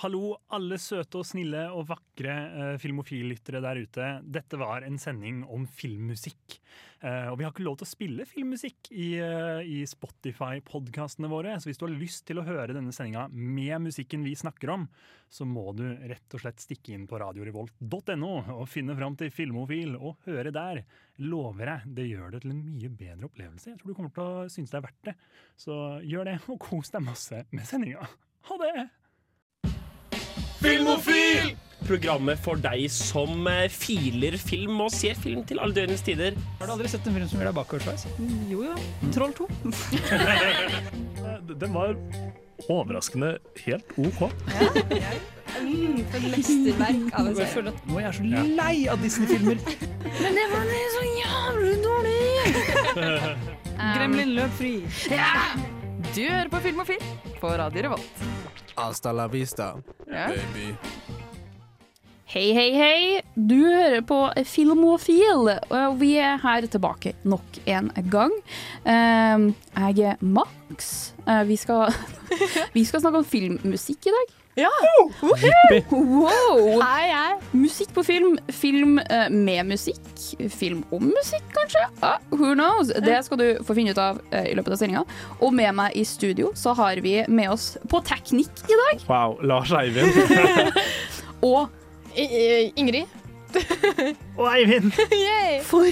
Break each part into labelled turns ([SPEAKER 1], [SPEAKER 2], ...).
[SPEAKER 1] Hallo, alle søte og snille og vakre eh, filmofillyttere der ute. Dette var en sending om filmmusikk. Eh, og vi har ikke lov til å spille filmmusikk i, eh, i Spotify-podkastene våre, så hvis du har lyst til å høre denne sendinga med musikken vi snakker om, så må du rett og slett stikke inn på radiorevolt.no og finne fram til Filmofil og høre der. Lover jeg, det gjør det til en mye bedre opplevelse. Jeg tror du kommer til å synes det er verdt det. Så gjør det, og kos deg masse med sendinga. Ha det!
[SPEAKER 2] Filmofil! Programmet for deg som eh, filer film og ser film til alle døgnets tider.
[SPEAKER 3] Har du aldri sett en film som gjør deg bakoversveis?
[SPEAKER 4] Jo, jo. Troll 2.
[SPEAKER 1] Eh,
[SPEAKER 5] Den var overraskende helt OK.
[SPEAKER 4] Mm, for et mesterverk av en
[SPEAKER 3] Jeg
[SPEAKER 4] serie.
[SPEAKER 3] føler at nå er jeg så lei av Disney-filmer.
[SPEAKER 4] Men det var så jævlig dårlig!
[SPEAKER 6] Gremlin løp fri.
[SPEAKER 7] Du hører på Filmofil på Radio Revolt.
[SPEAKER 8] Hasta la vista,
[SPEAKER 7] Ja.
[SPEAKER 8] baby.
[SPEAKER 9] Hei, hei, hei! Du hører på Filmofil, og vi er her tilbake nok en gang. Ehm, Jeg er Max. Eh, Vi skal, vi skal snakke om filmmusikk i dag.
[SPEAKER 4] Ja.
[SPEAKER 9] Wow!
[SPEAKER 4] Hei, hei.
[SPEAKER 9] Musikk på film, film eh, med musikk, film om musikk kanskje? Ah, who knows? Det skal du få finne ut av eh, i løpet av sendinga. Og med meg i studio så har vi med oss på teknikk i dag,
[SPEAKER 5] Wow, Lars Eivind.
[SPEAKER 9] og
[SPEAKER 4] Ingrid.
[SPEAKER 1] Og Eivind!
[SPEAKER 4] Yay.
[SPEAKER 9] for,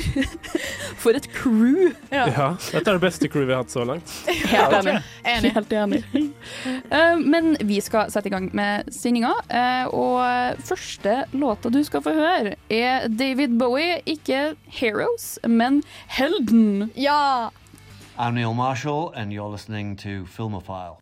[SPEAKER 9] for et crew.
[SPEAKER 5] Ja, dette er det beste crewet vi har hatt så langt.
[SPEAKER 9] Helt enig.
[SPEAKER 4] Enig.
[SPEAKER 9] Helt enig. Eh, Men vi skal sette i gang med sendinga, eh, og første låta du skal få høre, er David Bowie, ikke 'Heroes', men 'Helden'.
[SPEAKER 4] Ja.
[SPEAKER 10] I'm Neil Marshall, and you're listening to Filmophile.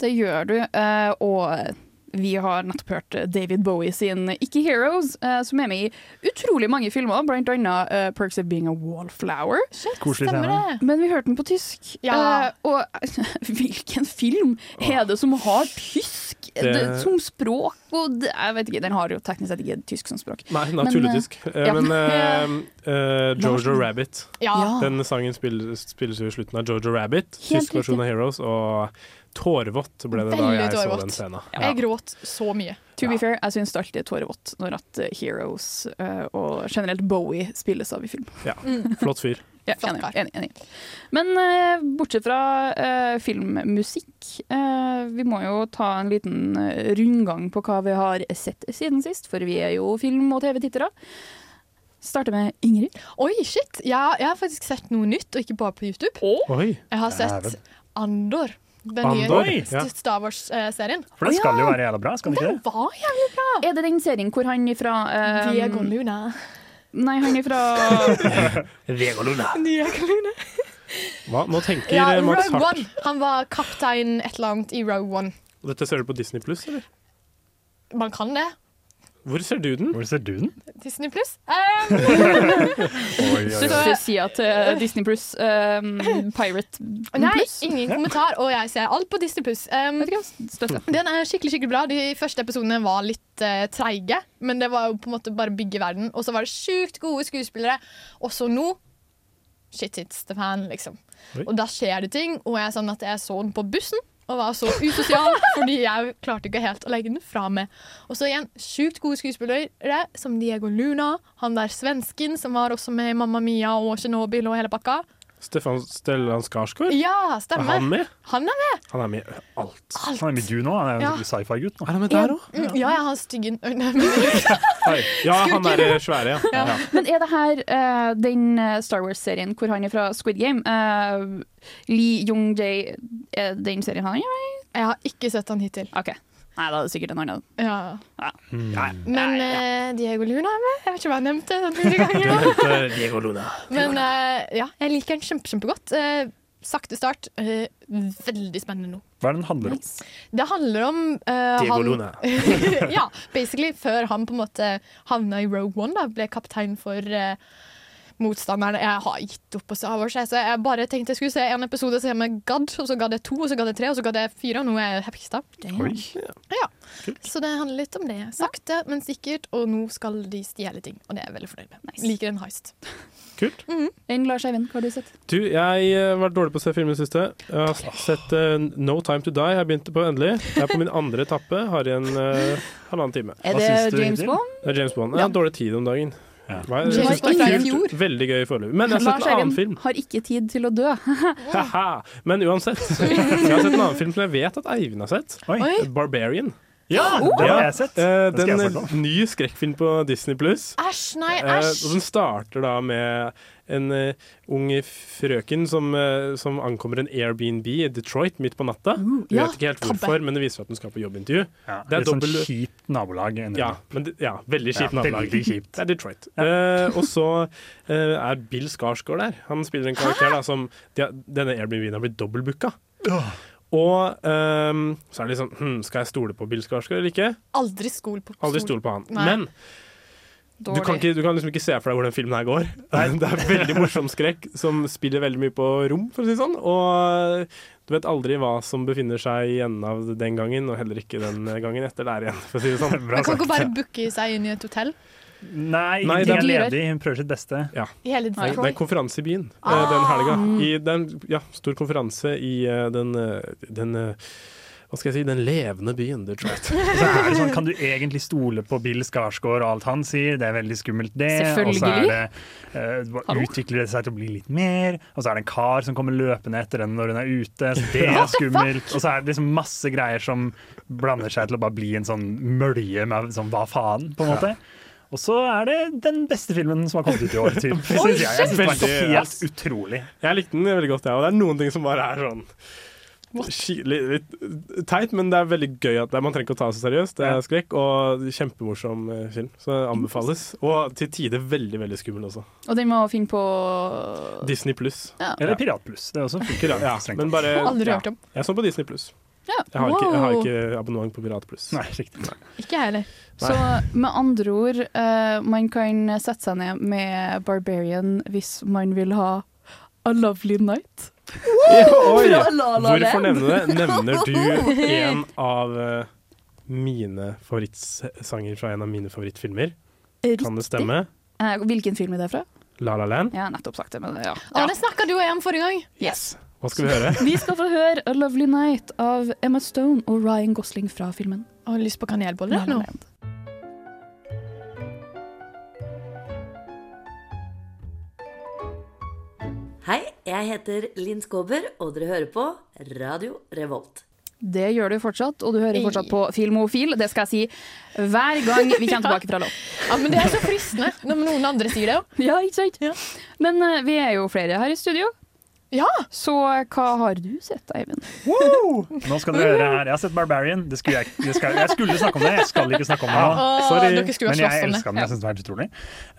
[SPEAKER 9] Det gjør du, eh, og vi har nettopp hørt David Bowie sin Ikke Heroes, eh, som er med i utrolig mange filmer, blant annet eh, Perks of Being a Wallflower.
[SPEAKER 1] Koselig
[SPEAKER 4] Stemmer
[SPEAKER 1] scene.
[SPEAKER 4] det.
[SPEAKER 9] Men vi hørte den på tysk.
[SPEAKER 4] Ja.
[SPEAKER 9] Eh, og hvilken film er det som har tysk
[SPEAKER 5] Det-
[SPEAKER 9] det... som språk? Og det, jeg vet ikke, Den har jo teknisk sett ikke tysk som språk.
[SPEAKER 5] Nei, naturligtysk.
[SPEAKER 4] eh,
[SPEAKER 5] Men,
[SPEAKER 9] ja.
[SPEAKER 5] ja. men eh, eh, Jojo Rabbit.
[SPEAKER 4] Ja.
[SPEAKER 9] Ja.
[SPEAKER 5] Den sangen spilles, spilles jo i slutten av Jojo Rabbit.
[SPEAKER 9] Helt
[SPEAKER 5] Tysk versjon av Heroes. Og tårevått ble det da
[SPEAKER 4] Veldig
[SPEAKER 5] jeg så
[SPEAKER 4] tårevått.
[SPEAKER 5] den scenen.
[SPEAKER 4] Jeg gråt så mye.
[SPEAKER 9] To be fair, jeg syns det alltid er tårevått når at eh, Heroes eh, og generelt Bowie spilles av i film.
[SPEAKER 5] Ja, Flott fyr.
[SPEAKER 9] Ja,
[SPEAKER 4] Flott
[SPEAKER 9] enig,
[SPEAKER 4] kar.
[SPEAKER 9] enig, enig. Men eh, bortsett fra eh, filmmusikk, eh, vi må jo ta en liten eh, rundgang på hva vi har sett siden sist, for vi er jo film- og TV-tittere. Starter med Ingrid.
[SPEAKER 4] Oi, shit. Ja, jeg har faktisk sett noe nytt, og ikke bare på YouTube.
[SPEAKER 5] Oi.
[SPEAKER 4] Jeg har sett
[SPEAKER 1] Dæven.
[SPEAKER 4] Andor. Den
[SPEAKER 5] Andor,
[SPEAKER 1] Oi.
[SPEAKER 4] nye
[SPEAKER 5] ja.
[SPEAKER 4] Star Wars-serien.
[SPEAKER 1] For det skal jo være jævla bra, skal det ikke
[SPEAKER 4] Den
[SPEAKER 1] det?
[SPEAKER 4] var jævlig bra.
[SPEAKER 9] Er det den serien hvor han ifra eh,
[SPEAKER 4] Diego Luna.
[SPEAKER 9] Nei, han ifra
[SPEAKER 4] Diego Luna.
[SPEAKER 5] Hva? Nå tenker
[SPEAKER 4] Ja,
[SPEAKER 5] eh, Max
[SPEAKER 4] Rogue
[SPEAKER 5] hardt.
[SPEAKER 4] One. Han var kaptein et eller annet i Rogue One.
[SPEAKER 5] Dette ser du på Disney Pluss, eller?
[SPEAKER 4] Man kan det.
[SPEAKER 5] Hvor ser du den?
[SPEAKER 1] Hvor ser du den?
[SPEAKER 4] Disney Pluss. Um,
[SPEAKER 9] søstera til Disney Plus, ehm, Pirate
[SPEAKER 4] nei,
[SPEAKER 9] Plus.
[SPEAKER 4] ingen kommentar, og jeg ser alt på Disney Pluss. Um,
[SPEAKER 9] Støtte.
[SPEAKER 4] den er skikkelig skikkelig bra. De første episodene var litt eh, treige, men det var jo på en måte bare bygge verden. Og så var det sjukt gode skuespillere. Og så nå Shit hits the fan, liksom.
[SPEAKER 5] Oi.
[SPEAKER 4] Og da skjer det ting, og jeg, er sånn at jeg så den på bussen. Og var så usosial fordi jeg klarte ikke helt å legge den fra meg. Og så igjen, sjukt gode skuespillere som Diego Luna, han der svensken som var også med i Mamma Mia og Tsjernobyl og hele pakka.
[SPEAKER 5] Stefan Stellan Skarsgård?
[SPEAKER 4] Ja,
[SPEAKER 5] Er
[SPEAKER 4] stemmer.
[SPEAKER 5] han med?
[SPEAKER 4] Han er med.
[SPEAKER 5] Han er med i alt.
[SPEAKER 1] Han er med du nå, han er jo
[SPEAKER 4] Ja.
[SPEAKER 1] en sci-fi-gutt nå.
[SPEAKER 5] Er han med der òg?
[SPEAKER 4] Mm, ja, ja, han styggen Oi, nei, men-
[SPEAKER 5] Ja, han er eh, svære, ja. ja.
[SPEAKER 9] Men er det her eh, den eh, Star Wars-serien hvor han ifra Squid Game eh, Lee Jung-jae Er det den serien han er med i?
[SPEAKER 4] Jeg har ikke sett han hittil.
[SPEAKER 9] OK. Nei, da er det sikkert en annen.
[SPEAKER 4] Ja.
[SPEAKER 1] Mm.
[SPEAKER 4] Men eh, Diego Luna er med. Jeg vet ikke hva jeg nevnte. den andre gangen nå.
[SPEAKER 5] Diego Luna.
[SPEAKER 4] Men eh, ja, jeg liker den kjempe, kjempegodt. Eh, sakte start. eh, veldig spennende nå.
[SPEAKER 1] Hva er det den handler om?
[SPEAKER 4] Det handler om eh,
[SPEAKER 5] Diego
[SPEAKER 4] han-
[SPEAKER 5] Luna.
[SPEAKER 4] ja, basically før han på en måte havna i Rogue One, da, ble kaptein for eh, motstanderne. Jeg har gitt opp på Star Wars, jeg, så jeg bare tenkte jeg skulle se en episode som jeg gadd, og så gadd jeg to, og så gadd jeg tre, og så gadd jeg fire, og nå er jeg heksta.
[SPEAKER 1] Oi.
[SPEAKER 4] Ja. Så det handler litt om det. Sakte, men sikkert, og nå skal de stjele ting, og det er jeg veldig fornøyd med.
[SPEAKER 9] Nice.
[SPEAKER 4] Liker en heist.
[SPEAKER 5] Kult.
[SPEAKER 9] Enn Lars Eivind, hva har du sett?
[SPEAKER 5] Du, jeg eh, har vært dårlig på å se film i det siste. Jeg har sett eh, No Time To Die. Jeg begynte på endelig. Jeg er på min andre etappe. Har igjen eh, halvannen time.
[SPEAKER 9] Er
[SPEAKER 1] Hva syns du,
[SPEAKER 9] det James
[SPEAKER 1] Ingrid?
[SPEAKER 9] Bond?
[SPEAKER 5] Det er James Bond. Jeg har dårlig tid om dagen.
[SPEAKER 1] Ja.
[SPEAKER 5] Hva er-
[SPEAKER 9] James
[SPEAKER 5] jeg synes
[SPEAKER 9] Bond
[SPEAKER 5] det er
[SPEAKER 9] fra i
[SPEAKER 5] kult. Veldig gøy foreløpig. Men jeg har sett en
[SPEAKER 9] Lars
[SPEAKER 5] annen
[SPEAKER 9] Eivind
[SPEAKER 5] film.
[SPEAKER 9] har ikke tid til å dø.
[SPEAKER 5] Haha. Men uansett. Jeg har sett en annen film som jeg vet at Eivind har sett.
[SPEAKER 1] Oi.
[SPEAKER 4] Oi. Oh.
[SPEAKER 5] Barbarian.
[SPEAKER 1] Ja, det har jeg sett.
[SPEAKER 5] Eh,
[SPEAKER 1] Den skal jeg
[SPEAKER 5] den
[SPEAKER 1] snakke
[SPEAKER 5] er ny skrekkfilm på Disney pluss.
[SPEAKER 4] Æsj, nei,
[SPEAKER 5] Eh, og
[SPEAKER 4] æsj.
[SPEAKER 5] den starter da med en eh, ung frøken som, eh, som ankommer en Airbnb i Detroit midt på natta. Vi
[SPEAKER 4] Uh, ja,
[SPEAKER 5] vet ikke helt
[SPEAKER 4] tabbe.
[SPEAKER 5] hvorfor, men det viser at hun skal på jobbintervju.
[SPEAKER 1] Ja,
[SPEAKER 5] det er
[SPEAKER 1] litt sånn
[SPEAKER 5] dobbel-
[SPEAKER 1] kjipt nabolag. enn-
[SPEAKER 5] Ja, men, det- ja veldig kjipt
[SPEAKER 1] Ja,
[SPEAKER 5] nabolag.
[SPEAKER 1] veldig kjipt.
[SPEAKER 5] Det er Detroit. Eh, og så eh, er Bill Skarsgård der. Han spiller en karakter da, som de, har- Denne Airbnb-en har blitt dobbeltbooka. Og ehm, så er det litt sånn hm, Skal jeg stole på Bill Skarsgård eller ikke?
[SPEAKER 4] Aldri skol på
[SPEAKER 5] Aldri stole på han.
[SPEAKER 4] Nei.
[SPEAKER 5] Men du kan, ikke, du kan liksom ikke se for deg hvor den filmen her går. Det er veldig morsom skrekk som spiller veldig mye på rom, for å si det sånn. Og du vet aldri hva som befinner seg i enden av den gangen, og heller ikke den eh, gangen etter der igjen, for å si det sånn.
[SPEAKER 1] Bra
[SPEAKER 4] Man kan
[SPEAKER 1] sagt.
[SPEAKER 4] ikke bare booke seg inn i et hotell
[SPEAKER 1] Nei,
[SPEAKER 5] Nei,
[SPEAKER 1] ingenting er
[SPEAKER 5] det
[SPEAKER 9] er-
[SPEAKER 1] ledig. Hun prøver sitt beste.
[SPEAKER 4] i hele
[SPEAKER 5] Det er en
[SPEAKER 4] Detroit.
[SPEAKER 5] konferanse i byen eh, den helga. I den, ja, stor konferanse i eh, den, eh, den eh, Hva skal jeg si, den levende byen Detroit.
[SPEAKER 1] Og så er det sånn, Kan du egentlig stole på Bill Skarsgård og alt han sier? Det er veldig skummelt, det. Og så er det, eh, hva-
[SPEAKER 9] Hallo?
[SPEAKER 1] utvikler det seg til å bli litt mer. Og så er det en kar som kommer løpende etter henne når hun er ute. Så det er skummelt. Og så er det liksom masse greier som blander seg til å bare bli en sånn mølje med sånn hva faen, på en måte. Og så er det den beste filmen som har kommet ut i år. Typ. Synes jeg. jeg synes det
[SPEAKER 5] Veldig,
[SPEAKER 1] var
[SPEAKER 5] ja.
[SPEAKER 1] helt utrolig.
[SPEAKER 5] Jeg likte den veldig godt, jeg. Og det er noen ting som bare er sånn ski- litt, litt teit, men det er veldig gøy. at det, Man trenger ikke å ta det så seriøst. Det
[SPEAKER 1] Ja.
[SPEAKER 5] er skrekk og kjempemorsom eh, film. Så det anbefales. Og til tider veldig veldig skummel også.
[SPEAKER 9] Og den må finne på
[SPEAKER 5] Disney pluss.
[SPEAKER 1] Eller Pirat Pluss. Det er også funker.
[SPEAKER 5] Pirat- Ja,
[SPEAKER 1] strengt
[SPEAKER 5] men
[SPEAKER 1] tatt.
[SPEAKER 5] bare
[SPEAKER 4] Aldri
[SPEAKER 5] ja.
[SPEAKER 4] hørt om.
[SPEAKER 5] Jeg så på Disney pluss.
[SPEAKER 9] ja.
[SPEAKER 5] Jeg, har ikke- jeg har
[SPEAKER 9] wow.
[SPEAKER 5] ikke abonnement på Pirat pluss.
[SPEAKER 1] Nei, riktig.
[SPEAKER 4] Ikke jeg heller.
[SPEAKER 9] Så med andre ord, eh, man kan sette seg ned med Barbarian hvis man vil ha A Lovely Night.
[SPEAKER 5] Oi!
[SPEAKER 9] Fra La La
[SPEAKER 5] Hvorfor
[SPEAKER 9] Land.
[SPEAKER 5] nevne det? Nevner du en av eh, mine favorittsanger fra en av mine favorittfilmer? Kan det stemme?
[SPEAKER 9] Eh, Hvilken film er det fra?
[SPEAKER 5] La La Land?
[SPEAKER 9] Jeg har nettopp sagt det, men ja.
[SPEAKER 4] Å, det snakka du og jeg om forrige gang.
[SPEAKER 9] Yes.
[SPEAKER 5] Hva skal vi høre?
[SPEAKER 9] Vi skal få høre A Lovely Night av Emma Stone og Ryan Gosling fra filmen
[SPEAKER 4] Har du lyst på kanelboller?
[SPEAKER 9] La La
[SPEAKER 4] eller noe?
[SPEAKER 9] Land.
[SPEAKER 11] Hei, jeg heter Linn Skåber, og dere hører på Radio Revolt.
[SPEAKER 9] Det gjør du fortsatt, og du hører fortsatt på Filmofil. Det skal jeg si hver gang vi kommer tilbake fra lov.
[SPEAKER 4] Ja, men det er så fristende når noen andre sier det. jo.
[SPEAKER 9] Ja, ikke sant? Men eh, vi er jo flere her i studio,
[SPEAKER 4] Ja,
[SPEAKER 9] så hva har du sett, Eivind?
[SPEAKER 1] Nå skal dere høre her. Jeg har sett Barbarian. Det skulle jeg, det skal, jeg skulle snakke om det, jeg skal ikke snakke om det nå.
[SPEAKER 4] Åh,
[SPEAKER 1] Sorry.
[SPEAKER 4] dere skulle ha
[SPEAKER 1] Men jeg
[SPEAKER 4] slåss om det.
[SPEAKER 1] elska den. Jeg synes det var helt utrolig.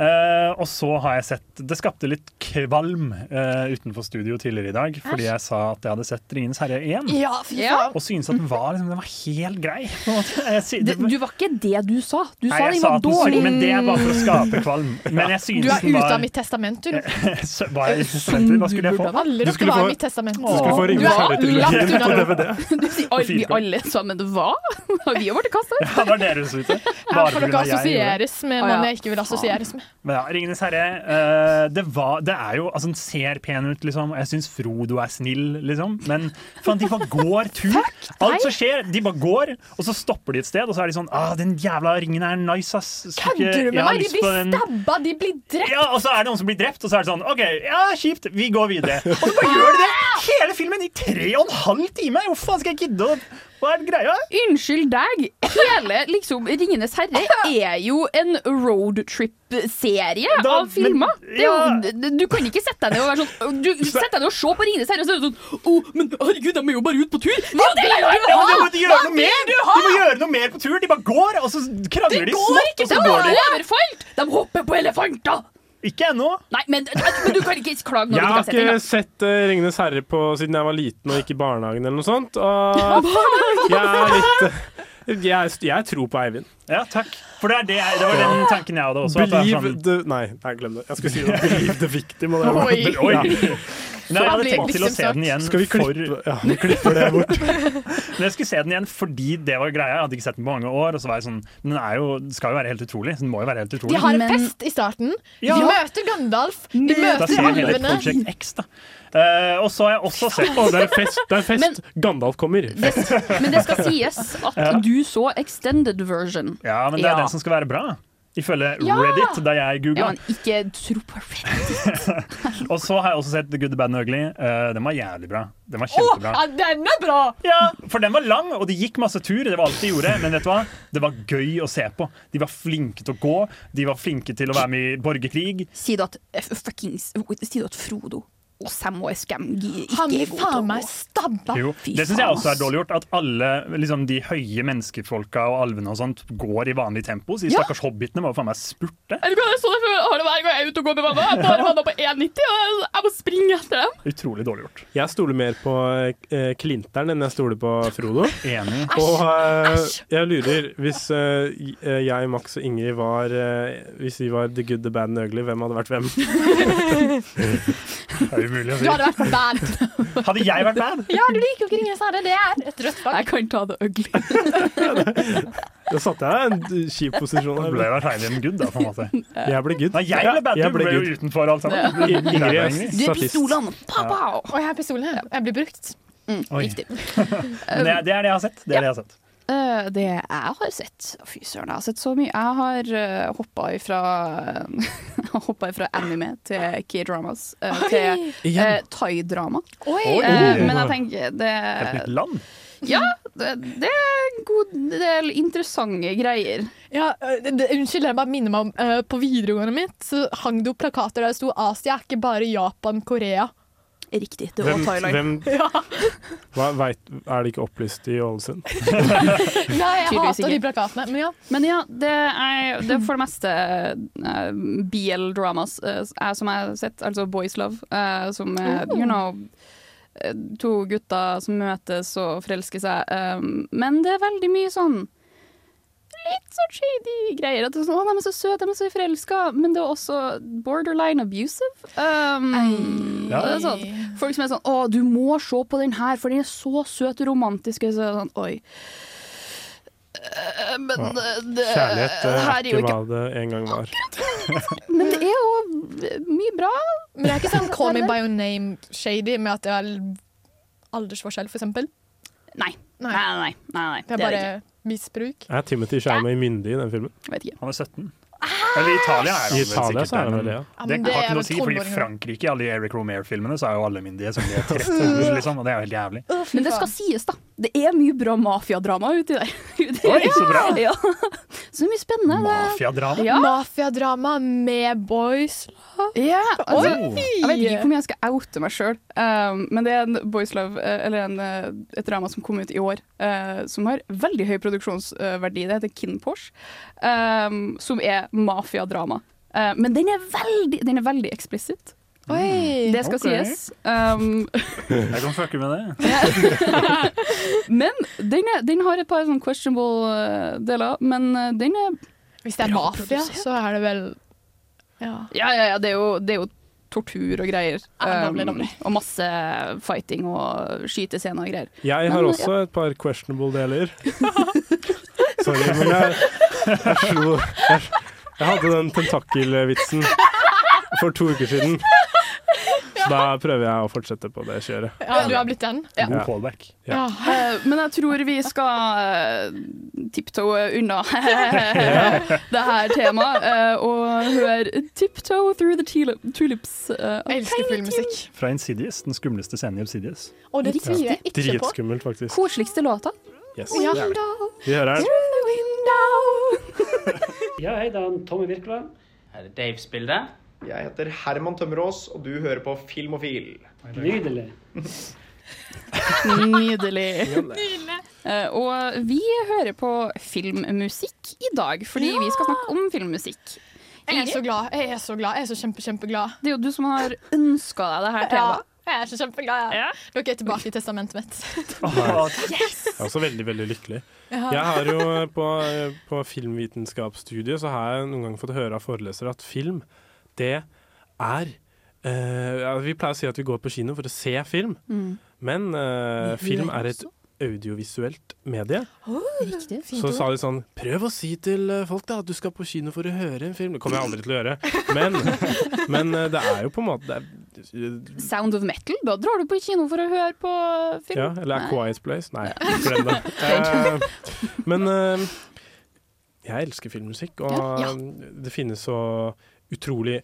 [SPEAKER 1] Eh, og så har jeg sett Det skapte litt kvalm eh, utenfor studio tidligere i dag fordi jeg sa at jeg hadde sett 'Ringenes herre 1'.
[SPEAKER 4] Ja, fy
[SPEAKER 9] Ja.
[SPEAKER 4] faen.
[SPEAKER 1] Og syntes at den var, liksom, den var helt grei. På en måte. Jeg, sy-
[SPEAKER 9] Det, du var ikke det du sa. Du
[SPEAKER 1] Nei,
[SPEAKER 9] sa
[SPEAKER 1] jeg
[SPEAKER 9] den
[SPEAKER 1] sa
[SPEAKER 9] var
[SPEAKER 1] at den
[SPEAKER 9] dårlig.
[SPEAKER 1] syn- Men det er bare for å skape kvalm. Men jeg
[SPEAKER 4] Du
[SPEAKER 1] synes
[SPEAKER 4] er
[SPEAKER 1] den
[SPEAKER 4] ute
[SPEAKER 1] var
[SPEAKER 4] av mitt testament, du.
[SPEAKER 1] Så- var jeg i testamentet? Hva skulle jeg få?
[SPEAKER 4] Alle
[SPEAKER 5] skulle
[SPEAKER 4] dere var
[SPEAKER 5] få-
[SPEAKER 4] i mitt testament.
[SPEAKER 1] Du skulle
[SPEAKER 5] få
[SPEAKER 4] Du
[SPEAKER 5] Ringenes
[SPEAKER 4] er
[SPEAKER 5] Herre-trilogien
[SPEAKER 4] langt unna det.
[SPEAKER 9] Du sier al- vi alle sammen hva? Har vi jo blitt kasta ut?
[SPEAKER 1] Ja, det var dere som visste.
[SPEAKER 4] Her
[SPEAKER 1] Bare
[SPEAKER 4] får
[SPEAKER 1] på grunn
[SPEAKER 4] dere
[SPEAKER 1] av jeg gjorde det.
[SPEAKER 4] assosieres med
[SPEAKER 9] Å, ja.
[SPEAKER 4] noen jeg ikke vil assosieres med.
[SPEAKER 1] Men ja, 'Ringenes herre' eh, det, var, det er jo Altså, den ser pen ut, liksom. og Jeg syns Frodo er snill, liksom. Men faen, de bare går tur. Alt som skjer, de bare går, og så stopper de et sted, og så er de sånn ah, 'Den jævla ringen er nice, ass'. Skulle ikke-
[SPEAKER 4] Kødder du
[SPEAKER 1] jeg
[SPEAKER 4] med
[SPEAKER 1] har
[SPEAKER 4] meg? De
[SPEAKER 1] lyst på
[SPEAKER 4] blir
[SPEAKER 1] den.»
[SPEAKER 4] stabba, de blir drept.
[SPEAKER 1] Ja, Og så er det noen som blir drept, og så er det sånn OK, ja, kjipt, vi går videre. Og så bare gjør de det hele filmen i tre og en halv time! Hvor faen skal jeg gidde å Hva er det greia?
[SPEAKER 9] Unnskyld deg. Hele liksom Ringenes herre er jo en roadtrip-serie
[SPEAKER 1] Da-
[SPEAKER 9] av filmer.
[SPEAKER 1] men-
[SPEAKER 9] Det er
[SPEAKER 1] ja.
[SPEAKER 9] jo, d- du kan ikke sette deg ned og være sånn Du setter deg ned og se på Ringenes herre, og så er det sånn Å, men herregud, de er jo bare ute på tur! Hva vil du
[SPEAKER 1] Ja,
[SPEAKER 9] ha?!
[SPEAKER 1] men de må gjøre noe mer!
[SPEAKER 9] du
[SPEAKER 1] De må gjøre noe mer på tur! De bare går, og så krangler de smått, og
[SPEAKER 9] De
[SPEAKER 1] så går
[SPEAKER 9] blir
[SPEAKER 1] de.
[SPEAKER 9] overfalt! De hopper på elefanter!
[SPEAKER 1] Ikke ennå.
[SPEAKER 9] Nei, men, men du kan ikke klage når
[SPEAKER 5] Jeg
[SPEAKER 9] du
[SPEAKER 5] har
[SPEAKER 9] ikke
[SPEAKER 5] ikke
[SPEAKER 9] har sett den.
[SPEAKER 5] sett eh, 'Ringenes herre' på, siden jeg var liten og gikk i barnehagen eller noe sånt. Og jeg er litt eh, jeg, jeg tror på Eivind.
[SPEAKER 1] Ja, takk. For det, er det, jeg- det var den tanken jeg hadde også. at det er
[SPEAKER 5] Believe
[SPEAKER 1] sånn-
[SPEAKER 5] the Nei, nei, glem det. Jeg skulle si det. Believe the victim. Og det var-
[SPEAKER 1] Oi.
[SPEAKER 5] Ja.
[SPEAKER 1] Nei, jeg hadde
[SPEAKER 4] blir
[SPEAKER 1] tenkt til å se
[SPEAKER 4] liksom
[SPEAKER 1] den igjen
[SPEAKER 5] Skal vi klippe Ja, vi klipper det bort.
[SPEAKER 1] Men jeg skulle se den igjen fordi det var greia. Jeg hadde ikke sett den på mange år. Og så var jeg sånn, men den er jo, den skal jo være helt utrolig. så Den må jo være helt utrolig.
[SPEAKER 4] De har en
[SPEAKER 9] Men-
[SPEAKER 4] fest i starten.
[SPEAKER 1] Ja.
[SPEAKER 4] De møter Gandalf, de
[SPEAKER 1] da
[SPEAKER 4] møter
[SPEAKER 1] ser jeg hele
[SPEAKER 4] alvene.
[SPEAKER 1] Project X, da. Eh, og så har jeg også sett
[SPEAKER 5] Å, det er fest! Det er fest. Gandalf kommer.
[SPEAKER 9] Det, men det skal sies at
[SPEAKER 1] Ja.
[SPEAKER 9] du så extended version.
[SPEAKER 1] Ja, men det er
[SPEAKER 9] Ja.
[SPEAKER 1] den som skal være bra. Ifølge
[SPEAKER 9] Ja.
[SPEAKER 1] Reddit, da jeg
[SPEAKER 9] Ja,
[SPEAKER 1] googla.
[SPEAKER 9] men ikke tro på Reddit.
[SPEAKER 1] Og så har jeg også sett The Good, The Bad and The Ugly. Eh, den var jævlig bra. Den var
[SPEAKER 4] Å,
[SPEAKER 1] kjempebra.
[SPEAKER 4] ja, den er bra!
[SPEAKER 1] Ja, for den var lang, og de gikk masse tur. Det var alt de gjorde, men vet du hva? Det var gøy å se på. De var flinke til å gå, de var flinke til å være med i borgerkrig.
[SPEAKER 9] Si du at, eh, fuckings- si du at Frodo og Sam og Escam gi- ikke
[SPEAKER 4] Han
[SPEAKER 9] er
[SPEAKER 4] blir
[SPEAKER 9] gode til å
[SPEAKER 4] faen meg
[SPEAKER 9] gå.
[SPEAKER 4] stabba.
[SPEAKER 1] Jo,
[SPEAKER 9] Fy
[SPEAKER 1] det syns jeg
[SPEAKER 9] faen,
[SPEAKER 1] også er
[SPEAKER 9] ass.
[SPEAKER 1] dårlig gjort. At alle liksom, de høye menneskefolka og alvene og sånt går i vanlig tempo. Så de
[SPEAKER 4] Ja.
[SPEAKER 1] stakkars hobbitene må jo faen meg spurte.
[SPEAKER 9] Er du glad jeg så det før? Har det hver gang jeg er ute og går med mamma? Jeg er bare mamma på 1,90, og jeg må springe etter dem.
[SPEAKER 1] Utrolig dårlig gjort.
[SPEAKER 5] Jeg stoler mer på eh, Klinteren enn jeg stoler på Frodo.
[SPEAKER 1] Enig.
[SPEAKER 5] Og eh, jeg lurer, hvis eh, j- eh, jeg, Max og Ingrid var eh, Hvis vi var The Good, The Bad and The Ugly, hvem hadde vært hvem?
[SPEAKER 1] Det er umulig å
[SPEAKER 4] Du
[SPEAKER 1] si.
[SPEAKER 4] hadde vært bad.
[SPEAKER 1] Hadde jeg vært bad?
[SPEAKER 4] Ja, du liker jo ikke Ringenes herre. Det er et rødt flagg.
[SPEAKER 9] Jeg kan ta det ugly.
[SPEAKER 5] Da satte jeg deg i en kjip posisjon.
[SPEAKER 1] Da
[SPEAKER 5] her.
[SPEAKER 1] ble jeg vært Heidi good, da, på en måte.
[SPEAKER 5] Jeg ble good.
[SPEAKER 1] Nei, jeg ble bad,
[SPEAKER 5] Ja,
[SPEAKER 1] du ble jo
[SPEAKER 5] good.
[SPEAKER 1] utenfor alt sammen. Du ble
[SPEAKER 5] Ingrid
[SPEAKER 1] bad,
[SPEAKER 5] er
[SPEAKER 1] Ingrid.
[SPEAKER 9] Du er
[SPEAKER 5] statist.
[SPEAKER 9] pistolene. Pa, pa.
[SPEAKER 4] Og jeg har pistolen her. Jeg blir brukt.
[SPEAKER 9] Mm,
[SPEAKER 1] Oi.
[SPEAKER 9] riktig.
[SPEAKER 1] Men det, er- det er det jeg har sett. Det er det jeg har sett.
[SPEAKER 9] Eh, det jeg har sett Fy søren, jeg har sett så mye. Jeg har uh, hoppa ifra Hoppa ifra anime til K-dramas eh, til eh, thai-drama.
[SPEAKER 4] Oi!
[SPEAKER 9] Eh, men jeg tenker det,
[SPEAKER 1] Helt nytt land.
[SPEAKER 9] det, det er en god del interessante greier.
[SPEAKER 4] Ja, øh, det, det, unnskyld, jeg bare minner meg om øh, På videregående mitt så hang det opp plakater der det sto 'Asia er ikke bare Japan, Korea'.
[SPEAKER 9] Riktig. Det var
[SPEAKER 5] Hvem,
[SPEAKER 9] Thailand.
[SPEAKER 5] hvem hva, vet, Er det ikke opplyst i Ålesund?
[SPEAKER 4] Nei, jeg
[SPEAKER 9] Tydeligvis
[SPEAKER 4] hater de
[SPEAKER 9] ikke.
[SPEAKER 4] plakatene. Men ja,
[SPEAKER 9] Men ja, det er, det er for det meste eh, BL-dramas eh, jeg- som jeg har sett, altså Boys Love, eh, som er, you know eh, To gutter som møtes og forelsker seg. eh, men det er veldig mye sånn Litt sånn shady greier. At det er sånn, å, de er så søte, de er så forelska. Men det er også borderline abusive. Um,
[SPEAKER 1] Ja.
[SPEAKER 9] det er sånn. Folk som er sånn 'Å, du må se på den her, for den er så søt og romantisk'. Og så er det sånn, Oi. Eh, Men
[SPEAKER 5] Ja.
[SPEAKER 9] eh, det,
[SPEAKER 5] Kjærlighet eh,
[SPEAKER 9] her
[SPEAKER 5] er ikke hva det en gang var.
[SPEAKER 9] Men det er jo eh, mye bra.
[SPEAKER 4] men det er ikke sånn 'call me by your name'-shady med at det er aldersforskjell, for eksempel.
[SPEAKER 9] Nei. Nei,
[SPEAKER 4] Nei,
[SPEAKER 9] nei, nei. nei.
[SPEAKER 4] det er bare misbruk.
[SPEAKER 5] Er Timothy Sharmay myndig i den filmen?
[SPEAKER 9] Jeg vet ikke.
[SPEAKER 1] Han er 17. Eller i Italia er han
[SPEAKER 5] I
[SPEAKER 1] vel
[SPEAKER 5] Italia
[SPEAKER 1] sikkert
[SPEAKER 5] så er
[SPEAKER 1] der,
[SPEAKER 5] det vel
[SPEAKER 1] men
[SPEAKER 5] det, ja.
[SPEAKER 4] Ja,
[SPEAKER 1] Det
[SPEAKER 4] men
[SPEAKER 1] har ikke
[SPEAKER 4] er
[SPEAKER 1] noe å si,
[SPEAKER 4] vel
[SPEAKER 1] fordi i
[SPEAKER 4] tolvåringer.
[SPEAKER 1] Frankrike, i alle de Eric Romare-filmene, så er jo alle myndige som de er 13 år, liksom, og det er jo helt jævlig.
[SPEAKER 4] Å, fy
[SPEAKER 9] Men det skal
[SPEAKER 4] faen.
[SPEAKER 9] sies, da. Det er mye bra mafiadrama uti der. Uti-
[SPEAKER 1] Oi, så bra!
[SPEAKER 9] Ja. Så mye spennende. det-
[SPEAKER 1] Mafiadrama.
[SPEAKER 9] Ja.
[SPEAKER 4] Mafiadrama med boys.
[SPEAKER 9] Ja, altså,
[SPEAKER 1] Oh.
[SPEAKER 9] jeg vet ikke hvor mye jeg skal oute meg sjøl, men det er en Boys Love, eh, eller en, eh, et drama som kom ut i år, eh, som har veldig høy produksjonsverdi. Det heter Kin Porsche, um, som er mafiadrama. Eh, men den er veldig, den er veldig eksplisitt.
[SPEAKER 1] Mm.
[SPEAKER 4] Oi!
[SPEAKER 9] Det
[SPEAKER 1] Ok.
[SPEAKER 9] skal sies. Um,
[SPEAKER 1] Jeg kan fucke med det.
[SPEAKER 9] men den, er, den har et par sånn questionable eh, deler, men eh, den er
[SPEAKER 4] Hvis det er
[SPEAKER 9] Bra
[SPEAKER 4] mafia,
[SPEAKER 9] produsert.
[SPEAKER 4] så er det vel ja.
[SPEAKER 9] Ja, ja, ja, det er jo, det er jo tortur og greier.
[SPEAKER 4] Ja, da blir det
[SPEAKER 9] Um, og masse fighting og skytescener og greier.
[SPEAKER 5] Jeg har
[SPEAKER 9] Men,
[SPEAKER 5] også et par questionable deler. Sorry, men jeg, jeg slo jeg, jeg hadde den tentakelvitsen for to uker siden. Så da prøver jeg å fortsette på det kjøret.
[SPEAKER 4] ja, du har blitt den?
[SPEAKER 9] Ja.
[SPEAKER 1] God callback.
[SPEAKER 5] Ja.
[SPEAKER 4] Ja.
[SPEAKER 9] Eh, men jeg tror vi skal uh, tiptoe unna det her temaet eh, og høre 'Tiptoe Through The Tuli- Tulips'. eh, av
[SPEAKER 4] Jeg elsker
[SPEAKER 9] Tiny
[SPEAKER 4] filmmusikk.
[SPEAKER 1] Fra Insidious, den skumleste scenen i Obsidious.
[SPEAKER 4] Og det
[SPEAKER 9] Riktig.
[SPEAKER 4] tviler jeg ikke på.
[SPEAKER 5] Dritskummelt, faktisk.
[SPEAKER 9] Koseligste låta.
[SPEAKER 5] Yes.
[SPEAKER 4] Ja.
[SPEAKER 5] Vi hører den.
[SPEAKER 9] Through the window.
[SPEAKER 12] Ja, hei, det er Tommy Virkla.
[SPEAKER 13] Her er Dave Spilde.
[SPEAKER 14] Jeg heter Herman Tømmerås, og du hører på Filmofil.
[SPEAKER 12] Nydelig.
[SPEAKER 9] Nydelig. Eh, og vi hører på filmmusikk i dag, fordi vi skal snakke om filmmusikk.
[SPEAKER 4] Jeg er så glad. Jeg er så glad. Jeg er så kjempe, kjempeglad.
[SPEAKER 9] Det er jo du som har ønska deg det her
[SPEAKER 4] Ja,
[SPEAKER 9] temaet.
[SPEAKER 4] jeg er så kjempeglad. Ja.
[SPEAKER 9] Ja.
[SPEAKER 4] Dere er tilbake i testamentet mitt.
[SPEAKER 5] Jeg er også veldig, veldig lykkelig.
[SPEAKER 4] Ja.
[SPEAKER 5] Jeg har jo eh, på, på filmvitenskapsstudiet så har jeg noen gang fått høre av forelesere at film, det er eh, ja, Vi pleier å si at vi går på kino for å se film,
[SPEAKER 9] Mm.
[SPEAKER 5] men eh,
[SPEAKER 9] Vi- vi
[SPEAKER 5] film
[SPEAKER 9] gjør
[SPEAKER 5] er et audiovisuelt medie.
[SPEAKER 9] Riktig.
[SPEAKER 5] Så sa de sånn Prøv å si til eh, folk da at du skal på kino for å høre en film. Det kommer jeg aldri til å gjøre. Men, men eh, det er jo på en måte det er,
[SPEAKER 9] Sound of Metal? Da drar du på kino for å høre på film.
[SPEAKER 5] Ja, eller A
[SPEAKER 9] Nei.
[SPEAKER 5] Quiet Place. Nei, glem det. Eh, men eh, jeg elsker filmmusikk, og
[SPEAKER 9] Ja, ja.
[SPEAKER 5] det finnes så utrolig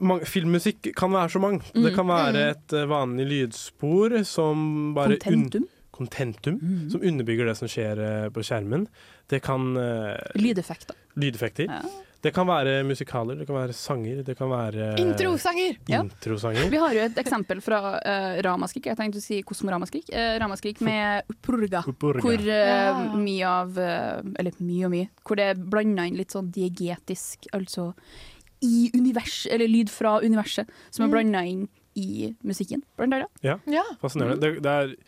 [SPEAKER 5] mange, Filmmusikk kan være så mangt.
[SPEAKER 9] Mm,
[SPEAKER 5] Det kan være
[SPEAKER 9] mm.
[SPEAKER 5] et eh, vanlig lydspor som bare un-
[SPEAKER 9] Contentum. Mm.
[SPEAKER 5] Contentum, som underbygger det som skjer eh, på skjermen. Det kan eh,
[SPEAKER 9] Lydeffekter.
[SPEAKER 5] Lydeffekter.
[SPEAKER 9] Ja.
[SPEAKER 5] Det kan være musikaler, det kan være sanger, det kan være
[SPEAKER 9] Eh, Introsanger. Ja.
[SPEAKER 5] Introsanger.
[SPEAKER 9] Vi har jo et eksempel fra eh, Ramaskrik. Jeg tenkte å si Kosmoramaskrikk. Eh, Ramaskrik med Upurga.
[SPEAKER 5] Upurga.
[SPEAKER 9] Hvor eh,
[SPEAKER 5] Ja.
[SPEAKER 9] mye av eh, Eller mye og mye. Hvor det blanda inn litt sånn diegetisk, altså i univers, eller lyd fra universet, som er
[SPEAKER 5] Mm.
[SPEAKER 9] blanda inn i musikken. Blant annet.
[SPEAKER 5] Ja,
[SPEAKER 9] Ja.
[SPEAKER 5] fascinerende. Det,
[SPEAKER 4] Mm.
[SPEAKER 5] det er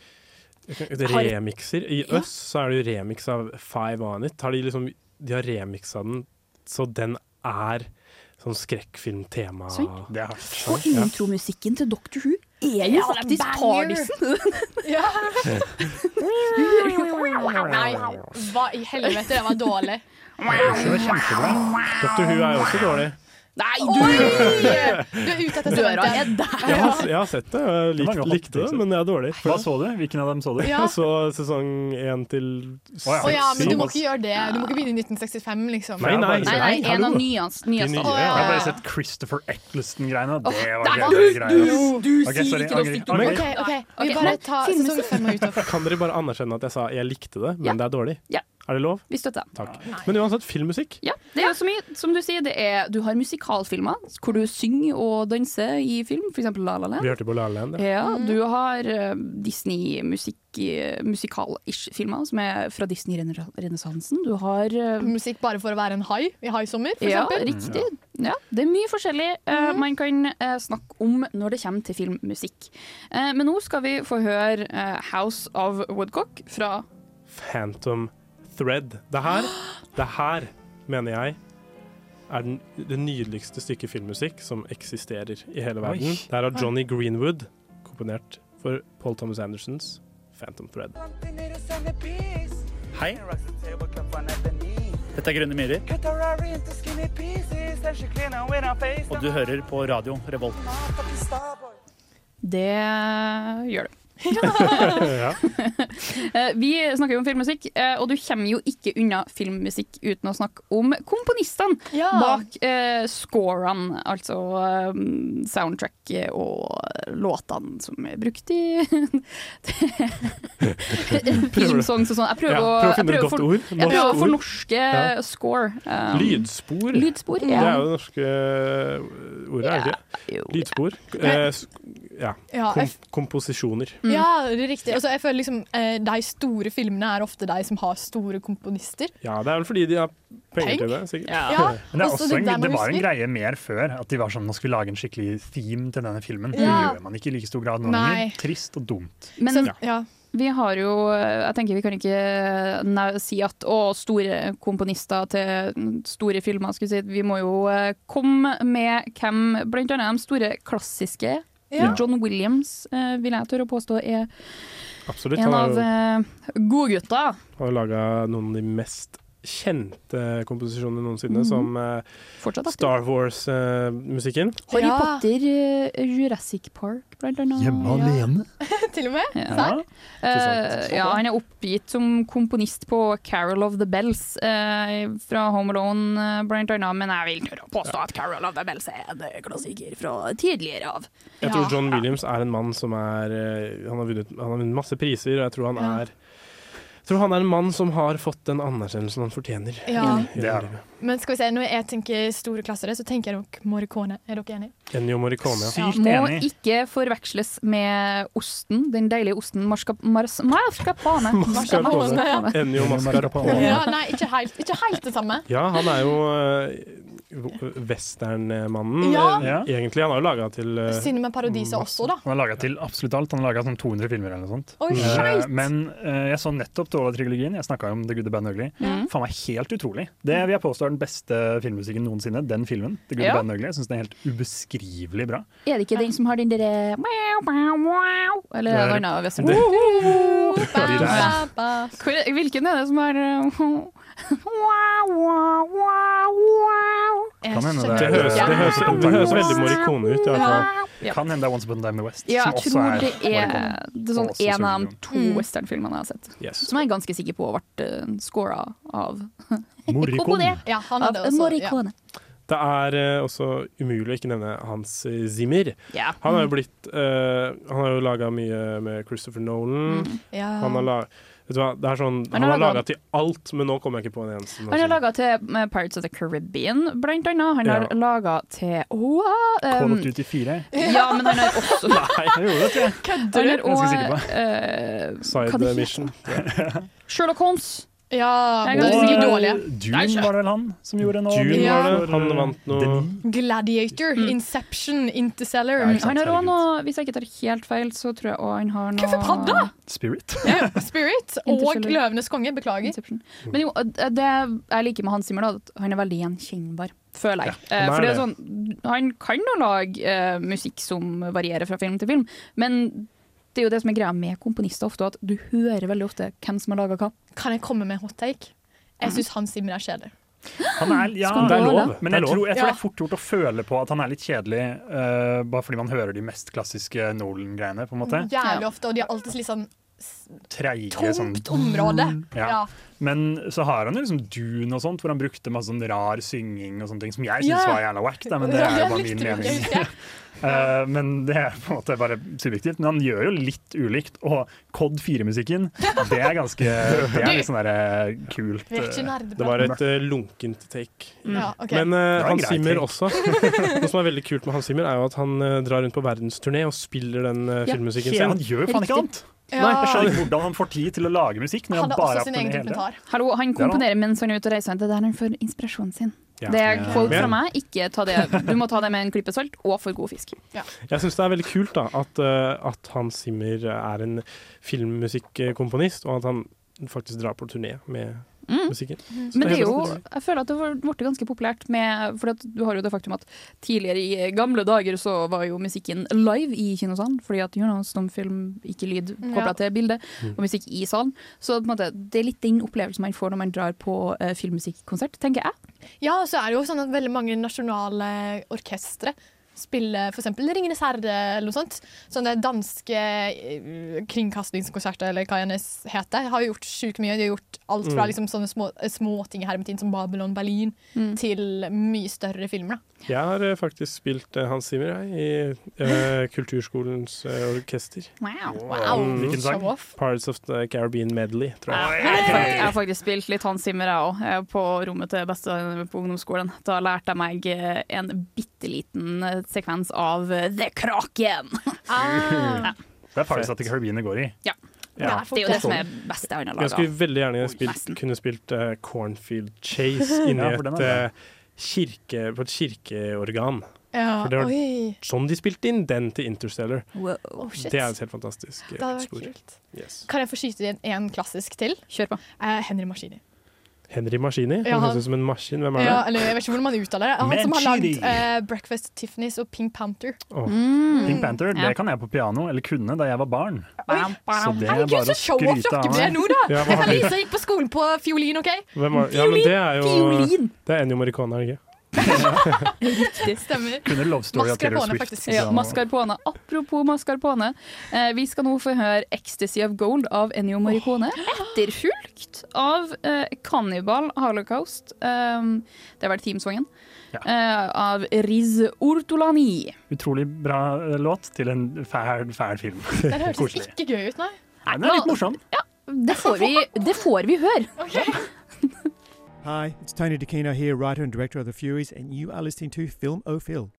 [SPEAKER 5] jeg kan- det
[SPEAKER 9] Jeg har-
[SPEAKER 5] er remixer. I
[SPEAKER 9] Ja.
[SPEAKER 5] Øss så er det jo remix av Five On It. Har de, liksom, de har remixa den så den er sånn skrekkfilmtema.
[SPEAKER 9] Sånn.
[SPEAKER 5] Det er hardt.
[SPEAKER 9] Og
[SPEAKER 5] Ja.
[SPEAKER 9] intromusikken til Dr. Who er jo
[SPEAKER 4] Ja, det
[SPEAKER 9] faktisk
[SPEAKER 4] er banger.
[SPEAKER 9] Pardisen!
[SPEAKER 4] Ja. Nei, hva i helvete, det var dårlig.
[SPEAKER 5] Det er kjempebra. Dr. Who er jo også dårlig.
[SPEAKER 9] Nei,
[SPEAKER 4] Du er ute etter
[SPEAKER 9] Døra
[SPEAKER 4] studenten.
[SPEAKER 9] er der!
[SPEAKER 5] Jeg har, jeg har sett det, og jeg likte, likte det, men jeg er dårlig.
[SPEAKER 1] Hva så du? Hvilken av dem så du?
[SPEAKER 4] Ja.
[SPEAKER 5] Jeg så sesong én til seks.
[SPEAKER 4] Å ja, men du må ikke gjøre det. Du må ikke begynne i 1965, liksom.
[SPEAKER 5] Nei, nei.
[SPEAKER 9] Nei, nei, en av
[SPEAKER 5] Hallo.
[SPEAKER 9] nyans,
[SPEAKER 1] De
[SPEAKER 9] nyeste.
[SPEAKER 1] nye,
[SPEAKER 9] Å,
[SPEAKER 1] Jeg har bare
[SPEAKER 9] ja.
[SPEAKER 1] sett Christopher Eccleston-greiene, og det
[SPEAKER 9] Åh,
[SPEAKER 1] var
[SPEAKER 9] der var
[SPEAKER 1] gøy
[SPEAKER 9] du!
[SPEAKER 1] greier. ass.
[SPEAKER 9] Du- du
[SPEAKER 1] Ok,
[SPEAKER 9] sier
[SPEAKER 1] sorry,
[SPEAKER 9] ikke
[SPEAKER 1] angrer,
[SPEAKER 9] noe stygt
[SPEAKER 1] angrer.
[SPEAKER 4] OK, OK.
[SPEAKER 9] Ok,
[SPEAKER 4] Vi bare
[SPEAKER 9] men
[SPEAKER 4] tar
[SPEAKER 9] filmen-
[SPEAKER 4] sesong fem og utover.
[SPEAKER 5] Kan dere bare anerkjenne at jeg sa jeg likte det, men
[SPEAKER 9] Ja.
[SPEAKER 5] det er dårlig?
[SPEAKER 9] Ja.
[SPEAKER 5] Er det lov?
[SPEAKER 9] Vi støtter.
[SPEAKER 5] Takk. Men uansett, filmmusikk.
[SPEAKER 9] Ja, det er jo så mye, som du sier, det er, du har musikalfilmer hvor du synger og danser i film, f.eks. La La
[SPEAKER 5] Vi
[SPEAKER 9] Land.
[SPEAKER 5] hørte på La La Land. ja.
[SPEAKER 9] Ja,
[SPEAKER 4] Mm.
[SPEAKER 9] du har eh, Disney-musikal-ish-filmer som er fra Disney-renessansen. Du har eh,
[SPEAKER 4] Musikk bare for å være en hai i haisommer, Mm, for
[SPEAKER 9] ja,
[SPEAKER 4] eksempel. Mm.
[SPEAKER 9] riktig. Ja, det er mye forskjellig eh, man kan eh, snakke om når det kommer til filmmusikk. Eh, men nå skal vi få høre eh, House of Woodcock fra
[SPEAKER 5] Phantom Thread. Det her, det her mener jeg er den, det nydeligste stykket filmmusikk som eksisterer i hele
[SPEAKER 1] Oi.
[SPEAKER 5] verden. Det her har Johnny Greenwood komponert for Paul Thomas Andersons Phantom Thread.
[SPEAKER 13] Hei. Dette er Grønne myrer, og du hører på radio Revolt.
[SPEAKER 9] Det gjør du.
[SPEAKER 13] Ja.
[SPEAKER 9] Eh, Vi snakker jo om filmmusikk, eh, og du kommer jo ikke unna filmmusikk uten å snakke om komponistene
[SPEAKER 4] Ja.
[SPEAKER 9] bak eh, scorene, altså eh, soundtrack og låtene som er brukt i filmsongs og sånn. Jeg prøver,
[SPEAKER 5] Ja,
[SPEAKER 9] å,
[SPEAKER 5] prøv å finne
[SPEAKER 9] jeg prøver,
[SPEAKER 5] et
[SPEAKER 9] å for,
[SPEAKER 5] godt ord.
[SPEAKER 9] jeg prøver å
[SPEAKER 5] Norsk
[SPEAKER 9] fornorske
[SPEAKER 5] ord. Ja.
[SPEAKER 9] score. eh,
[SPEAKER 5] Lydspor.
[SPEAKER 9] Lydspor,
[SPEAKER 5] Det
[SPEAKER 9] ja.
[SPEAKER 5] er jo det norske øh, ordet, er det ikke? Lydspor. Eh, s- ja.
[SPEAKER 4] Ja,
[SPEAKER 5] Kom
[SPEAKER 4] jeg-
[SPEAKER 5] komposisjoner.
[SPEAKER 9] Mm.
[SPEAKER 4] Ja, det er riktig. Altså, jeg føler liksom, eh, De store filmene er ofte de som har store komponister.
[SPEAKER 5] Ja, det er vel fordi de har penger
[SPEAKER 4] Peng?
[SPEAKER 5] til det, sikkert.
[SPEAKER 4] Ja,
[SPEAKER 1] Men det, er
[SPEAKER 4] også
[SPEAKER 1] også
[SPEAKER 4] det
[SPEAKER 1] en,
[SPEAKER 4] der man
[SPEAKER 1] det var en
[SPEAKER 4] husker.
[SPEAKER 1] greie mer før, at de var sånn nå skal vi lage en skikkelig theme til denne filmen. Det
[SPEAKER 9] Ja.
[SPEAKER 1] gjør man ikke i like stor grad nå
[SPEAKER 9] Nei.
[SPEAKER 1] lenger. Trist og dumt.
[SPEAKER 9] Men vi har jo eh, Jeg tenker vi kan ikke nei, si at å, store komponister til store filmer skulle jeg si, Vi må jo eh, komme med hvem Blant annet de store klassiske.
[SPEAKER 5] Ja.
[SPEAKER 9] John Williams eh, vil jeg tørre å påstå er
[SPEAKER 5] Absolutt.
[SPEAKER 9] en
[SPEAKER 5] Han har
[SPEAKER 9] av
[SPEAKER 5] jo-
[SPEAKER 9] eh, godgutta.
[SPEAKER 5] Han har laga noen av de mest kjente komposisjonene noensinne,
[SPEAKER 9] Mhm.
[SPEAKER 5] som eh,
[SPEAKER 9] Fortsatt aktiv.
[SPEAKER 5] Star Wars-musikken.
[SPEAKER 9] Harry Potter, eh, Jurassic Park blant annet. Ja.
[SPEAKER 4] Til og med.
[SPEAKER 9] Ja.
[SPEAKER 4] Serr?
[SPEAKER 9] Eh, ja, han er oppgitt som komponist på 'Carol of the Bells' eh, fra Home Alone, eh, blant annet, men jeg vil tørre å påstå at 'Carol of the Bells' er en eh, klassiker fra tidligere av.
[SPEAKER 5] Jeg tror John Williams er en mann som er eh, Han har vunnet, han har vunnet masse priser, og jeg tror han
[SPEAKER 9] Ja.
[SPEAKER 5] er jeg tror han er en mann som har fått den anerkjennelsen han fortjener.
[SPEAKER 4] Ja.
[SPEAKER 9] Mm.
[SPEAKER 5] i- i livet.
[SPEAKER 4] Men skal vi se, når jeg tenker store klassere, så tenker jeg nok Morricone. Er dere enige?
[SPEAKER 5] Ennio Morricone. ja.
[SPEAKER 9] Må ikke forveksles med osten, den deilige osten marska, mars, mascarpone.
[SPEAKER 5] Mascarpone. Ennio Mascarpone.
[SPEAKER 4] Ja, nei, ikke helt, ikke helt det samme.
[SPEAKER 5] Ja, han er jo eh, westernmannen, eh,
[SPEAKER 4] Ja.
[SPEAKER 5] egentlig. Han har jo laga til eh,
[SPEAKER 4] Cinema Paradisa også, da.
[SPEAKER 1] Han har laga til absolutt alt. Han har laga sånn 200 filmer eller noe sånt.
[SPEAKER 4] Oi, skeit!
[SPEAKER 1] Eh, Men eh, jeg så nettopp Dårla-trilogien. Jeg snakka om The Good, The Bad and Ugly. Faen meg helt utrolig. Det vil jeg påstå er den beste filmmusikken noensinne. Den filmen. The Good,
[SPEAKER 9] Ja.
[SPEAKER 1] The Bad and Ugly. Jeg syns den er helt ubeskrivelig bra.
[SPEAKER 9] Er det ikke den som har den derre meow, meow, meow, Eller
[SPEAKER 1] Det
[SPEAKER 9] er
[SPEAKER 1] er-
[SPEAKER 9] det en annen western?
[SPEAKER 1] det-
[SPEAKER 9] Bam,
[SPEAKER 1] der.
[SPEAKER 9] bam, bam. Hvor- Hvilken er det som er eh, wow, wow, wow, wow?
[SPEAKER 1] Kan hende
[SPEAKER 5] Det
[SPEAKER 1] det
[SPEAKER 5] høres, det høres, det høres veldig Morricone ut, i hvert fall.
[SPEAKER 9] Ja.
[SPEAKER 1] Kan hende det er Once Upon a Time in the West.
[SPEAKER 9] Ja,
[SPEAKER 1] som
[SPEAKER 9] jeg
[SPEAKER 1] også
[SPEAKER 9] tror
[SPEAKER 1] er
[SPEAKER 9] det er, det er sånn
[SPEAKER 1] Også
[SPEAKER 9] en av de
[SPEAKER 1] Sylvia.
[SPEAKER 9] to
[SPEAKER 4] Mm.
[SPEAKER 9] westernfilmene jeg har sett.
[SPEAKER 1] Yes.
[SPEAKER 9] Som jeg er ganske sikker på ble uh, scora av
[SPEAKER 5] Morricone.
[SPEAKER 9] Komponert
[SPEAKER 4] Ja, han
[SPEAKER 9] av
[SPEAKER 4] hadde også-
[SPEAKER 9] Morricone.
[SPEAKER 5] Det er eh, også umulig å ikke nevne Hans eh, Zimmer.
[SPEAKER 9] Ja.
[SPEAKER 5] Han har jo blitt eh, Han har jo laga mye med Christopher Nolan.
[SPEAKER 9] Mm. Ja.
[SPEAKER 5] Han har la- Vet du hva, det er sånn,
[SPEAKER 9] Han
[SPEAKER 5] han
[SPEAKER 9] har
[SPEAKER 5] har
[SPEAKER 9] laget-
[SPEAKER 5] laga til alt, men nå kommer jeg ikke på en eneste. sånn nå
[SPEAKER 9] Han har
[SPEAKER 5] som-
[SPEAKER 9] laga til eh, Pirates of the Caribbean, blant annet. Han har
[SPEAKER 5] Ja.
[SPEAKER 9] laga til Åh,
[SPEAKER 1] Call
[SPEAKER 9] um,
[SPEAKER 1] of Duty 4.
[SPEAKER 9] Ja, men han har også
[SPEAKER 1] Nei, jeg gjorde det, tror jeg.
[SPEAKER 9] Kødder
[SPEAKER 1] Jeg er ganske sikker på.
[SPEAKER 9] eh, hva
[SPEAKER 5] Side
[SPEAKER 9] det heter?
[SPEAKER 5] Mission.
[SPEAKER 9] eh, Sherlock Holmes.
[SPEAKER 4] Ja,
[SPEAKER 9] Jeg
[SPEAKER 1] Og
[SPEAKER 9] er ganske sikker.
[SPEAKER 1] Dune var vel han som gjorde noe.
[SPEAKER 5] Dune
[SPEAKER 4] Ja.
[SPEAKER 5] var det. Han vant noe
[SPEAKER 4] Gladiator,
[SPEAKER 9] Mm.
[SPEAKER 4] Inception, Interstellar.
[SPEAKER 9] Han har òg noe, hvis jeg ikke tar helt feil, så tror jeg òg han har noe
[SPEAKER 4] Hvorfor padda?
[SPEAKER 1] Spirit.
[SPEAKER 4] Spirit og
[SPEAKER 9] Interstellar.
[SPEAKER 4] Løvenes konge, beklager.
[SPEAKER 9] Men jo, det jeg liker med Hans Zimmer, da, at han er veldig gjenkjennbar, føler jeg.
[SPEAKER 4] Ja,
[SPEAKER 9] Eh,
[SPEAKER 4] han er
[SPEAKER 9] for det er
[SPEAKER 4] det.
[SPEAKER 9] sånn, han kan jo lage eh, musikk som varierer fra film til film, men det er jo det som er greia med komponister ofte, at du hører veldig ofte hvem som har laga hva.
[SPEAKER 4] Kan jeg komme med hot take? Jeg syns Hans Zimmer er kjedelig.
[SPEAKER 1] Han er, ja,
[SPEAKER 9] Skandale. Det er lov.
[SPEAKER 1] Men
[SPEAKER 5] Det er
[SPEAKER 1] jeg
[SPEAKER 5] lov.
[SPEAKER 1] tror, jeg tror
[SPEAKER 4] Ja.
[SPEAKER 1] det er fort gjort å føle på at han er litt kjedelig, eh, bare fordi man hører de mest klassiske Nolan-greiene. på en måte.
[SPEAKER 4] Jævlig ofte, og de er alltid litt sånn
[SPEAKER 1] Treige sånn
[SPEAKER 4] tungt område.
[SPEAKER 1] Ja.
[SPEAKER 4] Ja.
[SPEAKER 1] Men så har han jo liksom Dune og sånt, hvor han brukte masse sånn rar synging og sånne ting, som jeg syns
[SPEAKER 4] Ja.
[SPEAKER 1] var jævla wack, da, men det
[SPEAKER 4] Ja,
[SPEAKER 1] er jo
[SPEAKER 4] jeg
[SPEAKER 1] bare
[SPEAKER 4] likte
[SPEAKER 1] min
[SPEAKER 4] det, det
[SPEAKER 1] mening.
[SPEAKER 4] husker jeg.
[SPEAKER 1] Eh, men det er på en måte bare subjektivt. Men han gjør jo litt ulikt, og Cod 4-musikken, det er ganske Det er litt sånn derre kult. eh.
[SPEAKER 4] Vi er ikke nerdeprat.
[SPEAKER 5] Det var et eh, lunkent take.
[SPEAKER 4] Mm. Ja, ok.
[SPEAKER 5] Men eh,
[SPEAKER 1] Det var en
[SPEAKER 5] Hans
[SPEAKER 1] grei
[SPEAKER 5] Zimmer
[SPEAKER 1] take.
[SPEAKER 5] også. Noe som er veldig kult med Hans Zimmer, er jo at han eh, drar rundt på verdensturné og spiller den eh,
[SPEAKER 1] Ja,
[SPEAKER 5] filmmusikken
[SPEAKER 1] helt-
[SPEAKER 5] sin.
[SPEAKER 1] han gjør jo faen ikke annet.
[SPEAKER 4] Ja.
[SPEAKER 1] Nei, jeg skjønner ikke hvordan han får tid til å lage musikk når han,
[SPEAKER 4] Han har
[SPEAKER 1] bare er
[SPEAKER 4] også
[SPEAKER 1] på
[SPEAKER 4] sin
[SPEAKER 1] den
[SPEAKER 4] egen
[SPEAKER 1] hele.
[SPEAKER 4] dokumentar.
[SPEAKER 9] Hallo, han
[SPEAKER 1] Ja da.
[SPEAKER 9] komponerer mens han er ute og reiser, det er der han får inspirasjonen sin.
[SPEAKER 5] Ja.
[SPEAKER 9] Det er
[SPEAKER 5] Ja.
[SPEAKER 9] quote fra
[SPEAKER 5] Men-
[SPEAKER 9] meg, ikke ta det. Du må ta det med en klype salt, og for god fisk.
[SPEAKER 5] Jeg syns det er veldig kult da, at, eh, at Hans Zimmer er en filmmusikkomponist, og at han faktisk drar på turné med
[SPEAKER 9] Mm.
[SPEAKER 5] musikken. Så
[SPEAKER 9] Men det er
[SPEAKER 5] helt
[SPEAKER 9] jo,
[SPEAKER 5] fantastisk.
[SPEAKER 9] jeg føler at det var- ble ganske populært med For du har jo det faktum at tidligere i gamle dager så var jo musikken live i kinosalen. Fordi at you know, stumfilm, ikke lyd
[SPEAKER 4] Ja.
[SPEAKER 9] kobla til bilde,
[SPEAKER 4] Mm.
[SPEAKER 9] og musikk i salen. Så på en måte, det er litt den opplevelsen man får når man drar på eh, filmmusikkonsert, tenker jeg.
[SPEAKER 4] Ja, og så er det jo sånn at veldig mange nasjonale orkestre spiller f.eks. Ringenes herre eller noe sånt. Sånne danske eh, kringkastingskonserter eller hva enn det heter, har jo gjort sjukt mye. De har gjort alt fra
[SPEAKER 9] Mm.
[SPEAKER 4] liksom sånne små- eh, småting i hermetikk som Babylon Berlin
[SPEAKER 9] Mm.
[SPEAKER 4] til mye større filmer. da.
[SPEAKER 5] Jeg har eh, faktisk spilt eh, Hans Zimmer jeg, i eh, Kulturskolens eh, orkester.
[SPEAKER 9] Wow.
[SPEAKER 5] Mm.
[SPEAKER 1] Hvilken sang?
[SPEAKER 5] Pirates of the Caribbean Medley, tror jeg.
[SPEAKER 9] Jeg har fakt- jeg har faktisk spilt litt Hans Zimmer jeg òg, eh, på rommet til bestevenninna mi på ungdomsskolen. Da lærte jeg meg eh, en bitte liten eh, sekvens av eh, The Kraken. Ja.
[SPEAKER 1] Det er faktisk at Caribbean går i.
[SPEAKER 9] Ja.
[SPEAKER 5] Ja.
[SPEAKER 9] Det er jo det som er beste han har
[SPEAKER 5] Jeg skulle
[SPEAKER 9] laga.
[SPEAKER 5] veldig gjerne spilt, kunne spilt eh, Cornfield Chase inni
[SPEAKER 1] Ja, for den er
[SPEAKER 5] et,
[SPEAKER 1] bra.
[SPEAKER 5] eh, kirke, på et kirkeorgan.
[SPEAKER 4] Ja,
[SPEAKER 5] For det var
[SPEAKER 4] oi.
[SPEAKER 5] sånn de spilte inn den til Interstellar.
[SPEAKER 9] Wow.
[SPEAKER 4] Oh, shit.
[SPEAKER 5] det er et helt fantastisk eh,
[SPEAKER 4] Det hadde vært
[SPEAKER 5] spor.
[SPEAKER 4] kult.
[SPEAKER 5] Yes.
[SPEAKER 4] Kan jeg få skyte inn én klassisk til?
[SPEAKER 9] Kjør på.
[SPEAKER 4] Eh, Henry Maschini.
[SPEAKER 5] Henry Maskini.
[SPEAKER 4] Ja,
[SPEAKER 5] Han
[SPEAKER 4] han-
[SPEAKER 5] høres ut som en maskin. Hvem er
[SPEAKER 4] Ja,
[SPEAKER 5] det?
[SPEAKER 4] eller jeg vet ikke hvordan man uttaler det. Han som har
[SPEAKER 5] Mancini.
[SPEAKER 4] lagd eh, Breakfast Tiffany's og Pink Panther.
[SPEAKER 5] Åh.
[SPEAKER 4] Mm.
[SPEAKER 1] Pink Panther,
[SPEAKER 4] Ja.
[SPEAKER 1] det kan jeg på piano, eller kunne da jeg var barn. Så det er
[SPEAKER 4] Herregud,
[SPEAKER 1] bare
[SPEAKER 4] så
[SPEAKER 1] å
[SPEAKER 4] show-off
[SPEAKER 1] skryte
[SPEAKER 4] dere
[SPEAKER 1] av
[SPEAKER 4] ble
[SPEAKER 1] meg.
[SPEAKER 4] nå, da!
[SPEAKER 5] Ja, hva har vi?
[SPEAKER 4] Lisa gikk på skolen på fiolin, OK?
[SPEAKER 5] Hvem er, ja, men det er jo
[SPEAKER 4] Fiolin!
[SPEAKER 5] Det er Ennio Morricone, er det ikke?
[SPEAKER 4] Riktig. Stemmer.
[SPEAKER 1] Kunne Love Story av Taylor
[SPEAKER 9] Mascarpone,
[SPEAKER 1] Swift.
[SPEAKER 9] faktisk.
[SPEAKER 1] så-
[SPEAKER 9] Ja, mascarpone. Apropos mascarpone. Eh, vi skal nå få høre 'Ecstasy of Gold' av Ennio Morricone. Etterfulgt av eh, 'Cannibal Holocaust'. Um, det var teamsongen. Eh, av Riz Ortolani.
[SPEAKER 1] Utrolig bra eh, låt til en fæl, fæl film.
[SPEAKER 4] Den hørtes
[SPEAKER 1] Koselig.
[SPEAKER 4] ikke gøy ut, nei.
[SPEAKER 1] Nei, den er litt morsom.
[SPEAKER 9] Det får vi, det får vi høre.
[SPEAKER 15] Hi, it's Tony DeCino here, writer and director of The Furies, and you are listening to Film O'Phil.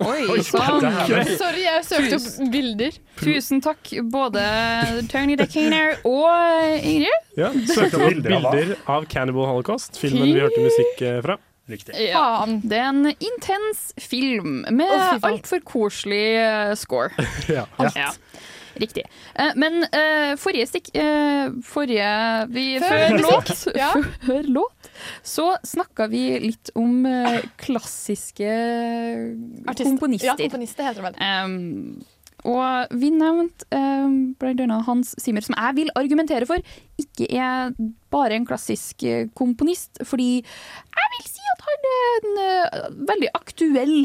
[SPEAKER 9] Oi
[SPEAKER 15] Oi,
[SPEAKER 9] sann!
[SPEAKER 15] det her er-
[SPEAKER 4] Sorry, jeg søkte opp bilder.
[SPEAKER 9] Tusen takk, både Tony Decaner og Ingrid.
[SPEAKER 5] Ja, Søkte opp bilder av Cannibal Holocaust, filmen vi hørte musikk eh, fra.
[SPEAKER 2] Riktig.
[SPEAKER 9] Faen, det er en intens film med
[SPEAKER 2] Å, fy
[SPEAKER 9] alt
[SPEAKER 2] faen.
[SPEAKER 9] altfor koselig eh, score.
[SPEAKER 5] Ja.
[SPEAKER 9] Alt. Riktig. Eh, Men eh, forrige stikk eh, Forrige vi,
[SPEAKER 4] Før
[SPEAKER 9] låt,
[SPEAKER 4] musikk, ja.
[SPEAKER 9] før låt så snakka vi litt om eh, klassiske komponister.
[SPEAKER 4] Ja, komponister heter det vel.
[SPEAKER 9] Ehm, og vi nevnte um, blant annet Hans Zimmer, som jeg vil argumentere for ikke er bare en klassisk eh, komponist, fordi jeg vil si at han er en eh, veldig aktuell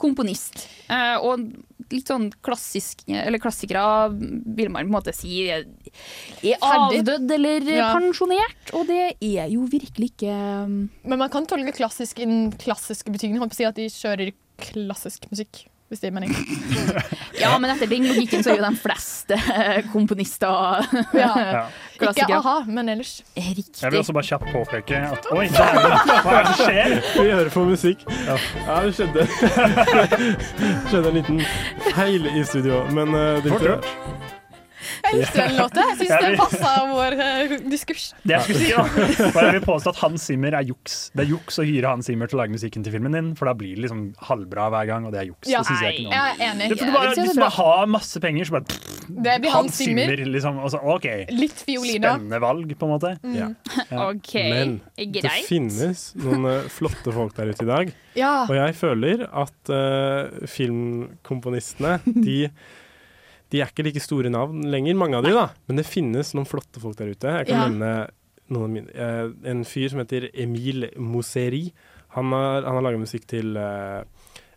[SPEAKER 9] komponist. Eh, og litt sånn klassisk, eller klassikere vil man på en måte si er er
[SPEAKER 4] Ferdig.
[SPEAKER 9] avdødd eller
[SPEAKER 4] Ja.
[SPEAKER 9] pensjonert, og det er jo virkelig ikke
[SPEAKER 4] Men man kan tolke klassisk i den klassiske betydningen. Holdt på å si at de kjører klassisk musikk, hvis det er meningen.
[SPEAKER 9] Ja, men etter den logikken så er jo de fleste eh, komponister
[SPEAKER 1] Ja.
[SPEAKER 4] Ikke a-ha, men ellers.
[SPEAKER 1] Jeg vil også bare kjapt påpeke at Oi, dæven, hva er det som skjer?
[SPEAKER 5] Vi hører på musikk. Ja, det skjedde Skjedde en liten feil i studio, men eh, det
[SPEAKER 1] Fort
[SPEAKER 5] gikk
[SPEAKER 1] gjort.
[SPEAKER 5] bra.
[SPEAKER 4] Jeg likte den låta. Jeg syns
[SPEAKER 1] Ja,
[SPEAKER 4] det
[SPEAKER 1] vi-
[SPEAKER 4] passa vår eh, diskurs.
[SPEAKER 1] Det jeg skulle si, da, var jeg vil påstå at Hans Zimmer er juks. Det er juks å hyre Hans Zimmer til å lage musikken til filmen din, for da blir det liksom halvbra hver gang, og det er juks.
[SPEAKER 4] Ja,
[SPEAKER 1] det synes jeg ikke noe
[SPEAKER 4] nei,
[SPEAKER 1] om.
[SPEAKER 4] jeg er enig.
[SPEAKER 1] Det får du
[SPEAKER 4] Jeg
[SPEAKER 1] bare,
[SPEAKER 4] vil si at
[SPEAKER 1] hvis
[SPEAKER 4] det
[SPEAKER 1] du
[SPEAKER 4] er
[SPEAKER 1] bare har masse penger, så bare
[SPEAKER 4] Det blir Hans Zimmer.
[SPEAKER 1] liksom. Og så, OK.
[SPEAKER 4] Litt fiolin, da.
[SPEAKER 1] Spennende valg, på en måte.
[SPEAKER 4] Mm. Ja.
[SPEAKER 9] OK,
[SPEAKER 5] Men det
[SPEAKER 9] greit.
[SPEAKER 5] finnes noen eh, flotte folk der ute i dag.
[SPEAKER 9] Ja.
[SPEAKER 5] Og jeg føler at eh, filmkomponistene, de, de er ikke like store navn lenger, mange av de da. Men det finnes noen flotte folk der ute. Jeg kan
[SPEAKER 16] Ja.
[SPEAKER 5] nevne noen, av mine. Eh, en fyr som heter Emil Moseri. Han har, han har laget musikk til eh,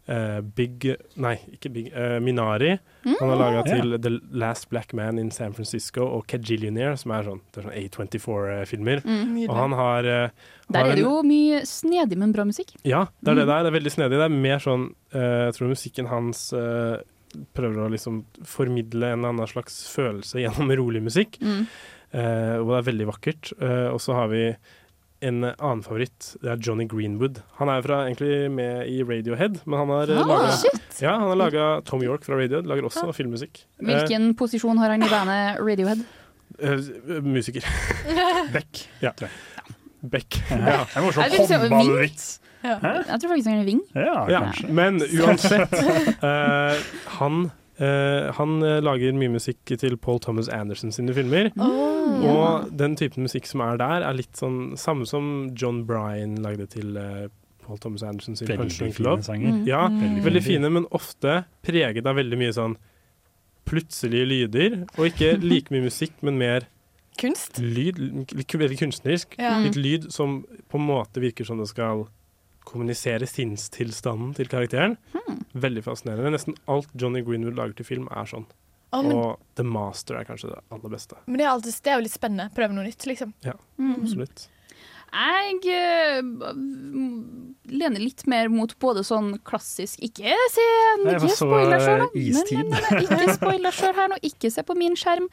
[SPEAKER 5] eh, Big Nei, ikke Big. eh, Minari. Han har laga
[SPEAKER 16] Mm.
[SPEAKER 5] til The Last Black Man in San Francisco og Cajillionaire, som er sånn, det er sånn A24-filmer.
[SPEAKER 1] eh,
[SPEAKER 9] Mm, nydelig.
[SPEAKER 5] og han har eh, har
[SPEAKER 9] Der er
[SPEAKER 5] en-
[SPEAKER 9] det jo mye snedig, men bra musikk.
[SPEAKER 5] ja, det er
[SPEAKER 9] Mm.
[SPEAKER 5] det der. Det er veldig snedig. Det er mer sånn eh, Jeg tror musikken hans eh, prøver å liksom formidle en eller annen slags følelse gjennom rolig musikk.
[SPEAKER 16] Mm.
[SPEAKER 5] Eh, og det er veldig vakkert. Eh, og så har vi en annen favoritt. Det er Johnny Greenwood. Han er fra, egentlig med i Radiohead, men han har eh,
[SPEAKER 9] Ah,
[SPEAKER 5] laget-
[SPEAKER 9] shit!
[SPEAKER 5] ja, han har laga Tom York fra Radiohead. Lager også
[SPEAKER 9] Ah.
[SPEAKER 5] filmmusikk. Eh,
[SPEAKER 9] Hvilken posisjon har han i bandet Radiohead?
[SPEAKER 5] eh, musiker.
[SPEAKER 1] sånn
[SPEAKER 5] Beck. Ja. Beck.
[SPEAKER 1] Ja. Det er morsomt.
[SPEAKER 9] Jeg vil
[SPEAKER 4] liksom
[SPEAKER 9] si
[SPEAKER 1] Håndballvits.
[SPEAKER 9] Jeg tror faktisk han er Ving.
[SPEAKER 1] Ja,
[SPEAKER 5] Ja,
[SPEAKER 1] kanskje.
[SPEAKER 5] men uansett eh, Han eh, Han eh, lager mye musikk til Paul Thomas Anderson sine filmer.
[SPEAKER 16] Oh.
[SPEAKER 5] Og den typen musikk som er der, er litt sånn samme som John Bryan lagde til eh, Paul Thomas Anderson sin
[SPEAKER 1] Veldig
[SPEAKER 5] Punch Drunk
[SPEAKER 1] fine
[SPEAKER 5] Love.
[SPEAKER 1] sanger. Mm.
[SPEAKER 5] Ja,
[SPEAKER 1] Mm.
[SPEAKER 5] veldig fine, men ofte preget av veldig mye sånn plutselige lyder, og ikke like mye musikk, men mer
[SPEAKER 4] Kunst?
[SPEAKER 5] Lyd, litt ku- veldig kunstnerisk.
[SPEAKER 4] Ja.
[SPEAKER 5] Litt lyd som på en måte virker som det skal kommunisere sinnstilstanden til karakteren.
[SPEAKER 4] Hmm.
[SPEAKER 5] Veldig fascinerende. Nesten alt Johnny Greenwood lager til film, er sånn.
[SPEAKER 4] Å, men-
[SPEAKER 5] Og The Master er kanskje det aller beste.
[SPEAKER 4] Men det er, alltid, det er jo litt spennende. Prøve noe nytt, liksom.
[SPEAKER 5] Ja,
[SPEAKER 9] Mm.
[SPEAKER 5] absolutt.
[SPEAKER 9] Jeg eh, m- lener litt mer mot både sånn klassisk Ikke se
[SPEAKER 1] Jeg var
[SPEAKER 9] Ikke
[SPEAKER 1] så,
[SPEAKER 9] spoil deg sjøl,
[SPEAKER 1] eh, istid.
[SPEAKER 9] Ikke spoil deg sjøl her nå, ikke se på min skjerm.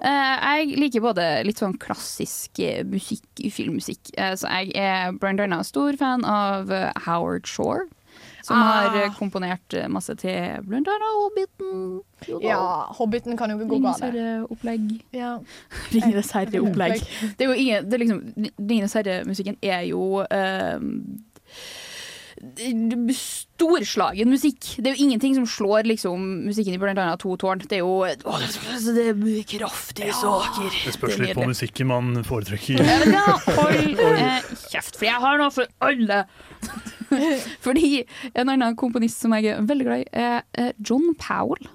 [SPEAKER 9] Eh, jeg liker både litt sånn klassisk eh, musikk, filmmusikk. Eh, så jeg er blant annet stor fan av eh, Howard Shore. Som
[SPEAKER 4] Ah.
[SPEAKER 9] har eh, komponert eh, masse til blant annet Hobbiten.
[SPEAKER 4] Ja, Hobbiten kan jo ikke gå
[SPEAKER 9] Ringenes
[SPEAKER 4] galt.
[SPEAKER 9] herre-opplegg.
[SPEAKER 4] Ja.
[SPEAKER 9] Ringenes herre-opplegg.
[SPEAKER 4] Opplegg.
[SPEAKER 9] Det er jo ingen det er liksom, Ringenes herre-musikken er jo ehm, eh, storslagen musikk. Det er jo ingenting som slår liksom, musikken i blant annet To tårn. Det er jo å, det er så- det er kraftige saker.
[SPEAKER 1] Det spørs
[SPEAKER 9] er
[SPEAKER 1] litt på
[SPEAKER 9] nydelig.
[SPEAKER 1] musikken man foretrekker.
[SPEAKER 9] Ja, men da, hold eh, kjeft, for jeg har noe for alle! Fordi en annen komponist som jeg er veldig glad i, er eh, John Powell.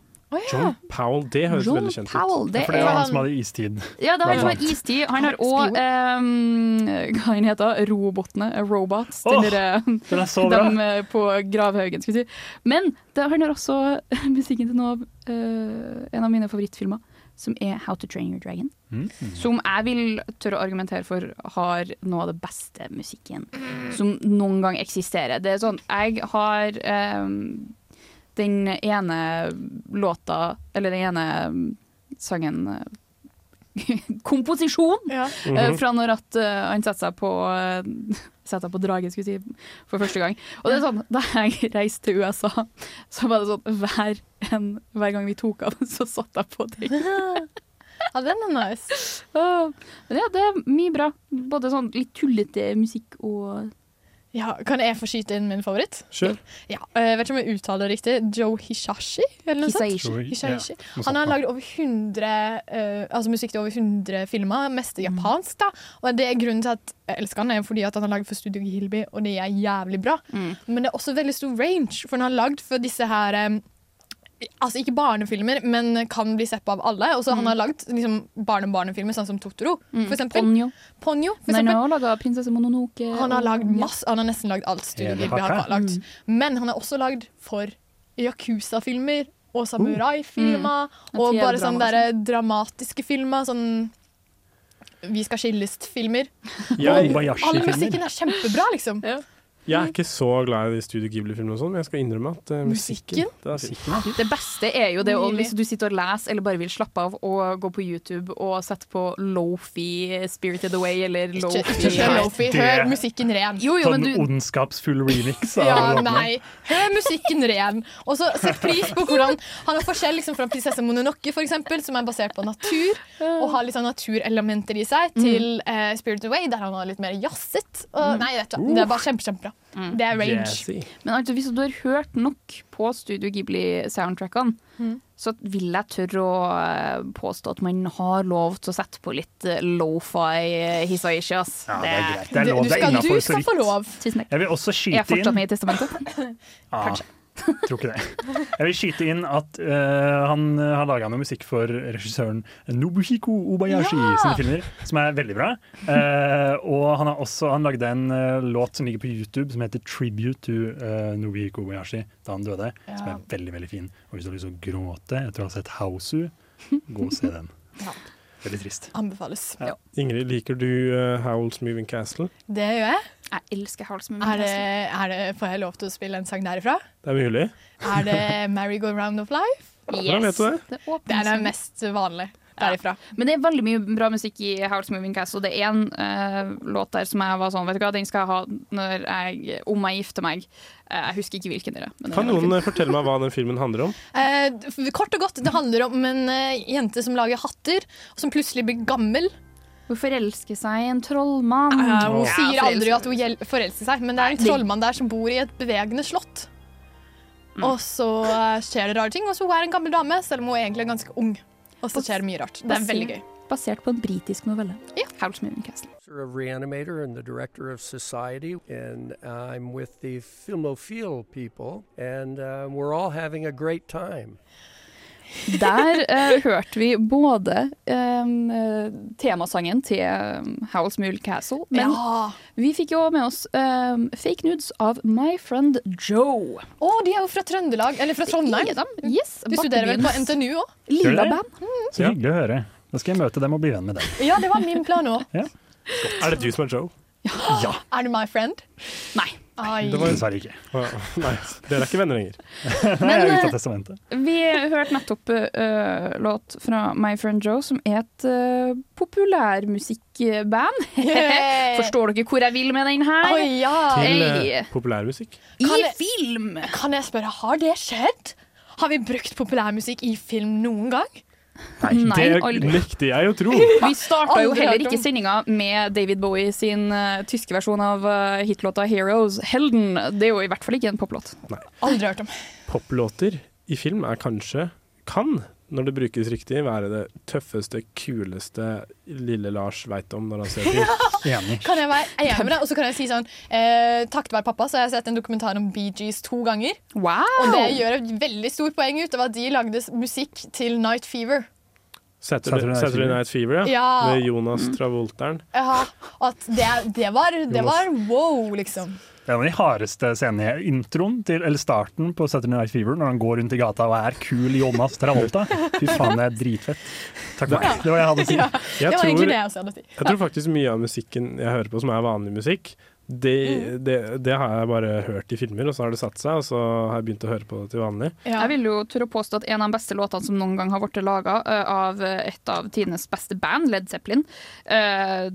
[SPEAKER 5] John Powell, det høres
[SPEAKER 9] John
[SPEAKER 5] veldig kjent
[SPEAKER 9] Powell,
[SPEAKER 5] ut.
[SPEAKER 9] det Ja, for det er er- han som
[SPEAKER 1] hadde istid.
[SPEAKER 9] Ja, det er han som har
[SPEAKER 5] Blant annet.
[SPEAKER 9] istid. Han har òg Hva han heter Robotene. eh, Robots. Den
[SPEAKER 1] Åh,
[SPEAKER 9] derre-
[SPEAKER 1] den er så bra.
[SPEAKER 9] dem, eh, på Gravhaugen, skulle jeg si. Men det, han har også musikken til noe av, eh, en av mine favorittfilmer, som er How to Train Your Dragon.
[SPEAKER 1] Mm,
[SPEAKER 9] Som jeg vil tørre å argumentere for har noe av det beste musikken som noen gang eksisterer. Det er sånn, jeg har ehm, den ene låta, eller den ene mm, sangen eh, Komposisjon!
[SPEAKER 16] Mhm.
[SPEAKER 9] eh, Fra når at eh, han setter seg på uh, Setter seg på dragen, skulle jeg si, for første gang. Og det er sånn, da jeg reiste til USA, så var det sånn hver, en, hver gang vi tok av, så satt jeg på den.
[SPEAKER 4] Ja, den er nice.
[SPEAKER 9] Åh, Men ja, det er mye bra. Både sånn litt tullete musikk og
[SPEAKER 4] Ja, kan jeg få skyte inn min favoritt?
[SPEAKER 5] Sure.
[SPEAKER 4] Ja, eh, vet ikke om jeg uttaler det riktig. Joe Hishashi? Eller noe sånt?
[SPEAKER 9] Hisaishi.
[SPEAKER 4] Hisaishi.
[SPEAKER 9] Ja, noe sånt,
[SPEAKER 4] Han har
[SPEAKER 9] ja.
[SPEAKER 4] lagd over 100 eh, altså musikk til over 100 filmer,
[SPEAKER 9] Mm.
[SPEAKER 4] meste japansk. da. Og det er Grunnen til at jeg elsker han er fordi at han har lagd for Studio Gilby, og det er jævlig bra. Men det er også veldig stor range, for han har lagd for disse her eh, Altså ikke barnefilmer, men kan bli sett på av alle. Og så han har lagd liksom, barne-barnefilmer, sånn som Totoro.
[SPEAKER 9] Mm.
[SPEAKER 4] For eksempel.
[SPEAKER 9] Ponyo.
[SPEAKER 4] Ponyo, for
[SPEAKER 9] Nei, nå
[SPEAKER 4] eksempel.
[SPEAKER 9] har laga 'Prinsesse Mononoke'.
[SPEAKER 4] Han har,
[SPEAKER 9] Eh, og- Mm.
[SPEAKER 4] lagd masse, han har nesten lagd alt
[SPEAKER 9] Hele
[SPEAKER 4] Studio Ghibli har
[SPEAKER 9] pakka.
[SPEAKER 4] lagd. Men han har også lagd for Yakuza-filmer og samurai-filmer.
[SPEAKER 9] Mm.
[SPEAKER 4] Og
[SPEAKER 9] Det er
[SPEAKER 4] bare sånne
[SPEAKER 9] drama, sånn.
[SPEAKER 4] der dramatiske filmer. Sånn Vi skal skilles-filmer.
[SPEAKER 5] Ja,
[SPEAKER 4] Og
[SPEAKER 5] Kobayashi-filmer.
[SPEAKER 4] All musikken er kjempebra, liksom.
[SPEAKER 5] Jeg er ikke så glad i de Studio Ghibli-filmene, og sånn, men jeg skal innrømme at eh, musikken, det er fint.
[SPEAKER 9] Det beste er jo det å,
[SPEAKER 4] Nydelig.
[SPEAKER 9] hvis du sitter og leser eller bare vil slappe av og gå på YouTube og sette på Lofi, 'Spirited Away' eller
[SPEAKER 4] Ikke,
[SPEAKER 9] Lofi.
[SPEAKER 4] ikke hør Lofi, hør
[SPEAKER 1] Det-
[SPEAKER 4] musikken ren.
[SPEAKER 1] sånn ondskapsfull remix av
[SPEAKER 4] Ja,
[SPEAKER 1] låtene.
[SPEAKER 4] nei. Hør musikken ren. Og så sett pris på hvordan han har forskjell liksom, fra 'Prinsesse Mononoke', for eksempel, som er basert på natur, og har litt sånn naturelementer i seg, til eh, 'Spirit Away', der han har litt mer jazzet. Og, nei, vet du, hva, det er bare kjempe, kjempebra. Det er range.
[SPEAKER 9] Men altså, hvis du har hørt nok på Studio Ghibli-soundtrackene, så vil jeg tørre å eh, påstå at man har lov til å sette på litt eh, lo-fi Hisaishi. ass.
[SPEAKER 1] Ja, det er greit. Det er lov. Du- du Det er skal- innenfor du skal så få vidt.
[SPEAKER 4] lov.
[SPEAKER 9] Tusen takk.
[SPEAKER 1] Jeg vil også
[SPEAKER 9] Jeg er
[SPEAKER 1] skyte
[SPEAKER 9] fortsatt
[SPEAKER 1] inn
[SPEAKER 9] med i testamentet.
[SPEAKER 1] Ja, Ah, Tror ikke det. Jeg vil skyte inn at eh, han eh, har laga noe musikk for regissøren Nobuhiko Obayashi sine filmer, som er veldig bra. Eh, og han har også han lagde en eh, låt som ligger på YouTube som heter 'Tribute to eh, Nobuhiko Obayashi' da han døde, som
[SPEAKER 4] Ja.
[SPEAKER 1] er veldig veldig fin. Og hvis du har lyst til å gråte etter å ha sett Hausu, gå og se den.
[SPEAKER 4] Ja.
[SPEAKER 1] Veldig trist.
[SPEAKER 4] Anbefales.
[SPEAKER 5] Ingrid, liker du eh, Howl's Moving Castle?
[SPEAKER 4] Det gjør jeg.
[SPEAKER 9] Jeg elsker Howls
[SPEAKER 4] Er det, er det, får jeg lov til å spille en sang derifra?
[SPEAKER 5] Det er mulig.
[SPEAKER 4] Er det 'Merry Go Round of Life'?
[SPEAKER 5] Hvordan vet du det?
[SPEAKER 4] Det er den mest vanlige derifra.
[SPEAKER 9] Men det er veldig mye bra musikk i Howl's Moving Castle. Det er en eh, låt der som jeg var sånn, vet du hva, den skal jeg ha når jeg, om jeg gifter meg. Eh, jeg husker ikke hvilken dere. Men den
[SPEAKER 5] Kan
[SPEAKER 9] er veldig
[SPEAKER 5] noen eh,
[SPEAKER 9] fin.
[SPEAKER 5] fortelle meg hva den filmen handler om?
[SPEAKER 4] Eh, f- kort og godt, det handler om en eh, jente som lager hatter, og som plutselig blir gammel.
[SPEAKER 9] Hun forelsker seg i en trollmann.
[SPEAKER 4] Eh, hun
[SPEAKER 9] Ja,
[SPEAKER 4] sier
[SPEAKER 9] forelsker.
[SPEAKER 4] aldri at hun gjel- forelsker seg, men det er en
[SPEAKER 9] Nei.
[SPEAKER 4] trollmann der som bor i et bevegende slott. Og så eh, skjer det rare ting, og så hun er en gammel dame, selv om hun egentlig er ganske ung. Og så skjer det mye rart. Det er
[SPEAKER 9] Basert-
[SPEAKER 4] veldig gøy.
[SPEAKER 9] Basert på en britisk novelle. Howl's Moving Castle.
[SPEAKER 16] Of Reanimator and the director of Society, and I'm with the Filmophile people, and uh, we're all having a great time.
[SPEAKER 9] Der eh, hørte vi både em, eh, temasangen til um, Howl's Mule Castle, men
[SPEAKER 4] Ja.
[SPEAKER 9] vi fikk jo med oss em, fake nudes av My Friend Joe.
[SPEAKER 4] Å, de er jo fra Trøndelag, eller fra Trondheim.
[SPEAKER 9] Er de? Yes,
[SPEAKER 4] de studerer vel på
[SPEAKER 9] Bakkebyens
[SPEAKER 4] NTNU òg?
[SPEAKER 9] Lilla
[SPEAKER 1] Gjør de?
[SPEAKER 9] band.
[SPEAKER 1] Så hyggelig å høre. Da skal jeg møte dem og bli venn med dem.
[SPEAKER 4] Ja, det var min plan òg.
[SPEAKER 5] Er det du som er Joe?
[SPEAKER 1] Ja.
[SPEAKER 4] Er du my friend?
[SPEAKER 9] Nei.
[SPEAKER 4] Ai.
[SPEAKER 5] Det var-
[SPEAKER 1] Dessverre ikke.
[SPEAKER 5] Nei, dere er ikke venner lenger.
[SPEAKER 1] Nei, jeg er
[SPEAKER 9] eh,
[SPEAKER 1] ute av testamentet.
[SPEAKER 9] Vi hørte nettopp eh, låt fra My Friend Joe, som er et eh, populærmusikkband.
[SPEAKER 4] Yeah.
[SPEAKER 9] Forstår dere hvor jeg vil med den her?
[SPEAKER 4] Oi, ja.
[SPEAKER 5] Til
[SPEAKER 9] Hey.
[SPEAKER 5] eh, populærmusikk.
[SPEAKER 4] Kan
[SPEAKER 9] I
[SPEAKER 4] jeg-
[SPEAKER 9] film!
[SPEAKER 4] Kan jeg spørre, har det skjedd? Har vi brukt populærmusikk i film noen gang?
[SPEAKER 9] Nei,
[SPEAKER 5] det
[SPEAKER 9] aldri.
[SPEAKER 5] nekter jeg å tro.
[SPEAKER 9] Vi starta jo
[SPEAKER 4] Aldri
[SPEAKER 9] heller
[SPEAKER 4] hørt om.
[SPEAKER 9] ikke sendinga med David Bowie sin eh, tyske versjon av eh, hitlåta 'Heroes'. 'Helden' det er jo i hvert fall ikke en poplåt.
[SPEAKER 4] Aldri hørt om.
[SPEAKER 5] Poplåter i film er kanskje, kan, når det brukes riktig, være det tøffeste, kuleste lille Lars veit om når han ser film.
[SPEAKER 1] Enig.
[SPEAKER 4] Kan jeg være enig med deg? Og så kan jeg si sånn eh, Takket være pappa så har jeg sett en dokumentar om Bee Gees to ganger.
[SPEAKER 9] Wow!
[SPEAKER 4] Og det gjør et veldig stort poeng ut av at de lagde s- musikk til Night Fever.
[SPEAKER 5] Saturday,
[SPEAKER 1] Saturday Night
[SPEAKER 5] Saturday
[SPEAKER 1] Fever. Mm.
[SPEAKER 5] Night Fever, ja.
[SPEAKER 4] Ja.
[SPEAKER 5] Med Jonas Travolteren.
[SPEAKER 4] Ja, at det, det, var, det var wow, liksom.
[SPEAKER 1] Det er en av de hardeste scenene i introen til, eller starten på Saturday Night Fever, når han går rundt i gata og er kul Jonas Travolta. Fy faen, det er dritfett. Takk for meg. Det var jeg hadde å si.
[SPEAKER 4] Ja, det var egentlig det jeg også hadde å si.
[SPEAKER 5] Jeg tror faktisk mye av musikken jeg hører på som er vanlig musikk, det,
[SPEAKER 4] Mm.
[SPEAKER 5] det, det har jeg bare hørt i filmer, og så har det satt seg, og så har jeg begynt å høre på det til vanlig.
[SPEAKER 9] Jeg vil jo tørre å påstå at en av de beste låtene som noen gang har blitt laga av eh, et av tidenes beste band, Led Zeppelin, eh,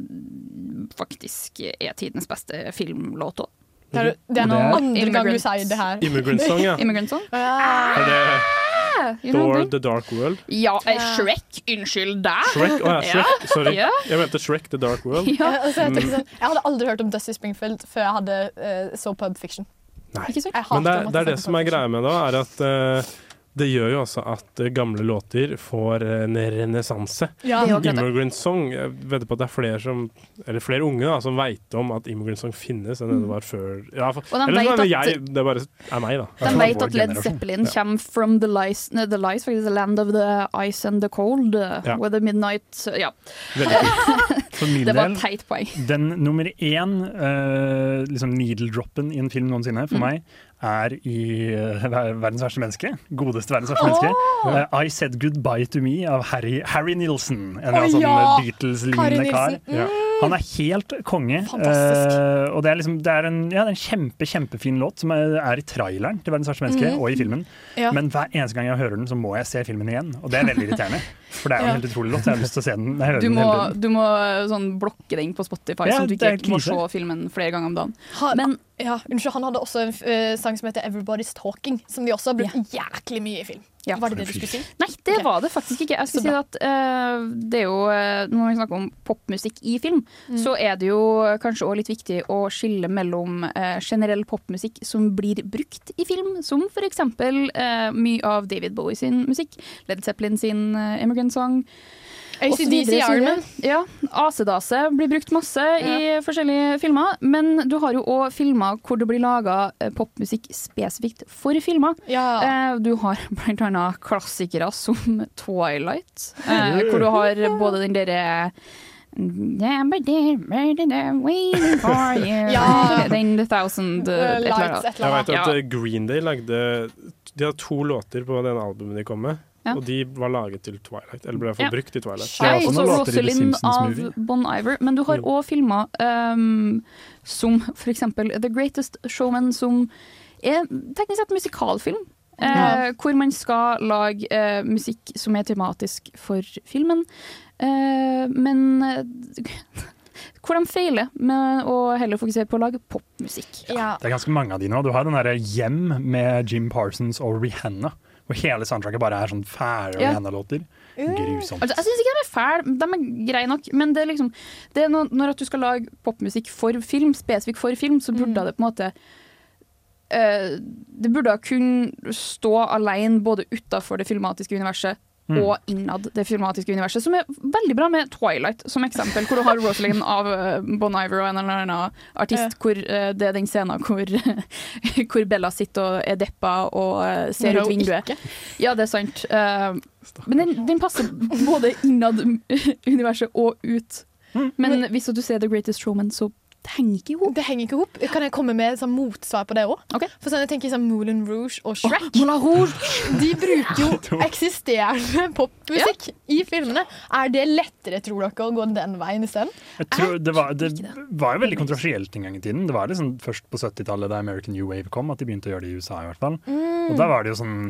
[SPEAKER 9] faktisk er tidenes beste filmlåt òg.
[SPEAKER 4] Det er, det
[SPEAKER 5] Og
[SPEAKER 4] er
[SPEAKER 5] det er-
[SPEAKER 4] andre gang du sier det her.
[SPEAKER 5] Immigrant Song, ja.
[SPEAKER 9] Immigrant Song.
[SPEAKER 5] Er det
[SPEAKER 9] Yeah, you know
[SPEAKER 5] Door
[SPEAKER 9] that.
[SPEAKER 5] The Dark World.
[SPEAKER 9] Ja, eh, Shrek. Unnskyld deg.
[SPEAKER 5] Shrek, å ja, Shrek.
[SPEAKER 9] Ja.
[SPEAKER 5] Sorry.
[SPEAKER 9] Ja.
[SPEAKER 5] Jeg mente Shrek The Dark World.
[SPEAKER 4] Ja, altså, jeg, tenkte
[SPEAKER 5] Mm.
[SPEAKER 4] sånn, jeg hadde aldri hørt om Dusty Springfield før jeg hadde eh, så Pub Fiction.
[SPEAKER 5] Nei.
[SPEAKER 4] Ikke sant? Jeg
[SPEAKER 5] Men det
[SPEAKER 4] hater å
[SPEAKER 5] er,
[SPEAKER 4] måtte
[SPEAKER 5] det er
[SPEAKER 4] se
[SPEAKER 5] det
[SPEAKER 4] på
[SPEAKER 5] som er greia med det, er at eh, det gjør jo også at eh, gamle låter får en renessanse.
[SPEAKER 4] Ja, det er akkurat det.
[SPEAKER 5] Immigrant Song Jeg vedder på at det er flere, som, eller flere unge da, som veit om at Immigrant Song finnes, enn det det var før. Ja, for,
[SPEAKER 9] Mm. Og de
[SPEAKER 5] eller
[SPEAKER 9] vet
[SPEAKER 5] så er det
[SPEAKER 9] at-
[SPEAKER 5] jeg, det er bare er meg, da.
[SPEAKER 9] De vet at Led Zeppelin
[SPEAKER 5] Ja.
[SPEAKER 9] kommer from the lies, nei, the lies faktisk, the land of the ice and the cold, uh,
[SPEAKER 1] Ja.
[SPEAKER 9] where the midnight eh, Ja.
[SPEAKER 1] Veldig kult. For min
[SPEAKER 9] Det var
[SPEAKER 1] del,
[SPEAKER 9] et teit poeng.
[SPEAKER 1] Den nummer én eh, liksom needle-droppen i en film noensinne for
[SPEAKER 9] Mm.
[SPEAKER 1] meg er i eh, ver- 'Verdens verste menneske'. Godeste 'Verdens verste
[SPEAKER 9] Åh!
[SPEAKER 1] menneske'. Eh, 'I Said Goodbye To Me' av Harry, Harry Nilsen. En
[SPEAKER 13] Å
[SPEAKER 1] sånn
[SPEAKER 13] ja!
[SPEAKER 1] eh,
[SPEAKER 13] Harry
[SPEAKER 1] Beatles-lignende kar.
[SPEAKER 13] Nilsen, mm.
[SPEAKER 1] Han er helt konge. Eh, og det er, liksom, det er en, ja, det er en kjempe, kjempefin låt som er, er i traileren til 'Verdens verste menneske'
[SPEAKER 13] Mhm.
[SPEAKER 1] og i filmen.
[SPEAKER 13] Ja.
[SPEAKER 1] Men hver eneste gang jeg hører den, så må jeg se filmen igjen. Og det er veldig irriterende. For det er jo
[SPEAKER 9] Ja.
[SPEAKER 1] en helt utrolig låt. Jeg har lyst til å se den. Jeg hører
[SPEAKER 9] Du
[SPEAKER 1] den
[SPEAKER 9] må,
[SPEAKER 1] hele tiden.
[SPEAKER 9] du må uh, sånn blokke den på Spotify,
[SPEAKER 1] Ja,
[SPEAKER 9] så du
[SPEAKER 1] det er
[SPEAKER 9] ikke må se
[SPEAKER 1] krise.
[SPEAKER 9] filmen flere ganger om dagen.
[SPEAKER 4] Han, ja, unnskyld, han hadde også en eh, sang som heter 'Everybody's Talking', som de også har brukt jæklig mye i film. Var det det du skulle si?
[SPEAKER 9] Nei, det var det faktisk ikke. Jeg skulle si at eh, det er jo eh, Når vi snakker om popmusikk i film,
[SPEAKER 4] Mm.
[SPEAKER 9] så er det jo kanskje òg litt viktig å skille mellom eh, generell popmusikk som blir brukt i film, som f.eks. Uh, mye av David Bowie sin musikk, Led Zeppelin sin eh, 'Immigrant Song'.
[SPEAKER 4] AC/DC
[SPEAKER 9] og så videre, så videre.
[SPEAKER 4] Iron Man.
[SPEAKER 9] Ja. Asedase blir brukt masse i forskjellige filmer. Men du har jo òg filmer hvor det blir laga popmusikk spesifikt for filmer. Eh, Du har blant annet klassikere som Twilight, eh, hvor du har både den derre Waiting for you
[SPEAKER 4] Ja.
[SPEAKER 9] Den The Thousand eh, et eller annet.
[SPEAKER 5] Jeg vet at
[SPEAKER 9] Ja.
[SPEAKER 5] eh, Green Day lagde De har to låter på den albumet de kom med.
[SPEAKER 9] Ja.
[SPEAKER 5] Og de var laget til Twilight, eller ble i hvert fall
[SPEAKER 9] Ja.
[SPEAKER 5] brukt i Twilight.
[SPEAKER 9] Nei, også Rosalind av Bon Iver. Men du har òg filmer ehm, som f.eks. The Greatest Showman, som er teknisk sett musikalfilm. eh,
[SPEAKER 4] Ja.
[SPEAKER 9] Hvor man skal lage eh, musikk som er tematisk for filmen. Eh, men eh, hvor de feiler med å heller fokusere på å lage popmusikk.
[SPEAKER 1] Det er ganske mange av de nå. Du har den derre Hjem med Jim Parsons og Rihanna. Hvor hele soundtracket bare er sånn fæle
[SPEAKER 9] Ja.
[SPEAKER 1] Rihanna-låter.
[SPEAKER 9] Altså,
[SPEAKER 1] Grusomt.
[SPEAKER 9] jeg syns ikke de er fæle, de er greie nok. Men det er liksom, det er noe, når at du skal lage popmusikk for film, spesifikk for film, så
[SPEAKER 4] Mm.
[SPEAKER 9] burde det på en måte eh, Det burde kunne stå alene både utafor det filmatiske universet
[SPEAKER 4] Mm.
[SPEAKER 9] og innad det filmatiske universet, som er veldig bra med Twilight som eksempel, hvor du har Rosalind av eh, Bon Iver og en eller annen artist, hvor eh, det er den scenen hvor, hvor Bella sitter og er deppa og eh, ser
[SPEAKER 4] Når
[SPEAKER 9] ut
[SPEAKER 4] hun
[SPEAKER 9] vinduet. Ja, det er sant. Eh, men den, den passer både innad universet og ut. Men hvis du ser The Greatest Showman, så det henger ikke i hop.
[SPEAKER 4] Det henger ikke ihop. Kan jeg komme med et sånn motsvar på det òg? For sånn, jeg tenker sånn Moulin Rouge og Shrek. De bruker jo eksisterende popmusikk i filmene. Er det lettere, tror dere, å gå den veien isteden?
[SPEAKER 1] Jeg tror det, var, det var jo veldig kontroversielt en gang i tiden. Det var liksom først på 70-tallet da American New Wave kom, at de begynte å gjøre det i USA i hvert fall.
[SPEAKER 13] Mm.
[SPEAKER 1] Og da var det jo sånn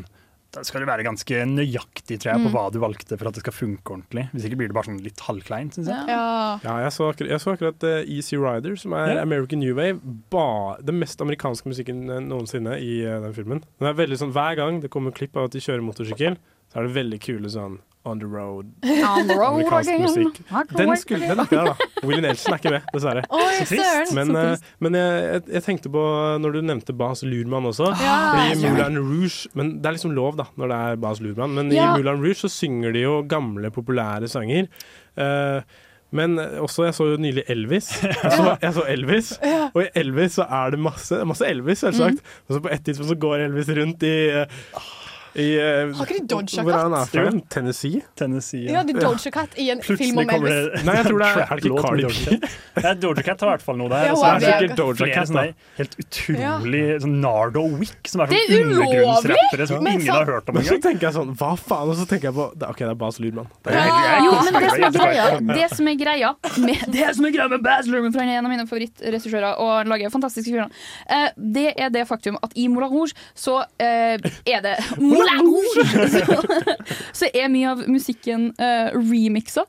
[SPEAKER 1] da skal du være ganske nøyaktig tror jeg, på
[SPEAKER 13] Mm.
[SPEAKER 1] hva du valgte for at det skal funke ordentlig. Hvis ikke blir det bare sånn litt halvkleint, syns jeg.
[SPEAKER 4] Ja.
[SPEAKER 5] Ja, jeg så akkurat, jeg så akkurat eh, Easy Rider, som
[SPEAKER 1] Ja.
[SPEAKER 5] er American New Wave. Ba, den mest amerikanske musikken eh, noensinne i eh, den filmen. Den er veldig sånn, Hver gang det kommer klipp av at de kjører motorsykkel, så er det veldig kule sånn On the road.
[SPEAKER 9] On the road
[SPEAKER 5] Amerikansk
[SPEAKER 9] again.
[SPEAKER 5] musikk.
[SPEAKER 9] Rock
[SPEAKER 5] Den
[SPEAKER 9] away.
[SPEAKER 5] skulle den er ikke der, da. William Nelson er ikke med, dessverre.
[SPEAKER 9] Oi, Så trist. søren.
[SPEAKER 5] Men,
[SPEAKER 9] Så
[SPEAKER 5] eh,
[SPEAKER 9] trist.
[SPEAKER 5] men jeg, jeg, jeg tenkte på, når du nevnte Bas Lurman også,
[SPEAKER 9] Ja.
[SPEAKER 5] i Moulin Rouge Men det er liksom lov, da, når det er Bas Lurman. Men
[SPEAKER 13] Ja.
[SPEAKER 5] i Moulin Rouge så synger de jo gamle, populære sanger. Eh, men også, jeg så jo nylig Elvis. Jeg så, jeg så Elvis, og i Elvis så er det masse, masse Elvis, selvsagt.
[SPEAKER 9] Mm.
[SPEAKER 5] Og så på et tidspunkt så går Elvis rundt i, eh, i eh,
[SPEAKER 4] Har ikke de Doja
[SPEAKER 5] Hvor er han
[SPEAKER 4] Cat?
[SPEAKER 5] fra? igjen? Tennessee?
[SPEAKER 4] Ja, de Doja Cat i en film om
[SPEAKER 1] kommer
[SPEAKER 4] Elvis.
[SPEAKER 1] det-
[SPEAKER 5] Nei, jeg tror det er- er det ikke
[SPEAKER 1] Trap-låt med
[SPEAKER 5] Cardi
[SPEAKER 1] Doja Cat. Det er Doja Cat har i hvert fall noe der.
[SPEAKER 4] Ja,
[SPEAKER 1] Og så er
[SPEAKER 4] hun er
[SPEAKER 1] det sikkert
[SPEAKER 4] vega.
[SPEAKER 1] Doja
[SPEAKER 5] Flere
[SPEAKER 1] Cat
[SPEAKER 5] sånne
[SPEAKER 1] sånn helt utrolig sånn Nardo Wick, som er sånn
[SPEAKER 5] Det er ulovlig!
[SPEAKER 1] undergrunnsrappere som
[SPEAKER 5] Men
[SPEAKER 1] ingen
[SPEAKER 5] så-
[SPEAKER 1] har hørt om
[SPEAKER 5] Men så
[SPEAKER 1] engang.
[SPEAKER 5] tenker jeg sånn, hva faen? Og så tenker jeg på det- OK, det er Bas Lurman. Det er helt- jeg
[SPEAKER 9] Jo, men det
[SPEAKER 5] koser
[SPEAKER 9] som
[SPEAKER 5] meg
[SPEAKER 9] er greia
[SPEAKER 5] jævlig.
[SPEAKER 9] Det som er greia med, det som er greia med Baz Luhrmann, for han er en av mine favorittregissører og han lager fantastiske filmer, eh, det er det faktum at i Moulin Rouge så eh, er det Moulin Rouge! Så, så er mye av musikken eh, remixa,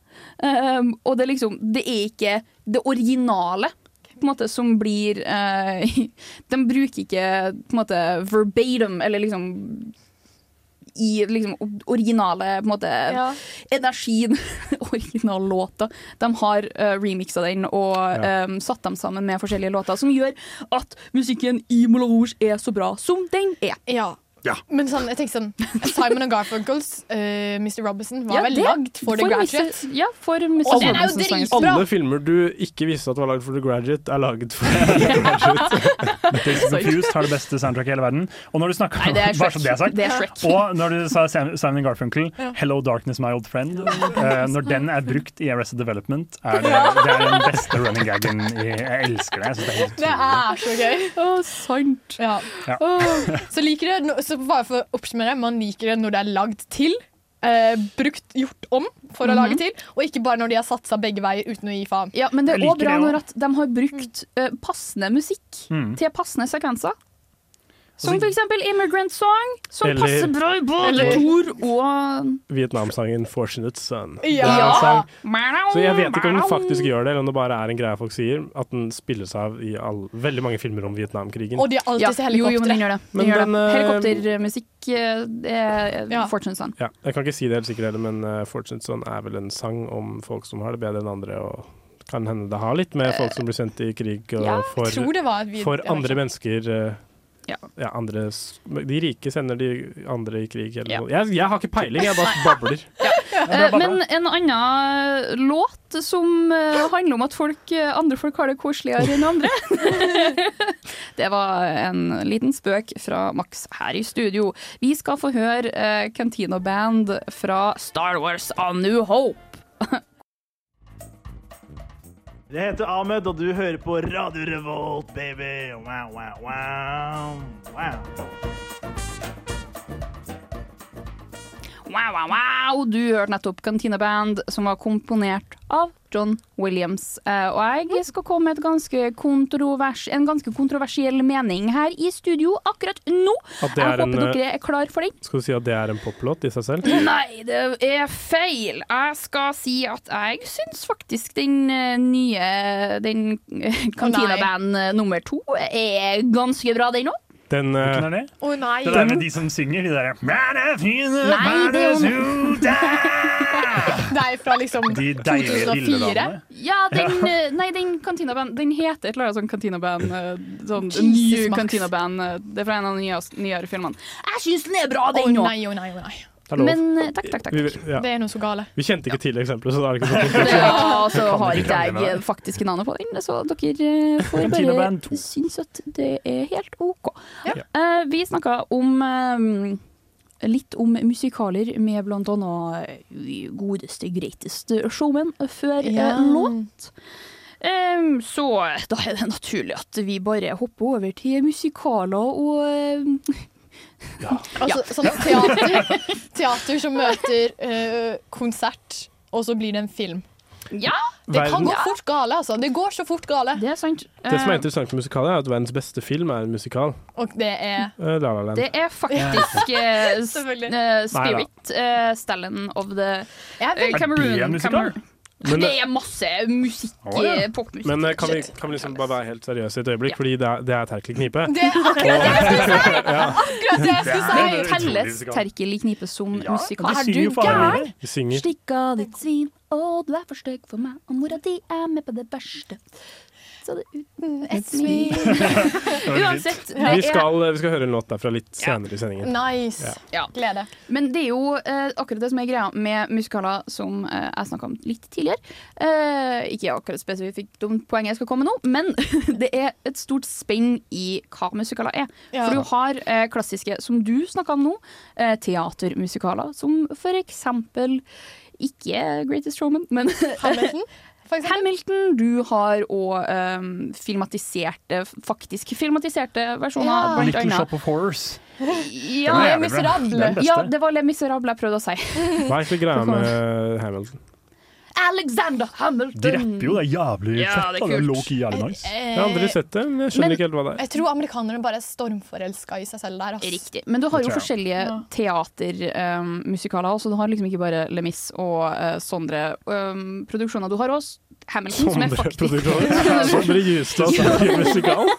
[SPEAKER 9] eh, og det er liksom Det er ikke det originale. På en måte, som blir eh, De bruker ikke på en måte verbatim, eller liksom i liksom, originale på en måte,
[SPEAKER 4] Ja.
[SPEAKER 9] energien. Originallåta. De har uh, remixa den og um, satt dem sammen med forskjellige låter, som gjør at musikken i Moulin Rouge er så bra som den er.
[SPEAKER 4] Ja. Men sånn, jeg tenker sånn Simon and Garfunkels eh, Mr. Robinson var
[SPEAKER 9] Ja,
[SPEAKER 4] vel
[SPEAKER 9] det-
[SPEAKER 4] lagd for
[SPEAKER 9] for
[SPEAKER 4] The
[SPEAKER 9] Mrs.
[SPEAKER 4] Graduate.
[SPEAKER 9] Ja, for Mrs.
[SPEAKER 4] Og den er jo
[SPEAKER 9] Robinsons
[SPEAKER 4] dritbra!
[SPEAKER 5] Alle filmer du ikke visste at var lagd for The Graduate, er laget for
[SPEAKER 1] Days Confused har det beste soundtracket i hele verden. Og når du snakker,
[SPEAKER 9] Nei, det er
[SPEAKER 1] bare så det er sagt.
[SPEAKER 9] Shrek. Det er Shrek.
[SPEAKER 1] Og når du sa Sam- Simon Garfunkel,
[SPEAKER 9] Ja.
[SPEAKER 1] 'Hello Darkness My Old Friend', eh, når den er brukt i Arrested Development, er det, det er den beste running gagen i Jeg elsker det. Jeg synes det er helt
[SPEAKER 4] Det er så gøy.
[SPEAKER 9] Å, sant.
[SPEAKER 4] Ja.
[SPEAKER 1] Ja.
[SPEAKER 4] Åh, så liker det, no- så bare for å oppsummere, man liker det når det er lagd til. eh, brukt, gjort om for å
[SPEAKER 9] Mhm.
[SPEAKER 4] lage til, og ikke bare når de har satsa begge veier uten å gi faen.
[SPEAKER 9] Ja, men det er
[SPEAKER 4] Jeg
[SPEAKER 9] òg
[SPEAKER 4] liker
[SPEAKER 9] bra
[SPEAKER 4] det også.
[SPEAKER 9] når at de har brukt eh, passende musikk
[SPEAKER 1] Mm.
[SPEAKER 9] til passende sekvenser. Som
[SPEAKER 5] Altså-
[SPEAKER 9] for eksempel Immigrant Song, som
[SPEAKER 5] Eller-
[SPEAKER 9] passer bra i både
[SPEAKER 5] Eller-
[SPEAKER 9] Thor og
[SPEAKER 5] Vietnamsangen 'Fortunate Son'. Det er en
[SPEAKER 9] Ja!
[SPEAKER 5] sang Så jeg vet ikke om den faktisk gjør det, eller om det bare er en greie folk sier. At den spilles av i all, veldig mange filmer om
[SPEAKER 1] Mm.
[SPEAKER 5] Vietnamkrigen.
[SPEAKER 4] Og de har alltid
[SPEAKER 9] Ja,
[SPEAKER 4] helikoptre.
[SPEAKER 9] Jo, jo, men den gjør det. Den
[SPEAKER 5] Men
[SPEAKER 9] gjør
[SPEAKER 5] den, eh,
[SPEAKER 9] det. Helikoptermusikk eh, det er sånn.
[SPEAKER 4] Ja.
[SPEAKER 9] Fortune Son.
[SPEAKER 5] Ja, jeg kan ikke si det helt sikkert heller, men eh, Fortunate Son er vel en sang om folk som har det bedre enn andre, og kan hende det har litt med folk som blir sendt i krig og
[SPEAKER 4] Ja, jeg
[SPEAKER 5] for,
[SPEAKER 4] tror det var et vid-
[SPEAKER 5] for andre mennesker eh,
[SPEAKER 9] Ja.
[SPEAKER 5] andre s- De rike sender de andre i krig eller
[SPEAKER 9] Ja.
[SPEAKER 5] noe. Jeg, jeg har ikke peiling, jeg bare babler.
[SPEAKER 9] Eh, Men en annen eh, låt som eh, handler om at folk, eh, andre folk har det koseligere enn andre. det var en liten spøk fra Max her i studio. Vi skal få høre eh, Cantina Band fra Star Wars A New Hope.
[SPEAKER 13] Jeg heter Ahmed, og du hører på Radio Revolt, baby. Wow, wow, wow. wow.
[SPEAKER 9] Wow, wow, wow! Du hørte nettopp Cantina Band, som var komponert av John Williams. Eh, Og
[SPEAKER 5] Mm.
[SPEAKER 9] jeg skal komme med et ganske kontrovers, en ganske kontroversiell mening her i studio akkurat nå.
[SPEAKER 5] At det
[SPEAKER 9] Jeg
[SPEAKER 5] er
[SPEAKER 9] håper
[SPEAKER 5] en,
[SPEAKER 9] dere
[SPEAKER 5] eh,
[SPEAKER 9] er klar for den.
[SPEAKER 5] Skal du si at det er en poplåt i seg selv?
[SPEAKER 9] Nei, det er feil. Jeg skal si at jeg syns faktisk den eh, nye Den eh, Cantina
[SPEAKER 4] nei.
[SPEAKER 9] Band eh, nummer to er ganske bra, den òg.
[SPEAKER 5] Den, eh,
[SPEAKER 1] Hvilken er det?
[SPEAKER 4] Å nei.
[SPEAKER 1] Det der med de som synger, de derre
[SPEAKER 4] Nei, det er jo- Det er fra liksom
[SPEAKER 1] De deilige
[SPEAKER 4] 2004.
[SPEAKER 1] lilledamene.
[SPEAKER 9] Ja, den, eh, nei, den Cantina Band Den heter et eller annet sånn Cantina Band eh, sånn,
[SPEAKER 4] Jesus,
[SPEAKER 9] New
[SPEAKER 4] Max.
[SPEAKER 9] Cantina Band eh, Det er fra en av de nyeste- nyere filmene. Jeg syns den er bra, den
[SPEAKER 4] Å
[SPEAKER 9] nå.
[SPEAKER 4] nei, å nei, å nei.
[SPEAKER 5] Det er lov.
[SPEAKER 9] Men, eh, takk, takk, takk.
[SPEAKER 5] Vi, ja.
[SPEAKER 4] Det er noe så gale.
[SPEAKER 5] vi kjente ikke til eksempelet, så da er det ikke
[SPEAKER 9] Det,
[SPEAKER 5] sånn.
[SPEAKER 9] ja, så
[SPEAKER 5] Kan
[SPEAKER 9] har
[SPEAKER 5] ikke
[SPEAKER 9] ikke
[SPEAKER 5] krangle med
[SPEAKER 9] jeg eh,
[SPEAKER 5] det.
[SPEAKER 9] faktisk navnet på den, så dere eh, får
[SPEAKER 5] Cantina Band
[SPEAKER 9] bare synes at det er helt OK.
[SPEAKER 5] Ja.
[SPEAKER 9] Eh, vi snakka om eh, litt om musikaler med blant annet eh, godeste, greateste showman før eh,
[SPEAKER 4] Ja.
[SPEAKER 9] låt. Eh, så da er det naturlig at vi bare hopper over til musikaler og eh,
[SPEAKER 4] Altså, Sånn teater, teater som møter eh, konsert, og så blir det en film.
[SPEAKER 9] Ja!
[SPEAKER 4] Det kan
[SPEAKER 5] Verden-
[SPEAKER 4] gå fort gale, altså. Det går så fort gale.
[SPEAKER 9] Det er sant.
[SPEAKER 5] Det
[SPEAKER 9] Eh.
[SPEAKER 5] som er interessant med musikaler, er at verdens beste film er en musikal.
[SPEAKER 4] Og det er
[SPEAKER 5] Eh, La La Land.
[SPEAKER 9] Det er faktisk eh, s- eh, Spirit, eh, Stellan of the eh,
[SPEAKER 5] Er
[SPEAKER 9] Cameroon.
[SPEAKER 5] det en musikal?
[SPEAKER 9] Cameroon.
[SPEAKER 5] Men- eh,
[SPEAKER 9] det er masse musikk,
[SPEAKER 5] Å, ja.
[SPEAKER 9] eh, popmusikk.
[SPEAKER 5] Men eh, kan vi, kan vi liksom bare være helt seriøse et øyeblikk, fordi det er, det er Terkel Knipe.
[SPEAKER 9] Det er akkurat det jeg skulle si! Akkurat det jeg
[SPEAKER 5] Det er
[SPEAKER 9] skulle si!
[SPEAKER 5] en utrolig
[SPEAKER 9] Telles
[SPEAKER 5] musikal.
[SPEAKER 9] Terkel i knipe som
[SPEAKER 5] Ja,
[SPEAKER 9] musikal.
[SPEAKER 5] de synger jo faen meg det. De synger.
[SPEAKER 9] Stikk av ditt svin, å du er for stygg for meg, og mora di er med på det verste. Så det er uten et smil Uansett, det
[SPEAKER 5] Vi
[SPEAKER 9] er-
[SPEAKER 5] skal, eh, vi skal høre en låt derfra litt senere i sendingen.
[SPEAKER 4] nice.
[SPEAKER 5] Ja.
[SPEAKER 4] Glede.
[SPEAKER 9] Men det er jo eh, akkurat det som er greia med musikaler som eh, jeg snakka om litt tidligere. Eh, ikke akkurat spesifikt om poenget jeg skal komme nå, men det er et stort spenn i hva musikaler er.
[SPEAKER 4] Ja.
[SPEAKER 9] For du har eh, klassiske, som du snakka om nå, eh, teatermusikaler, som for eksempel ikke Greatest Showman, men
[SPEAKER 4] Hamilton,
[SPEAKER 9] Hamilton. Du har òg filmatiserte, faktisk filmatiserte versjoner.
[SPEAKER 1] Ja.
[SPEAKER 9] blant
[SPEAKER 1] Little
[SPEAKER 9] annet.
[SPEAKER 1] Shop of Horrors.
[SPEAKER 9] Ja,
[SPEAKER 1] Den er
[SPEAKER 9] Les
[SPEAKER 1] jævlig bra. Det er den
[SPEAKER 9] Miserable.
[SPEAKER 1] beste.
[SPEAKER 9] Ja, det var Le Miserable jeg prøvde å si.
[SPEAKER 5] Hva er egentlig greia med Hamilton?
[SPEAKER 9] Alexander Hamilton!
[SPEAKER 5] De rapper jo, det er jævlig
[SPEAKER 9] Ja, fett, det er da. Det er kult. low-key
[SPEAKER 5] jævlig
[SPEAKER 4] nice. Eh, eh,
[SPEAKER 5] Jeg har aldri sett det, men jeg skjønner
[SPEAKER 4] men-
[SPEAKER 5] ikke helt hva det er.
[SPEAKER 4] Jeg tror amerikanerne bare er stormforelska i seg selv der. Ass.
[SPEAKER 9] Riktig. Men du har jo
[SPEAKER 5] Det tror
[SPEAKER 9] forskjellige teatermusikaler også. Um, Du har liksom ikke bare Le Mis og eh, Sondre um, produksjoner. Du har også Hamilton, som er
[SPEAKER 5] Sondre
[SPEAKER 9] faktisk
[SPEAKER 5] produksjoner. Sondre Justad snakker musikal.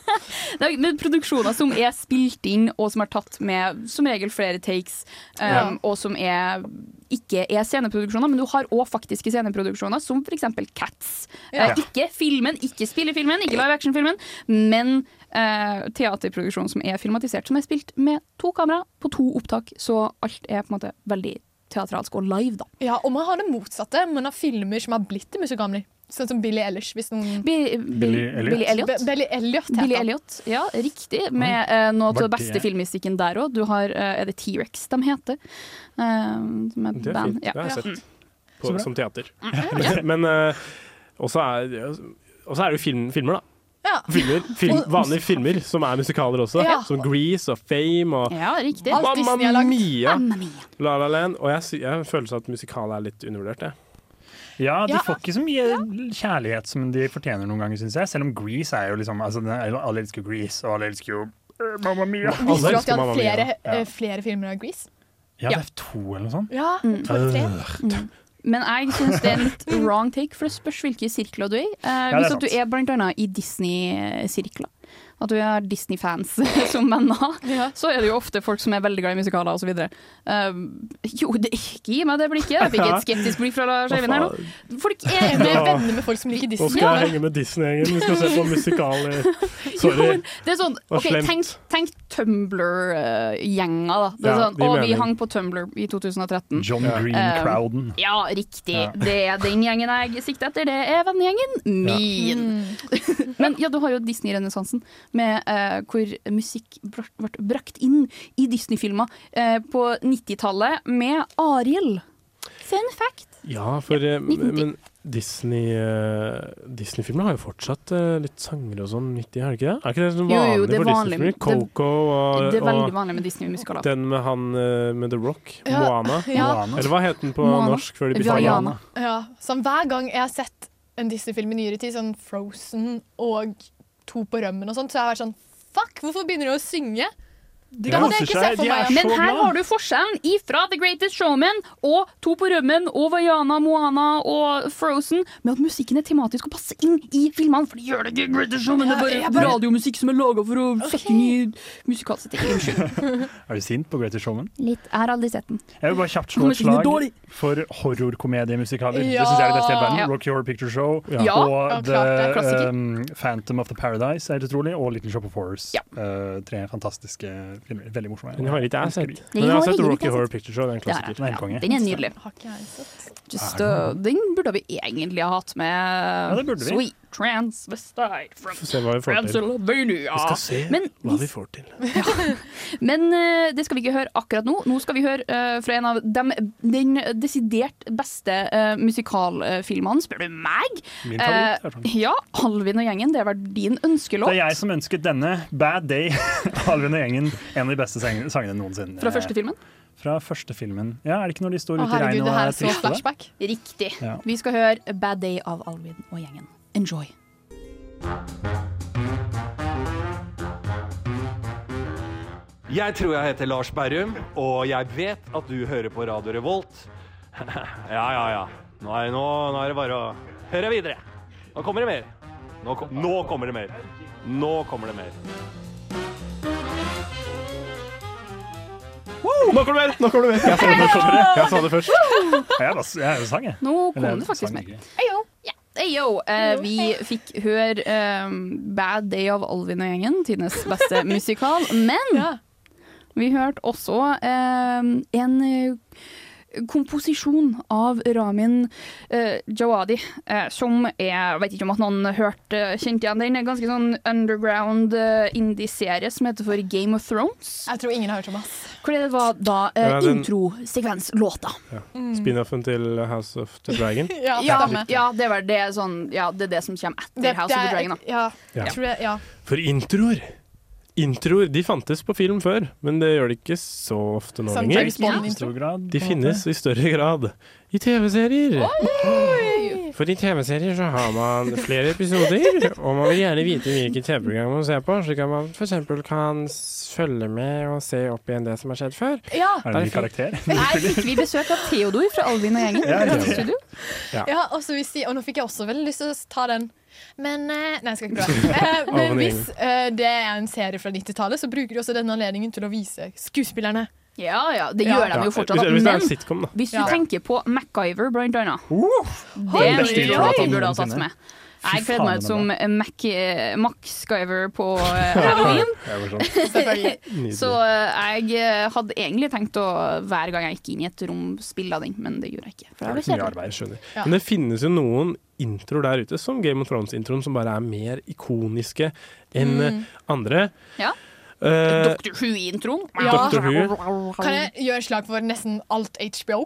[SPEAKER 9] Nei, men produksjoner som er spilt inn, og som er tatt med som regel flere takes, um,
[SPEAKER 4] Ja.
[SPEAKER 9] og som er, ikke er sceneproduksjoner, men du har òg faktiske sceneproduksjoner, som f.eks. Cats.
[SPEAKER 4] Ja.
[SPEAKER 9] Eh, ikke filmen, ikke spillefilmen, ikke live action-filmen, men eh, teaterproduksjon som er filmatisert, som er spilt med to kamera på to opptak, så alt er på en måte veldig teatralsk og live, da.
[SPEAKER 4] Ja, og man har det motsatte. Man har filmer som har blitt til musikaler. Sånn som Billy Ellish. Hvis noen
[SPEAKER 9] Billy Elliot. Billy Elliot.
[SPEAKER 4] Be- Billy Elliot, heter
[SPEAKER 9] Billy
[SPEAKER 4] han.
[SPEAKER 9] Elliot, ja, riktig. Med eh, noe av
[SPEAKER 4] Var
[SPEAKER 9] det beste
[SPEAKER 4] det-
[SPEAKER 9] filmmusikken der òg. Du har eh, Er det T-Rex de heter? Eh, som er
[SPEAKER 5] Det er
[SPEAKER 9] band.
[SPEAKER 5] fint. Det har jeg
[SPEAKER 9] Mm.
[SPEAKER 5] sett
[SPEAKER 9] Så
[SPEAKER 5] på,
[SPEAKER 9] bra.
[SPEAKER 5] som teater.
[SPEAKER 4] Mm.
[SPEAKER 5] Men eh, også er og så er det jo film, filmer, da.
[SPEAKER 4] Ja.
[SPEAKER 5] Filmer, film,
[SPEAKER 4] Og-
[SPEAKER 5] vanlige filmer som er musikaler også.
[SPEAKER 4] Ja.
[SPEAKER 5] Som Grease og Fame og
[SPEAKER 9] Ja, riktig.
[SPEAKER 4] Alt
[SPEAKER 5] Mamma
[SPEAKER 4] Disney har lagd.
[SPEAKER 5] Mia! La La Land. Og jeg, sy- jeg føler seg at musikal er litt undervurdert, jeg.
[SPEAKER 1] Ja, de
[SPEAKER 5] Ja.
[SPEAKER 1] får ikke så mye kjærlighet som de fortjener noen ganger, syns jeg. Selv om Grease er jo liksom altså, den- Alle elsker Grease, og alle elsker jo eh, Mamma Mia.
[SPEAKER 4] Visste du at de hadde flere,
[SPEAKER 1] Ja.
[SPEAKER 4] eh, flere filmer av Grease? Mm.
[SPEAKER 1] ja, det er to eller noe sånt.
[SPEAKER 4] Ja, to eller tre.
[SPEAKER 1] Øh.
[SPEAKER 9] Men jeg syns det er en litt wrong take, for det spørs hvilke sirkler du er i. Eh,
[SPEAKER 1] det er
[SPEAKER 9] hvis at du
[SPEAKER 1] sant.
[SPEAKER 9] er blant annet i Disney-sirkler, at du har Disney-fans som venner, så er det jo ofte folk som er veldig glad i musikaler osv. Uh, jo, det, ikke gi meg det blikket. Jeg fikk et skeptisk blikk fra Lars Eivind her nå. Folk er
[SPEAKER 4] Vi er
[SPEAKER 5] Ja.
[SPEAKER 4] venner med folk som liker
[SPEAKER 5] Nå
[SPEAKER 4] Disney.
[SPEAKER 5] skal jeg henge med Disney-gjengen. Vi skal se på musikaler. Sorry.
[SPEAKER 9] Jo, det er sånn,
[SPEAKER 5] Hva
[SPEAKER 9] ok,
[SPEAKER 5] slemt.
[SPEAKER 9] tenk, tenk Tumblr-gjenga, da. Det er
[SPEAKER 5] Ja,
[SPEAKER 9] sånn,
[SPEAKER 5] de
[SPEAKER 9] å, vi
[SPEAKER 5] mener-
[SPEAKER 9] hang på Tumblr i 2013.
[SPEAKER 1] John Green
[SPEAKER 9] Eh,
[SPEAKER 1] Crowden.
[SPEAKER 9] Ja, riktig.
[SPEAKER 1] Ja.
[SPEAKER 9] Det er den gjengen jeg sikter etter. Det er vennegjengen min. Men ja, du har jo Disney-renessansen, med eh, hvor musikk br- ble brakt inn i Disney-filmer eh, på 90-tallet med Ariel. Fun fact.
[SPEAKER 5] Ja, for eh,
[SPEAKER 9] nitten-
[SPEAKER 5] men Disney eh, Disney-filmer har jo fortsatt eh, litt sanger og sånn midt i, har de ikke det? Er ikke det sånn
[SPEAKER 9] Jo,
[SPEAKER 5] vanlig
[SPEAKER 9] jo, det er
[SPEAKER 5] for
[SPEAKER 9] vanlig.
[SPEAKER 5] Disney-filmer? Coco og,
[SPEAKER 9] Det er veldig
[SPEAKER 5] og
[SPEAKER 9] vanlig med Disney-musikaler.
[SPEAKER 5] den med han eh, med The Rock,
[SPEAKER 4] Ja,
[SPEAKER 5] Moana.
[SPEAKER 4] ja.
[SPEAKER 5] Eller hva het den på
[SPEAKER 9] Moana.
[SPEAKER 5] norsk før de bytta
[SPEAKER 9] Vaiana.
[SPEAKER 4] Ja, sånn Hver gang jeg har sett en Disney-film i nyere tid, sånn Frozen og To på rømmen og sånt, så har jeg vært sånn Fuck, hvorfor begynner du å synge? Det hadde jeg ikke sett for meg.
[SPEAKER 9] Men her har du forskjellen ifra The Greatest Showman og To på rømmen og Vaiana, Moana og Frozen med at musikken er tematisk og passer inn i filmene. For de gjør det ikke i Greatest Showman, det
[SPEAKER 4] Ja,
[SPEAKER 9] er
[SPEAKER 4] jeg
[SPEAKER 9] bare
[SPEAKER 4] bare-
[SPEAKER 9] radiomusikk som er laga for å sette inn i musikalsetting. Unnskyld.
[SPEAKER 1] Er du sint på Greater Showman?
[SPEAKER 9] Litt. Jeg har aldri sett den.
[SPEAKER 1] Jeg vil bare kjapt slå et
[SPEAKER 9] Musikken er
[SPEAKER 1] slag
[SPEAKER 9] dårlig.
[SPEAKER 1] for horrorkomediemusikaler. Det
[SPEAKER 9] Ja.
[SPEAKER 1] syns jeg er det beste i hele
[SPEAKER 9] Ja.
[SPEAKER 1] verden. Rock Your Picture Show
[SPEAKER 9] Ja,
[SPEAKER 1] og
[SPEAKER 9] ja, klart, det er
[SPEAKER 1] The
[SPEAKER 9] klassiker.
[SPEAKER 1] um, Phantom of the Paradise er helt utrolig, og Little Shop of Horrors. Eh, tre fantastiske filmer. Veldig morsomme.
[SPEAKER 5] Den har ikke jeg sett.
[SPEAKER 9] Den
[SPEAKER 5] Men jeg
[SPEAKER 9] har
[SPEAKER 5] har sett
[SPEAKER 9] ingen ikke
[SPEAKER 5] Rocky
[SPEAKER 9] jeg
[SPEAKER 5] Horror
[SPEAKER 9] sett.
[SPEAKER 5] Picture Show, det er en
[SPEAKER 9] Det har
[SPEAKER 5] klassiker.
[SPEAKER 9] jeg.
[SPEAKER 1] en konge.
[SPEAKER 9] Den er nydelig.
[SPEAKER 4] Har ikke jeg sett.
[SPEAKER 9] Just, uh, den burde vi egentlig ha hatt med.
[SPEAKER 1] det burde vi.
[SPEAKER 9] Sweet transvestite from
[SPEAKER 5] Få se hva vi får til.
[SPEAKER 9] Transylvania.
[SPEAKER 5] Vi skal se
[SPEAKER 9] Men
[SPEAKER 5] hva vi får til.
[SPEAKER 9] Men eh, det skal vi ikke høre akkurat nå. Nå skal vi høre eh, fra en av dem, den desidert beste eh, musikalfilmene, spør du meg.
[SPEAKER 1] Min favoritt,
[SPEAKER 9] Eh,
[SPEAKER 1] er sånn.
[SPEAKER 9] ja, Alvin og gjengen, det var din ønskelåt.
[SPEAKER 1] Det er jeg som ønsket denne. Bad Day. Alvin og gjengen. En av de beste sang- sangene noensinne.
[SPEAKER 9] Fra første filmen?
[SPEAKER 1] Fra første filmen. Ja, er det ikke når de står
[SPEAKER 9] Å,
[SPEAKER 1] ute i
[SPEAKER 9] herregud,
[SPEAKER 1] regnet
[SPEAKER 9] det
[SPEAKER 1] og
[SPEAKER 9] her
[SPEAKER 1] er
[SPEAKER 9] er så
[SPEAKER 1] triste? da?
[SPEAKER 9] flashback. Riktig.
[SPEAKER 1] Ja.
[SPEAKER 9] Vi skal høre Bad Day av Alvin og gjengen. Enjoy.
[SPEAKER 17] Jeg tror jeg heter Lars Berrum, og jeg vet at du hører på Radio Revolt. ja, ja, ja. Nå er, nå, nå er det bare å høre videre. Nå kommer det mer. Nå, ko- nå kommer det mer. Nå kommer det mer.
[SPEAKER 5] Nå kommer det mer! Nå kommer det mer! Jeg sa det først. Jeg sa det først.
[SPEAKER 1] Jeg, bare, jeg sang, jeg.
[SPEAKER 9] Nå kom
[SPEAKER 1] Eller,
[SPEAKER 9] det faktisk
[SPEAKER 1] sang
[SPEAKER 9] mer.
[SPEAKER 1] ikke.
[SPEAKER 9] Heyo. Ja, heyo. Eh, vi fikk høre eh, Bad Day av Alvin og gjengen, tidenes beste musikal. Men vi hørte også eh, en eh, komposisjon av Ramin eh, Djawadi, eh, som er Jeg vet ikke om at noen hørte kjente igjen den. En ganske sånn underground eh, indie-serie som heter for Game of Thrones.
[SPEAKER 4] Jeg tror ingen har hørt om oss.
[SPEAKER 9] Hvor det var da eh,
[SPEAKER 5] Ja, den-
[SPEAKER 9] introsekvenslåta.
[SPEAKER 5] Ja.
[SPEAKER 4] Mm.
[SPEAKER 5] Spin-offen til House of the Dragon.
[SPEAKER 4] Ja,
[SPEAKER 9] Ja,
[SPEAKER 4] stemmer.
[SPEAKER 9] ja, det var det sånn Ja, det er det som kommer etter House of the Dragon, da.
[SPEAKER 4] Ja,
[SPEAKER 5] Ja.
[SPEAKER 4] jeg tror det, ja.
[SPEAKER 5] For introer Introer de fantes på film før, men det gjør de ikke så ofte nå
[SPEAKER 4] Som
[SPEAKER 5] lenger.
[SPEAKER 4] James Bond-intro.
[SPEAKER 1] I stor grad, på
[SPEAKER 5] De
[SPEAKER 1] en måte.
[SPEAKER 5] finnes i større grad i TV-serier.
[SPEAKER 1] Oi!
[SPEAKER 5] For i TV-serier så har man flere episoder, og man vil gjerne vite hvilket TV-program man ser på, slik at man f.eks. kan s- følge med og se opp igjen det som har skjedd før.
[SPEAKER 9] Ja.
[SPEAKER 1] Er det en ny karakter?
[SPEAKER 9] Her fikk vi besøk av Theodor fra Alvin og gjengen.
[SPEAKER 1] Ja, ja, ja.
[SPEAKER 9] i studio.
[SPEAKER 5] Ja.
[SPEAKER 4] Ja, og, så hvis de, og nå fikk jeg også veldig lyst til å ta den. Men eh, Nei, jeg skal ikke prøve. Eh,
[SPEAKER 5] Å,
[SPEAKER 4] men
[SPEAKER 5] men
[SPEAKER 4] hvis eh, det er en serie fra 90-tallet, så bruker de også denne anledningen til å vise skuespillerne.
[SPEAKER 9] Ja, ja, det gjør
[SPEAKER 5] Ja.
[SPEAKER 9] de jo fortsatt.
[SPEAKER 5] Hvis- hvis det er en
[SPEAKER 9] men
[SPEAKER 5] sitcom, da.
[SPEAKER 9] hvis du
[SPEAKER 5] Ja.
[SPEAKER 9] tenker på MacGyver, blant annet
[SPEAKER 1] Uh!
[SPEAKER 9] Det
[SPEAKER 5] Den
[SPEAKER 9] er
[SPEAKER 5] beste
[SPEAKER 9] mye
[SPEAKER 5] utgåva av
[SPEAKER 9] vi
[SPEAKER 5] den
[SPEAKER 9] burde ha tatt
[SPEAKER 5] noensinne.
[SPEAKER 9] med. Jeg kledde meg
[SPEAKER 5] faen,
[SPEAKER 9] ut som Mac, eh, MacGyver på eh, Halloween.
[SPEAKER 1] sånn-
[SPEAKER 5] Nydelig.
[SPEAKER 9] Så eh, jeg eh, hadde egentlig tenkt å hver gang jeg gikk inn i et rom, spille av den, men det gjorde jeg ikke. For
[SPEAKER 5] Det er
[SPEAKER 9] jeg
[SPEAKER 5] litt mye
[SPEAKER 9] ble
[SPEAKER 5] arbeid, skjønner.
[SPEAKER 9] Ja.
[SPEAKER 5] Men det finnes jo noen introer der ute, som Game of Thrones-introen, som bare er mer ikoniske enn
[SPEAKER 9] Mm.
[SPEAKER 5] eh, andre.
[SPEAKER 9] Ja.
[SPEAKER 5] Eh,
[SPEAKER 9] Dr. Who-introen.
[SPEAKER 5] Ja. Dr. Who.
[SPEAKER 4] Kan jeg gjøre slag for nesten alt HBO?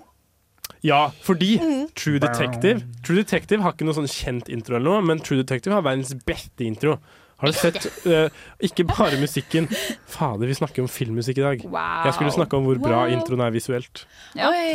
[SPEAKER 5] Ja, fordi True Detective True Detective har ikke noe sånn kjent intro, eller noe, men True Detective har verdens beste intro. Har du sett eh, Ikke bare musikken. Fader, vi snakker om filmmusikk i dag.
[SPEAKER 4] Wow.
[SPEAKER 5] Jeg skulle snakke om hvor bra
[SPEAKER 4] Wow.
[SPEAKER 5] introen er visuelt.
[SPEAKER 4] Oi,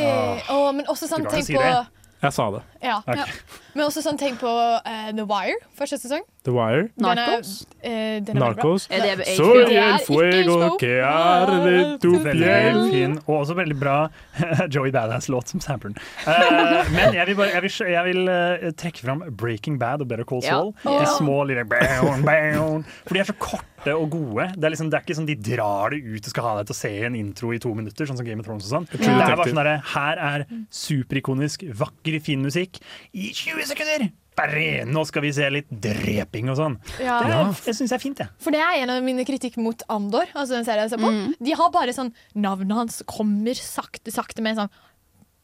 [SPEAKER 4] å, men også sånn,
[SPEAKER 5] Ah. Du kan jo
[SPEAKER 4] tenk
[SPEAKER 5] si
[SPEAKER 4] på
[SPEAKER 5] det. Jeg sa det.
[SPEAKER 4] ja.
[SPEAKER 5] Ok.
[SPEAKER 4] Men også sånn, tenk på eh, The Wire, første sesong.
[SPEAKER 5] The Wire.
[SPEAKER 4] Den er- eh, den er veldig bra.
[SPEAKER 5] Narcos.
[SPEAKER 4] Nei, det er
[SPEAKER 5] Soy
[SPEAKER 4] ikke
[SPEAKER 5] el fuego
[SPEAKER 4] HBO.
[SPEAKER 5] que arde tu
[SPEAKER 1] Veldig
[SPEAKER 5] piel.
[SPEAKER 1] fin, og også veldig bra Joey Badass-låt som sampler den. Eh, men jeg vil, bare, jeg vil, jeg vil eh, trekke fram Breaking Bad og Better Call
[SPEAKER 9] Ja.
[SPEAKER 1] Saul.
[SPEAKER 9] Ja.
[SPEAKER 1] De små lille bown, bown. For de er så korte og gode. Det er, liksom, det er ikke sånn de drar det ut og skal ha deg til å se en intro i to minutter, sånn som Game of Thrones og sånn.
[SPEAKER 5] True
[SPEAKER 1] Det er bare
[SPEAKER 5] Detective.
[SPEAKER 1] sånn derre Her er superikonisk, vakker, fin musikk i 20 sekunder! Bare, nå skal vi se litt dreping og sånn.
[SPEAKER 4] Ja.
[SPEAKER 1] Det er- jeg syns jeg er fint, jeg.
[SPEAKER 4] For det er en av mine kritikk mot Andor. Altså den serien jeg ser på
[SPEAKER 9] Mm.
[SPEAKER 4] De har bare sånn Navnet hans kommer sakte, sakte med sånn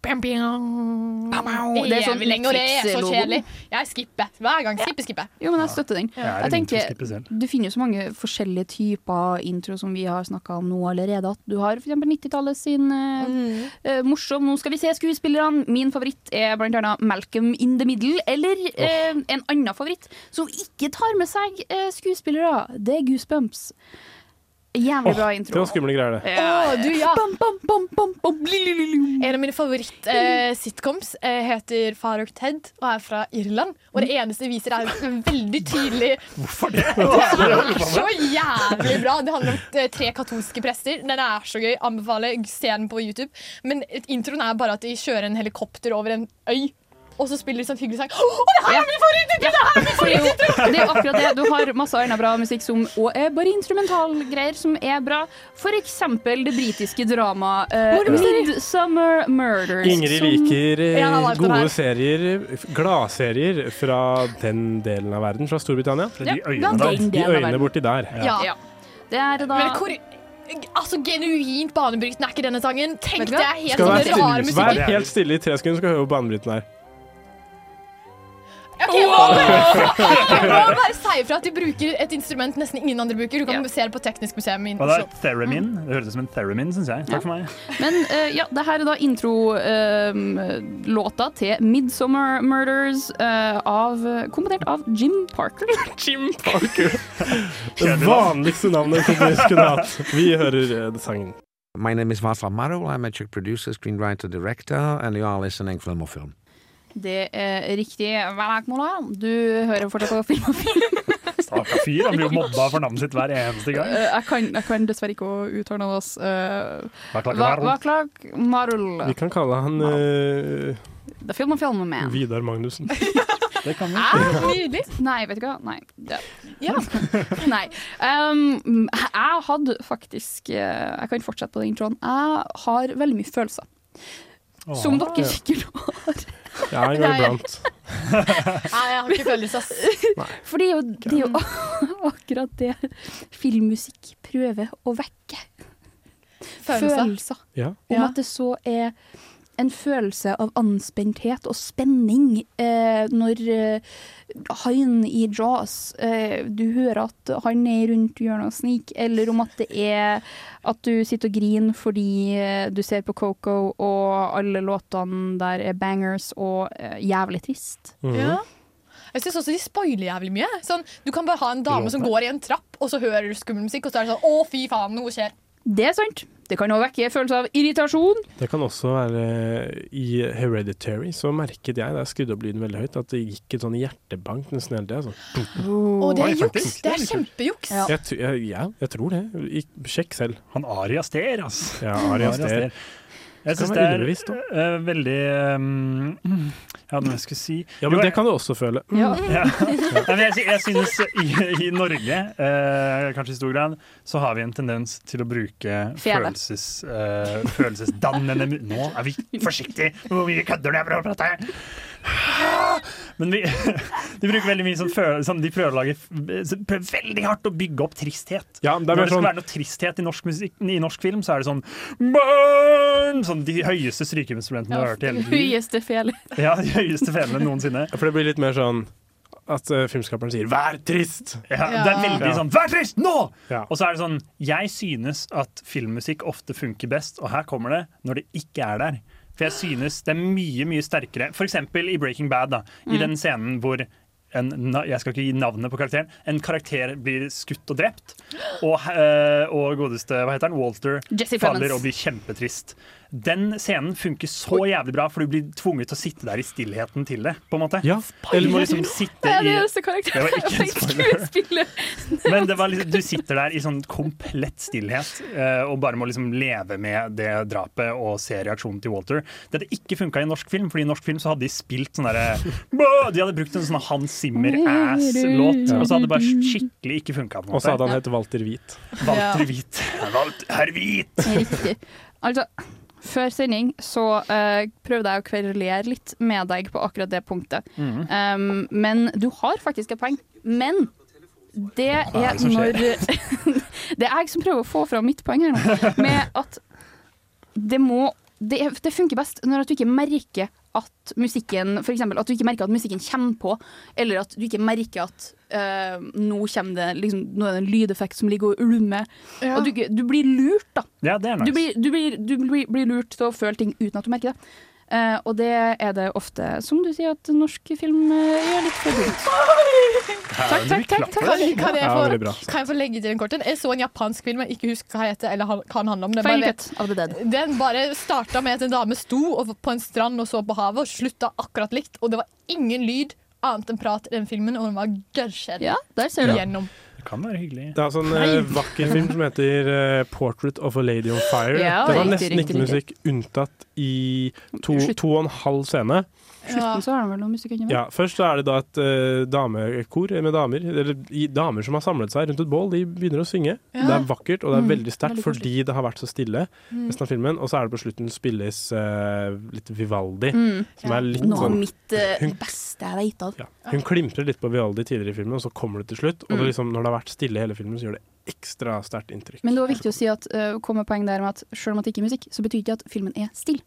[SPEAKER 4] bam, bam,
[SPEAKER 9] bam. Det er sånn
[SPEAKER 4] evig lenge, og det er så
[SPEAKER 9] Netflix-logoen.
[SPEAKER 4] kjedelig. Jeg skipper hver gang. Skipper, skipper.
[SPEAKER 9] Jo, men jeg støtter den.
[SPEAKER 4] Ja.
[SPEAKER 9] Jeg
[SPEAKER 4] Jeg er en
[SPEAKER 9] tenker,
[SPEAKER 4] introskipper
[SPEAKER 9] Du finner jo så mange forskjellige typer intro som vi har snakka om nå allerede. At du har f.eks. 90-tallet sin eh, eh, morsom 'Nå skal vi se skuespillerne'. Min favoritt er blant annet 'Malcolm in the Middle'. Eller eh, en annen favoritt som ikke tar med seg eh, skuespillere. Det er Goosebumps. Jævlig
[SPEAKER 5] Åh,
[SPEAKER 9] bra
[SPEAKER 5] det
[SPEAKER 9] intro.
[SPEAKER 5] var skumle greier, det.
[SPEAKER 4] Å, du, ja. En av mine favoritt-sitcoms eh, heter Farok Ted og er fra Irland. Og det
[SPEAKER 9] Mm.
[SPEAKER 4] eneste de viser, er en veldig tydelig
[SPEAKER 1] Hvorfor det?
[SPEAKER 4] Det er så jævlig bra! Det handler om eh, tre katolske prester. Den er så gøy. Anbefaler. Se den på YouTube. Men introen er bare at de kjører en helikopter over en øy. Og så spiller de sånn hyggelig sang. Å, det her er min favorittintro! Det her er min
[SPEAKER 9] For det er jo-
[SPEAKER 4] favorittintro!
[SPEAKER 9] det er jo akkurat det. Du har masse annen bra musikk som og er bare instrumentalgreier som er bra. For eksempel det britiske dramaet uh, Midsummer Murders.
[SPEAKER 5] Ingrid
[SPEAKER 9] som-
[SPEAKER 5] liker eh,
[SPEAKER 9] Ja, jeg har valgt den her.
[SPEAKER 5] gode serier, f- gladserier fra den delen av verden, fra Storbritannia.
[SPEAKER 9] de Ja, øyene den der. delen
[SPEAKER 5] De
[SPEAKER 9] av verden.
[SPEAKER 5] øyene borti der.
[SPEAKER 4] Ja.
[SPEAKER 9] Det er da
[SPEAKER 4] Men hvor Altså, genuint banebrytende er ikke denne sangen. Tenk
[SPEAKER 9] Vet du hva?
[SPEAKER 4] deg helt
[SPEAKER 5] Skal
[SPEAKER 4] sånn
[SPEAKER 5] være
[SPEAKER 4] rar
[SPEAKER 5] stille,
[SPEAKER 4] musikk.
[SPEAKER 5] vær helt stille i tre sekunder, skal vi høre hvor banebryten er.
[SPEAKER 4] Ok, jeg må bare- jeg må bare si ifra at de bruker et instrument nesten ingen andre bruker. Du kan se det på Teknisk museum i
[SPEAKER 1] Hva da?
[SPEAKER 4] Oslo.
[SPEAKER 1] Theremin?
[SPEAKER 5] Mm.
[SPEAKER 1] Det høres ut som en theremin, syns jeg. Takk for meg.
[SPEAKER 9] Men eh, ja, det her er da intro-låta til 'Midsummer Murders' eh, av, komponert av Jim Parker.
[SPEAKER 5] Jim Parker. Det vanligste navnet som vi skulle hatt. Vi hører eh, sangen.
[SPEAKER 18] My name is Václav Marul. I'm a Czech producer, screenwriter, director, and you are listening Film or Film.
[SPEAKER 9] Det er riktig. Velakmola. Du hører fortsatt på film og film.
[SPEAKER 1] Stakkar fyr, han blir jo mobba for navnet sitt hver eneste gang.
[SPEAKER 9] Eh, jeg, kan, jeg kan dessverre ikke å uttale noe av oss. Uh,
[SPEAKER 1] Vaklak Marul.
[SPEAKER 9] Vaklak Marul.
[SPEAKER 5] Vi kan kalle han eh,
[SPEAKER 9] Det er film og film med.
[SPEAKER 5] Vidar Magnussen. Det kan
[SPEAKER 9] Nydelig. Nei, vet du hva. Nei. Ja. Nei. Um, jeg hadde faktisk eh, Jeg kan fortsette på den introen. Jeg har veldig mye følelser. Som
[SPEAKER 5] Åh.
[SPEAKER 9] dere sikkert har.
[SPEAKER 5] Ja, en gang
[SPEAKER 9] Nei.
[SPEAKER 5] iblant.
[SPEAKER 4] Nei, jeg har ikke følelse, ass.
[SPEAKER 9] For det er jo, det er jo akkurat det filmmusikk prøver å vekke.
[SPEAKER 4] Følelser.
[SPEAKER 5] Ja.
[SPEAKER 9] Om at det så er en følelse av anspenthet og spenning eh, når eh, han i Jaws eh, Du hører at han er rundt hjørnet og snik, eller om at det er at du sitter og griner fordi eh, du ser på Coco, og alle låtene der er bangers og eh, jævlig trist.
[SPEAKER 5] Mhm.
[SPEAKER 4] Ja. Jeg synes også de spoiler jævlig mye. Sånn, du kan bare ha en dame som går i en trapp, og så hører du skummel musikk, og så er det sånn Å, fy faen, noe skjer.
[SPEAKER 9] Det er sant. Det kan også vekke følelser av irritasjon.
[SPEAKER 5] Det kan også være I Hereditary så merket jeg da jeg skrudde opp lyden veldig høyt, at det gikk et sånn hjertebank nesten hele tida. Sånn.
[SPEAKER 4] Å, det
[SPEAKER 5] Oi,
[SPEAKER 4] er juks!
[SPEAKER 5] faktisk.
[SPEAKER 4] Det er kjempejuks.
[SPEAKER 5] Jeg, tr- jeg, ja, jeg tror det. Ik- Sjekk selv.
[SPEAKER 1] Han Ari Aster, altså.
[SPEAKER 5] Ja, Ari
[SPEAKER 1] Ari Aster.
[SPEAKER 5] Mm. Aster.
[SPEAKER 1] Jeg
[SPEAKER 5] Skal
[SPEAKER 1] syns
[SPEAKER 5] være
[SPEAKER 1] det er
[SPEAKER 5] underbevisst,
[SPEAKER 1] eh, veldig um, Ja, hva skal jeg si
[SPEAKER 5] Ja, men
[SPEAKER 1] Jo,
[SPEAKER 5] det kan du også føle.
[SPEAKER 1] Ja. Nei, men jeg, sy- jeg synes i, i Norge, eh, kanskje i stor grad, så har vi en tendens til å bruke
[SPEAKER 9] Fele.
[SPEAKER 1] følelses, eh, følelsesdannende mu- Nå er vi forsiktige med hvor mye kødder det er for å prate! Men vi, de bruker veldig mye sånn følelse som De prøver å lage f- så prøver veldig hardt å bygge opp tristhet.
[SPEAKER 5] Ja, det
[SPEAKER 1] Når
[SPEAKER 5] er mer
[SPEAKER 1] det skal
[SPEAKER 5] sånn
[SPEAKER 1] være noe tristhet i norsk, musikk, i norsk film, så er det sånn Burn! Sånn de høyeste strykeinstrumentene du har hørt i hele tiden.
[SPEAKER 9] Høyeste fele.
[SPEAKER 1] Ja, de høyeste felene noensinne.
[SPEAKER 5] For det blir litt mer sånn at eh, filmskaperen sier 'vær trist'.
[SPEAKER 1] Ja, det er veldig
[SPEAKER 5] Ja.
[SPEAKER 1] sånn 'vær trist nå!' Og så er det sånn Jeg synes at filmmusikk ofte funker best, og her kommer det når det ikke er der. For jeg synes det er mye, mye sterkere. For eksempel i Breaking Bad, da. I
[SPEAKER 19] Mm.
[SPEAKER 1] den scenen hvor en, na- jeg skal ikke gi navnet på karakteren. En karakter blir skutt og drept. Og, eh, og godeste hva heter han, Walter
[SPEAKER 9] Jesse Plemons.
[SPEAKER 1] faller og blir kjempetrist. Den scenen funker så jævlig bra, for du blir tvunget til å sitte der i stillheten til det. på en måte. Eller må liksom sitte
[SPEAKER 9] Det er
[SPEAKER 1] i
[SPEAKER 9] den eneste karakteren
[SPEAKER 1] Det var ikke en
[SPEAKER 9] jeg vet skuespiller.
[SPEAKER 1] men det var liksom, du sitter der i sånn komplett stillhet eh, og bare må liksom leve med det drapet og se reaksjonen til Walter. Dette ikke funka i norsk film, Fordi i norsk film så hadde de spilt sånn derre Bå! De hadde brukt en sånn Hans Zimmer-ass-låt, og så hadde det bare skikkelig ikke funka.
[SPEAKER 5] Og så hadde han hett Walter Hvit.
[SPEAKER 1] Walter
[SPEAKER 9] Ja.
[SPEAKER 1] Hvit. Walt- Herr Hvit!
[SPEAKER 9] Riktig. Altså, før sending så eh, prøvde jeg å kverulere litt med deg på akkurat det punktet.
[SPEAKER 7] Mhm.
[SPEAKER 9] Um, men du har faktisk et poeng. Men det
[SPEAKER 7] Hva er
[SPEAKER 9] er
[SPEAKER 7] det som skjer?
[SPEAKER 9] når Det er jeg som prøver å få fram mitt poeng her nå. Med at det må Det, er- det funker best når at du ikke merker at musikken for eksempel, at du ikke merker at musikken kommer på, eller at du ikke merker at eh, nå kommer det liksom, nå er det en lydeffekt som ligger og ulmer.
[SPEAKER 4] Ja.
[SPEAKER 9] At du, ikke- du blir lurt, da.
[SPEAKER 1] Ja, det er
[SPEAKER 9] Du,
[SPEAKER 1] nice.
[SPEAKER 9] blir, du, blir, du blir, blir lurt til å føle ting uten at du merker det. Eh, og det er det ofte, som du sier, at norsk film eh, gjør litt for dyrt. Takk, takk, takk. takk.
[SPEAKER 4] Kan, kan, jeg
[SPEAKER 9] Ja, veldig
[SPEAKER 4] få,
[SPEAKER 9] bra.
[SPEAKER 4] kan jeg få legge til en kort en? Jeg så en japansk film jeg ikke husker hva heter, eller han- hva den handler om. Den
[SPEAKER 9] Final
[SPEAKER 4] bare,
[SPEAKER 9] Cut of the Dead.
[SPEAKER 4] den bare starta med at en dame sto og- på en strand og så på havet, og slutta akkurat likt. Og det var ingen lyd annet enn prat i den filmen, og den var gørrkjedelig.
[SPEAKER 9] Ja, der ser du.
[SPEAKER 4] Gjennom.
[SPEAKER 1] Det kan være hyggelig.
[SPEAKER 5] Det er altså en eh, vakker film som heter eh, 'Portrait of a Lady on Fire'.
[SPEAKER 9] Ja,
[SPEAKER 5] det var
[SPEAKER 9] riktig,
[SPEAKER 5] nesten
[SPEAKER 9] riktig,
[SPEAKER 5] ikke musikk, unntatt i to,
[SPEAKER 9] Slutt. Mm.
[SPEAKER 5] to og en halv scene.
[SPEAKER 9] Slutten så har den vel noe musikk inni meg.
[SPEAKER 5] Ja, først så er det da et eh, damekor med damer, eller i- damer som har samlet seg rundt et bål. De begynner å synge.
[SPEAKER 9] Ja.
[SPEAKER 5] Det er vakkert, og det er
[SPEAKER 9] Mm,
[SPEAKER 5] veldig sterkt
[SPEAKER 9] veldig koselig.
[SPEAKER 5] fordi det har vært så stille
[SPEAKER 9] Mm.
[SPEAKER 5] resten av filmen. Og så er det på slutten spilles eh, litt Vivaldi,
[SPEAKER 9] Mm.
[SPEAKER 5] som er litt
[SPEAKER 9] Noe av
[SPEAKER 5] sånn
[SPEAKER 9] mitt eh,
[SPEAKER 5] Hun-
[SPEAKER 9] beste jeg veit av.
[SPEAKER 5] Hun klimprer litt på Vivaldi tidligere i filmen, og så kommer det til slutt. Og det
[SPEAKER 9] Mm.
[SPEAKER 5] liksom, når det har vært stille i hele filmen, så gjør det ekstra sterkt inntrykk.
[SPEAKER 9] Men det var viktig å si at uh, kom med poeng der med at selv om at det ikke er musikk, så betyr ikke det at filmen er stille.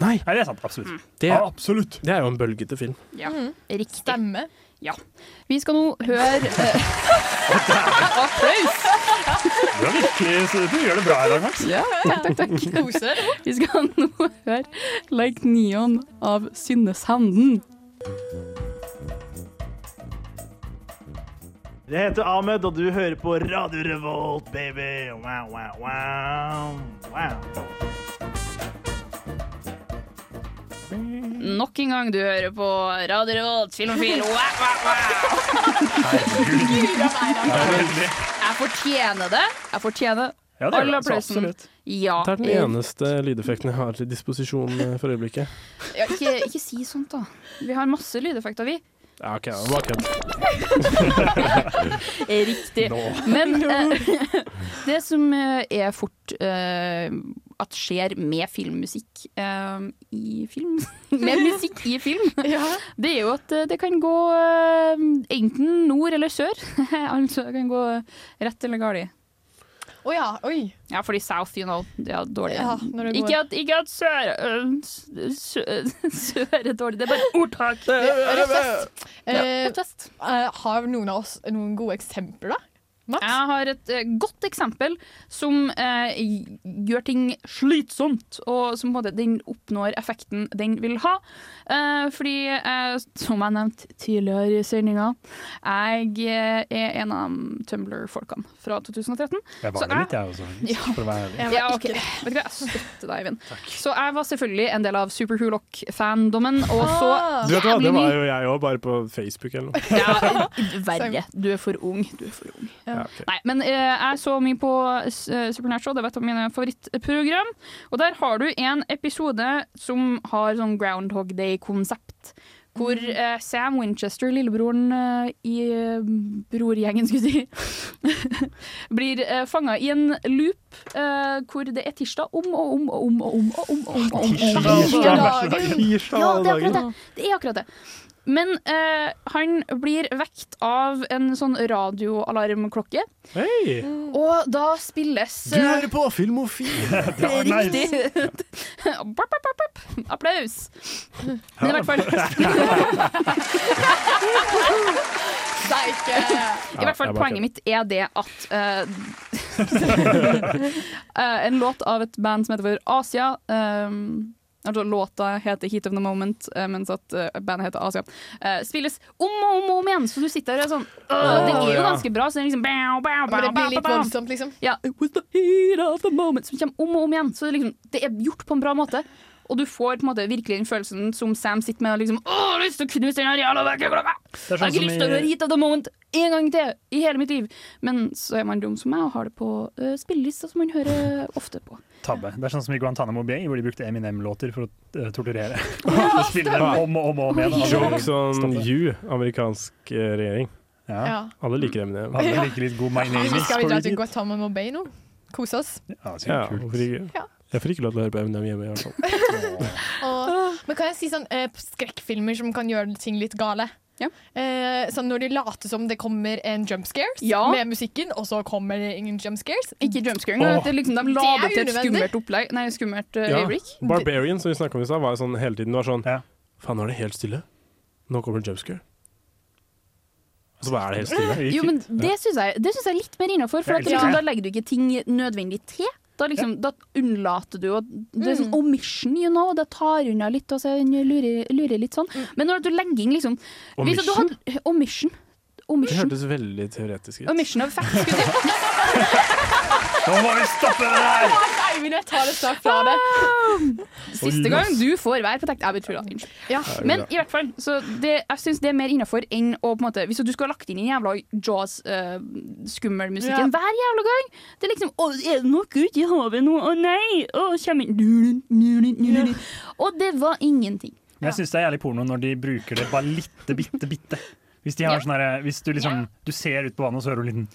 [SPEAKER 5] Nei.
[SPEAKER 1] det er sant. Absolutt.
[SPEAKER 9] Mm.
[SPEAKER 5] Det,
[SPEAKER 1] Ja,
[SPEAKER 5] det er jo en bølgete film.
[SPEAKER 9] Ja, riktig.
[SPEAKER 4] Stemme.
[SPEAKER 9] Ja. Vi skal nå høre eh, Applaus!
[SPEAKER 1] Du, er virkelig, du gjør det bra i dag, Max.
[SPEAKER 9] Ja, takk, takk, takk. Vi skal nå høre Like Neon av Synnesanden.
[SPEAKER 13] Jeg heter Ahmed, og du hører på Radio Revolt, baby. Wow, wow, wow. wow.
[SPEAKER 9] Nok en gang du hører på Radio Revolt, Filmofil. Wow, wow, wow. Jeg fortjener det. Jeg fortjener
[SPEAKER 5] Ja, det gjør du,
[SPEAKER 9] all
[SPEAKER 5] altså,
[SPEAKER 9] applausen.
[SPEAKER 5] absolutt.
[SPEAKER 9] Ja,
[SPEAKER 5] Det er den
[SPEAKER 9] eh,
[SPEAKER 5] eneste lydeffekten jeg har til disposisjon eh, for øyeblikket.
[SPEAKER 9] ja, ikke, ikke si sånt, da. Vi har masse lydeffekter, vi.
[SPEAKER 5] Ja, ok, det var bare kødd.
[SPEAKER 9] Eh, Riktig. Men eh, det som eh, er fort eh, at skjer med filmmusikk eh, i film Med musikk i film, det er jo at eh, det kan gå eh, enten nord eller sør. altså det kan gå rett eller galt.
[SPEAKER 4] Å ja, oi.
[SPEAKER 9] Ja, fordi south, you know, det er dårlig.
[SPEAKER 4] Ja, når det går-
[SPEAKER 9] ikke, at, ikke at sør øh, Sør sør er dårlig, det er bare et ordtak.
[SPEAKER 4] Rett og slett.
[SPEAKER 9] Ja,
[SPEAKER 4] Eh, eh, har noen av oss noen gode eksempler, da?
[SPEAKER 9] Jeg har et eh, godt eksempel som eh, gjør ting slitsomt, og som på en måte den oppnår effekten den vil ha. Eh, fordi, eh, som jeg nevnte tidligere i sendinga, jeg eh, er en av Tumblr-folkene fra 2013.
[SPEAKER 19] Jeg
[SPEAKER 9] Så
[SPEAKER 19] var det litt, jeg også.
[SPEAKER 9] Ja.
[SPEAKER 19] For å være ærlig.
[SPEAKER 9] Ja, ok. Vet du hva, jeg støtter deg, Eivind. Så jeg var selvfølgelig en del av Super Hulock-fandommen, og så
[SPEAKER 4] Ah,
[SPEAKER 5] Du vet hva,
[SPEAKER 9] jævlig
[SPEAKER 5] Det var
[SPEAKER 9] ny-
[SPEAKER 5] jo jeg òg, bare på Facebook eller noe.
[SPEAKER 9] Verre. Du er for ung. Du er for ung.
[SPEAKER 5] Ja, ok.
[SPEAKER 9] Nei, men eh, jeg så mye på eh, Supernatural, det er et av mine favorittprogram. Og der har du en episode som har sånn Groundhog Day-konsept. Hvor eh, Sam Winchester, lillebroren eh, i eh, brorgjengen, skulle jeg si, blir eh, fanga i en loop eh, hvor det er tirsdag om og om og om og om. og om, og om, og om,
[SPEAKER 5] Tirsdag
[SPEAKER 9] og om.
[SPEAKER 5] alle dager. Tirsdag
[SPEAKER 9] Ja,
[SPEAKER 5] alle
[SPEAKER 9] det er
[SPEAKER 5] dager.
[SPEAKER 9] akkurat det. Det er akkurat det. Men eh, han blir vekt av en sånn radioalarmklokke.
[SPEAKER 5] Hei!
[SPEAKER 9] Mm. Og da spilles
[SPEAKER 5] Du hører på Filmofil!
[SPEAKER 9] Riktig! Bap, bap, bap, bap. Applaus! Men i hvert fall Steike! I hvert
[SPEAKER 7] Ja, jeg
[SPEAKER 9] fall
[SPEAKER 7] bare
[SPEAKER 9] poenget mitt er det at eh, eh, En låt av et band som heter for Asia eh, Altså Låta heter 'Heat of the Moment', eh, mens at eh, bandet heter Asia. eh, spilles om og om og om igjen, så du sitter der og er sånn «Åh, Den er jo
[SPEAKER 7] ja.
[SPEAKER 9] ganske bra, så den er liksom bow, bow,
[SPEAKER 4] Men det
[SPEAKER 9] bow,
[SPEAKER 4] blir litt
[SPEAKER 9] bow, bow».
[SPEAKER 4] voldsomt, liksom.
[SPEAKER 9] Ja, it was the heat of the moment Som kommer om og om igjen Så det, er liksom, det er gjort på en bra måte Og du får på en måte virkelig den følelsen som Sam sitter med og liksom, Åh, jeg har lyst til å knuse den her jævla veggen, bla, bla.
[SPEAKER 7] Det er sånn
[SPEAKER 9] Jeg har
[SPEAKER 7] som
[SPEAKER 9] ikke lyst til å
[SPEAKER 7] i-
[SPEAKER 9] høre hit of the moment En gang til i hele mitt liv Men så er man dum som meg og har det på uh, spillelister Som man hører ofte på
[SPEAKER 1] Tabbe. Det er sånn som i Guantánamo Bay, hvor de brukte Eminem-låter for å eh, torturere. De spiller dem om og om og om igjen. og aldri
[SPEAKER 5] Jokes on
[SPEAKER 1] stoppe.
[SPEAKER 5] you, amerikansk eh, regjering.
[SPEAKER 1] liksom- Ja.
[SPEAKER 5] Alle liker Eminem.
[SPEAKER 1] Alle liker litt god My Name Is.
[SPEAKER 4] Skal vi dra til Guatamamo Bay nå? Kose oss?
[SPEAKER 5] Ja, hvorfor ikke? Jeg får ikke lov til å høre på Eminem hjemme, i hvert fall.
[SPEAKER 4] Og, men kan jeg si sånn eh, skrekkfilmer som kan gjøre ting litt gale? Eh, sånn når de later som det kommer en jump scares
[SPEAKER 9] Ja.
[SPEAKER 4] med musikken, og så kommer det ingen jump scares.
[SPEAKER 9] Ikke jump scaring, men at det liksom, de la det til et skummelt opplegg Nei, skummelt uh,
[SPEAKER 5] Ja.
[SPEAKER 9] øyeblikk
[SPEAKER 5] Barbarian, som vi snakka om i stad, var jo sånn hele tiden. Det Var sånn Faen, nå er det helt stille. Nå kommer det jumpscare. Og så bare er det helt stille.
[SPEAKER 9] Jo, men det syns jeg, det synes jeg er litt mer innafor,
[SPEAKER 5] Jeg
[SPEAKER 9] for at,
[SPEAKER 5] elsker
[SPEAKER 9] liksom,
[SPEAKER 5] det.
[SPEAKER 9] da legger du ikke ting nødvendig til. Da, liksom, da unnlater du å Det er sånn omission, you know. Da tar unna litt og så lurer, lurer litt sånn. Men når du legger inn liksom hvis at du
[SPEAKER 5] Omission?
[SPEAKER 9] hadde- Omission.
[SPEAKER 5] Det
[SPEAKER 9] Omission.
[SPEAKER 5] hørtes veldig teoretisk ut.
[SPEAKER 9] Omission of fact. skulle jeg si.
[SPEAKER 5] Nå må vi stoppe det der!
[SPEAKER 9] Altså,
[SPEAKER 4] Eivind, jeg tar det snart fra deg.
[SPEAKER 9] Siste gang du får vær på takt. Jeg betyr det. Unnskyld. Men i hvert fall, så det, jeg syns det er mer innafor enn å på en måte Hvis du skulle ha lagt inn den jævla
[SPEAKER 7] Ja.
[SPEAKER 9] jazz-skummelmusikken hver jævla gang Det er liksom Å, er det noe ute i havet nå? Å nei! Å, kommer inn Dun, dun, dun, dun, dun. Og det var ingenting.
[SPEAKER 1] Men jeg syns det er jævlig porno når de bruker det bare litte, bitte, bitte. Hvis, de har sånn herre- hvis du liksom Du ser ut på vannet, og så hører du en liten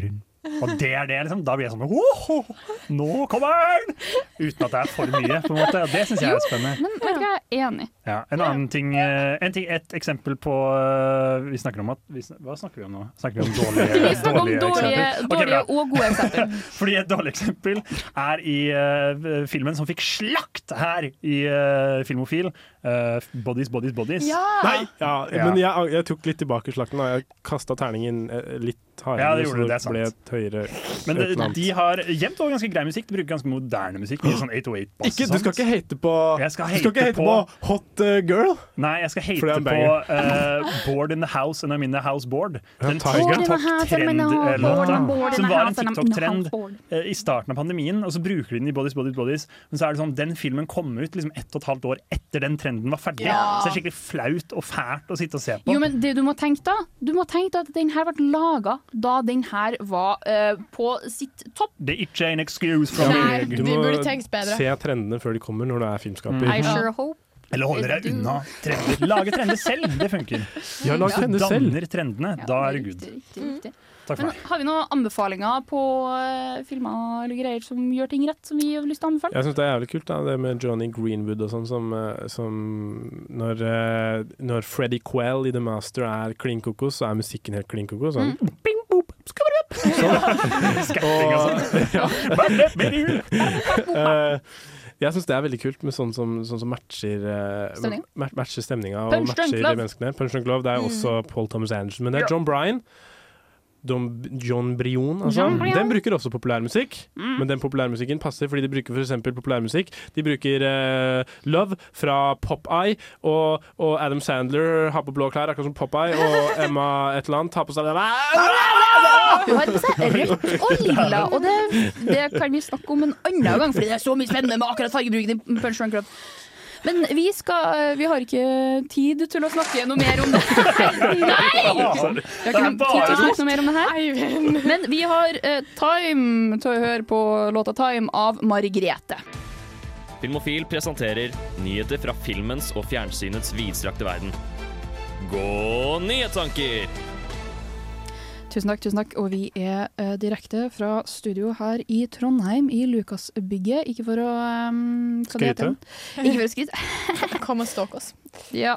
[SPEAKER 1] Durun. Og det er det, liksom. Da blir jeg sånn «Woho! Nå kommer den! Uten at det er for mye, på en måte. Og det syns jeg er spennende.
[SPEAKER 9] Men vet du hva, jeg er enig.
[SPEAKER 1] Ja, en annen ting, eh, en ting Et eksempel på eh, Vi snakker om at vi, sn- Hva snakker vi om nå? Snakker vi om dårlige,
[SPEAKER 9] Vi snakker om dårlige,
[SPEAKER 1] eksempler? Ok,
[SPEAKER 9] dårlige
[SPEAKER 1] bra.
[SPEAKER 9] og gode eksempler.
[SPEAKER 1] Fordi et dårlig eksempel er i eh, filmen som fikk slakt her i eh, Filmofil. eh, bodies, Bodies, Bodies.
[SPEAKER 4] Ja!
[SPEAKER 5] Nei! Ja, men jeg, jeg tok litt tilbake slakten. da. Jeg kasta terningen eh, litt hardere,
[SPEAKER 1] Ja, det gjorde du, det er
[SPEAKER 5] så
[SPEAKER 1] sant.
[SPEAKER 5] det ble et høyere
[SPEAKER 1] Men
[SPEAKER 5] et eller
[SPEAKER 1] de,
[SPEAKER 5] annet.
[SPEAKER 1] de har jevnt over ganske grei musikk. De bruker ganske moderne musikk. Mye sånn 808-bass.
[SPEAKER 5] Ikke- du skal ikke hate på
[SPEAKER 1] Jeg skal
[SPEAKER 5] Du skal ikke
[SPEAKER 1] hate
[SPEAKER 5] hate på Hot eh, Girl?
[SPEAKER 1] Nei, jeg skal
[SPEAKER 5] For det
[SPEAKER 1] hate
[SPEAKER 5] er en
[SPEAKER 1] på
[SPEAKER 5] banger.
[SPEAKER 1] eh, Board in the House and I'm in the House Board. Den
[SPEAKER 5] Tiger. Board in the house and I'm in the house, board
[SPEAKER 1] TikTok-trend-låta.
[SPEAKER 5] in the house
[SPEAKER 1] Som var en
[SPEAKER 5] and I'm in the house
[SPEAKER 1] TikTok-trend
[SPEAKER 5] board.
[SPEAKER 1] eh, i starten av pandemien, og så bruker de den i Bodies, Bodies, Bodies. Men så er det sånn, den filmen kommer ut liksom ett og et halvt år etter den trenden var ferdig.
[SPEAKER 9] Ja.
[SPEAKER 1] Så det er skikkelig flaut og fælt å sitte og se på.
[SPEAKER 9] Jo, men det du må tenke da Du må tenke da at den her ble laga da den her var eh, på sitt topp.
[SPEAKER 1] Det er ikke en excuse fra
[SPEAKER 9] Nei,
[SPEAKER 1] meg.
[SPEAKER 9] du
[SPEAKER 5] må
[SPEAKER 9] burde tenkt bedre.
[SPEAKER 5] Se trendene før de kommer, når du er filmskaper.
[SPEAKER 9] I sure hope
[SPEAKER 1] Eller holde deg
[SPEAKER 9] Du-
[SPEAKER 1] unna trender. Lage trender selv, det funker.
[SPEAKER 5] Ja, lag
[SPEAKER 1] Hvis du
[SPEAKER 5] trender selv.
[SPEAKER 1] Danner trendene, da er du good.
[SPEAKER 9] Riktig, riktig.
[SPEAKER 1] Takk for
[SPEAKER 9] Men
[SPEAKER 1] meg.
[SPEAKER 9] har vi noen anbefalinger på eh, filmer eller greier som gjør ting rett, som vi har lyst til å anbefale?
[SPEAKER 5] Jeg syns det er jævlig kult, da, det med Johnny Greenwood og sånn, som, eh, som når, eh, når Freddy Quell i The Master er klin kokos, så er musikken helt klin kokos. Sånn.
[SPEAKER 9] Mm.
[SPEAKER 1] Skatting og sånn.
[SPEAKER 5] altså. Eh, jeg syns det er veldig kult med sånn som, sånn som matcher eh,
[SPEAKER 9] Stemninga.
[SPEAKER 5] ma- matcher stemninga og
[SPEAKER 9] Punch Drunk
[SPEAKER 5] matcher
[SPEAKER 9] Love. Mm.
[SPEAKER 5] menneskene. Punch Drunk Love. Det er jo også Paul Thomas Anderson, men det
[SPEAKER 9] Ja.
[SPEAKER 5] er John Bryan. Dom, John Brion, altså.
[SPEAKER 19] John Brion.
[SPEAKER 5] Den bruker også populærmusikk,
[SPEAKER 19] Mm.
[SPEAKER 5] men den populærmusikken passer, fordi de bruker f.eks. populærmusikk. De bruker eh, Love fra Popeye, og, og Adam Sandler har på blå klær, akkurat som Popeye, og Emma et eller annet har på seg
[SPEAKER 9] Du har på seg rødt og lilla, og det, det kan vi snakke om en annen gang, fordi det er så mye spennende med akkurat fargebruken i Punch Drunk Club. Men vi, skal, eh, vi har ikke tid til å snakke noe mer om det. Nei!
[SPEAKER 19] Sorry.
[SPEAKER 9] Vi har ikke tid til å snakke noe mer om det her.
[SPEAKER 4] Eivind.
[SPEAKER 9] Men vi har eh, time til å høre på låta 'Time' av Margrete.
[SPEAKER 20] Filmofil presenterer nyheter fra filmens og fjernsynets vidstrakte verden. Gå nyhetstanker!
[SPEAKER 9] Tusen takk, tusen takk. Og vi er eh, direkte fra studio her i Trondheim, i Lukasbygget. Ikke for å ehm, hva det heter? Ikke for å skryte.
[SPEAKER 4] Kom og stalk oss.
[SPEAKER 9] Ja.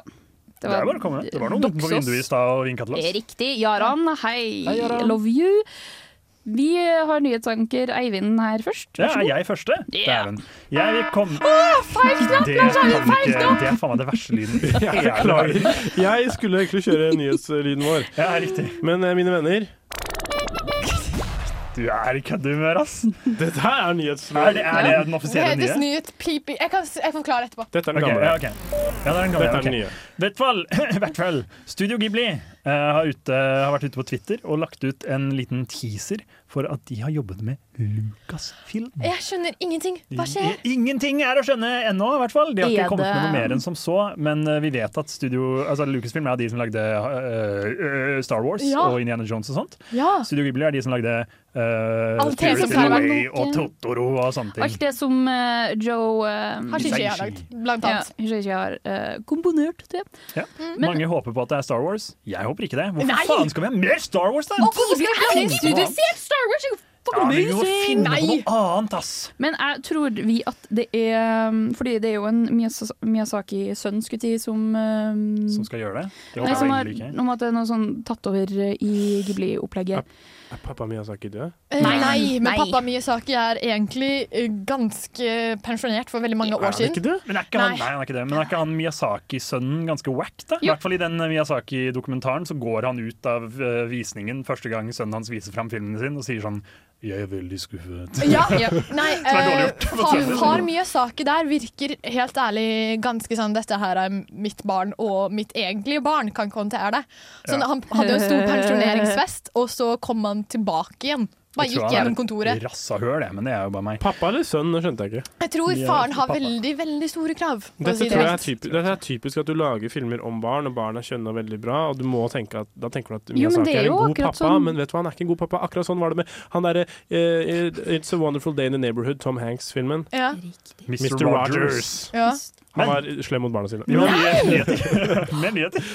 [SPEAKER 1] Det, er bare å komme. det var noen utenfor
[SPEAKER 9] Doxos.
[SPEAKER 1] vinduet i stad og vinka til oss.
[SPEAKER 9] Riktig. Jaran, hei.
[SPEAKER 1] Hei, Jaran.
[SPEAKER 9] Love you. Vi har nyhetsanker Eivind her først.
[SPEAKER 1] Ja,
[SPEAKER 9] Vær så
[SPEAKER 1] er
[SPEAKER 9] god.
[SPEAKER 1] jeg første? Dæven. Jeg vil komme
[SPEAKER 9] feil knapp,
[SPEAKER 1] Det
[SPEAKER 9] Lars
[SPEAKER 1] kan
[SPEAKER 9] Eivind, feil
[SPEAKER 1] ikke-
[SPEAKER 9] knapp!
[SPEAKER 1] Det er faen meg det verste lyden.
[SPEAKER 5] Jeg beklager. Jeg skulle egentlig kjøre nyhetslyden vår, men eh, mine venner
[SPEAKER 1] Du er i køddehumør, ass.
[SPEAKER 5] Dette her er nyhetslyden.
[SPEAKER 1] Er det, er det den offisielle
[SPEAKER 4] Det
[SPEAKER 1] nye?
[SPEAKER 4] høres ny ut. Piping. Jeg, kan, jeg forklarer etterpå.
[SPEAKER 5] Dette er
[SPEAKER 1] Ok,
[SPEAKER 5] den gamle.
[SPEAKER 1] Ja, ok. ja, det er den gamle.
[SPEAKER 5] Dette er den
[SPEAKER 1] ok.
[SPEAKER 5] nye.
[SPEAKER 1] Hvert fall- hvert fall, Studio Ghibli eh, har, ute, har vært ute på Twitter og lagt ut en liten teaser for at de har jobbet med Lucasfilm.
[SPEAKER 4] Jeg skjønner ingenting. Hva skjer?
[SPEAKER 1] I- Ingenting er å skjønne ennå, i hvert fall. De har
[SPEAKER 4] Er
[SPEAKER 1] ikke kommet
[SPEAKER 4] det-
[SPEAKER 1] med noe mer enn som så, men eh, vi vet at studio, altså Lucasfilm er de som lagde eh, eh, Star Wars
[SPEAKER 4] Ja.
[SPEAKER 1] og Indiana Jones og sånt.
[SPEAKER 9] Ja.
[SPEAKER 1] Studio Ghibli er de som lagde uh,
[SPEAKER 9] Alt det som pleier å være nok,
[SPEAKER 1] og Totoro og sånne ting.
[SPEAKER 9] Alt det som eh, Joe eh,
[SPEAKER 1] Hisaishi har lagd,
[SPEAKER 4] blant
[SPEAKER 9] annet. Ja, Hisaishi har eh, komponert det.
[SPEAKER 1] Ja. Mange håper på at det er Star Wars. Jeg håper ikke det. Hvorfor
[SPEAKER 9] Nei!
[SPEAKER 1] faen skal vi ha mer Star Wars, da?
[SPEAKER 9] Star Wars er jo
[SPEAKER 1] Ja, vi må finne på noe annet, ass!
[SPEAKER 9] Men jeg tror vi at det er um, Fordi det er jo en Miyas- Miyazaki-sønn, skulle jeg si, som eh,
[SPEAKER 1] Som skal gjøre det? Det
[SPEAKER 9] Nei,
[SPEAKER 1] håper
[SPEAKER 9] som
[SPEAKER 1] jeg
[SPEAKER 9] har
[SPEAKER 1] egentlig ikke.
[SPEAKER 9] noe med at det er noe sånn tatt over i Ghibli-opplegget.
[SPEAKER 5] Er pappa Miyazaki død?
[SPEAKER 4] Eh, Nei, men pappa Miyazaki er egentlig eh, ganske pensjonert for veldig mange
[SPEAKER 1] Er
[SPEAKER 4] år
[SPEAKER 1] han ikke
[SPEAKER 4] siden.
[SPEAKER 1] det? Men er ikke han,
[SPEAKER 4] Nei.
[SPEAKER 1] nei, han er ikke det. Men er ikke han Miyazaki-sønnen ganske wack, da? I hvert fall i den Miyazaki-dokumentaren så går han ut av eh, visningen første gang sønnen hans viser fram filmen sin, og sier sånn Jeg er veldig skuffet.
[SPEAKER 4] Ja, Nei,
[SPEAKER 1] Så det er dårlig
[SPEAKER 4] eh,
[SPEAKER 1] gjort på
[SPEAKER 4] far,
[SPEAKER 1] sønnen.
[SPEAKER 4] far Miyazaki der virker helt ærlig ganske sånn Dette her er mitt barn, og mitt egentlige barn kan ikke håndtere det. Så
[SPEAKER 1] Ja.
[SPEAKER 4] han hadde jo en stor pensjoneringsfest, og så kom han tilbake igjen. Bare
[SPEAKER 5] Jeg tror
[SPEAKER 4] gikk
[SPEAKER 5] han er
[SPEAKER 4] gjennom
[SPEAKER 5] et
[SPEAKER 4] kontoret.
[SPEAKER 1] Rassa høl, det, men det er jo bare meg.
[SPEAKER 5] Pappa eller sønn, det skjønte jeg ikke.
[SPEAKER 4] Jeg tror
[SPEAKER 5] Ja,
[SPEAKER 4] faren har
[SPEAKER 5] pappa.
[SPEAKER 4] veldig, veldig store krav. for å
[SPEAKER 5] Dette,
[SPEAKER 4] si det
[SPEAKER 5] tror jeg er
[SPEAKER 4] rett.
[SPEAKER 5] typisk, dette er typisk at du lager filmer om barn, og barn er skjønne og veldig bra, og du må tenke at, da tenker du at
[SPEAKER 9] Jo, men
[SPEAKER 5] Miyazaki
[SPEAKER 9] det er
[SPEAKER 5] er en
[SPEAKER 9] jo
[SPEAKER 5] god
[SPEAKER 9] akkurat
[SPEAKER 5] pappa,
[SPEAKER 9] sånn-
[SPEAKER 5] men vet du hva, han er ikke en god pappa. Akkurat sånn var det med han derre eh, It's a Wonderful Day in the Neighborhood, Tom Hanks-filmen.
[SPEAKER 4] Ja.
[SPEAKER 5] Mr.
[SPEAKER 1] Mr.
[SPEAKER 5] Rogers.
[SPEAKER 1] Rogers.
[SPEAKER 4] Ja.
[SPEAKER 5] Han var slem mot barna sine.
[SPEAKER 1] Men mer nyheter. Mer nyheter.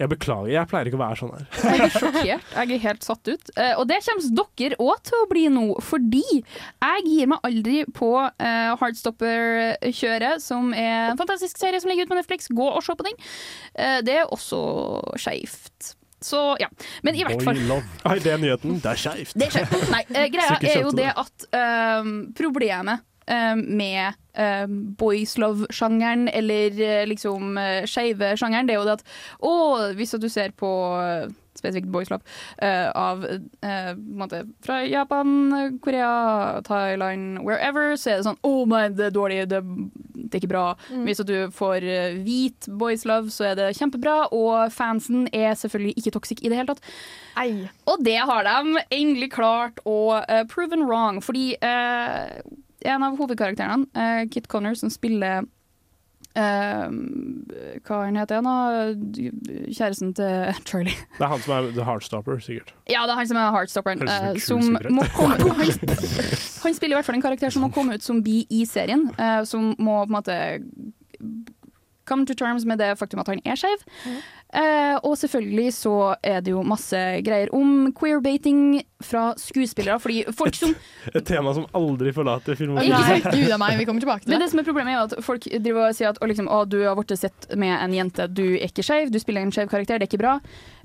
[SPEAKER 5] Jeg beklager, jeg pleier ikke å være sånn her.
[SPEAKER 9] Jeg er sjokkert. Jeg er helt satt ut. Eh, og det kommer dere òg til å bli nå, fordi jeg gir meg aldri på eh, Hardstopper-kjøret, som er en fantastisk serie som ligger ute på Netflix. Gå og se på den. Eh, det er også skeivt. Så ja. Men i hvert fall
[SPEAKER 5] Nei, det er nyheten. Det er skeivt.
[SPEAKER 9] Det er skjønt. Nei, eh, greia
[SPEAKER 5] Sikkert
[SPEAKER 9] er jo
[SPEAKER 5] skjønte
[SPEAKER 9] det at ehm, problemet ehm, med ehm, boys love-sjangeren, eller eh, liksom uh, skeive sjangeren, det er jo det at Å, hvis at du ser på eh, spesifikt boys love eh, av eh, på en måte, fra Japan, Korea, Thailand, wherever, så er det sånn Å nei, det er dårlig, det, det er ikke bra.
[SPEAKER 7] Mm.
[SPEAKER 9] Hvis at du får eh, hvit boys love, så er det kjempebra, og fansen er selvfølgelig ikke toxic i det hele tatt. Og det har de endelig klart å eh, proven wrong, fordi eh, en av hovedkarakterene, eh, Kit Connor, som spiller eh, Hva han heter han, da? Kjæresten til Charlie.
[SPEAKER 5] Det er han som er the heartstopper, sikkert.
[SPEAKER 9] Ja, det er han som er heartstopperen. eh,
[SPEAKER 5] Høres ut som
[SPEAKER 9] som
[SPEAKER 5] en kul
[SPEAKER 9] må komme, han, han spiller i hvert fall en karakter som må komme ut som bi i serien. eh, som må på en måte come to terms med det faktum at han er skeiv. Eh, og selvfølgelig så er det jo masse greier om queer-bating fra skuespillere. Fordi folk som
[SPEAKER 5] Et tema som aldri forlater filmen.
[SPEAKER 4] Ikke sant? Gud a meg, vi kommer tilbake til
[SPEAKER 9] Men
[SPEAKER 4] det.
[SPEAKER 9] det som er problemet er jo at folk driver og sier at å, liksom, å, du har blitt sett med en jente, du er ikke Ehm, skeiv, du spiller en skeiv karakter, det er ikke bra.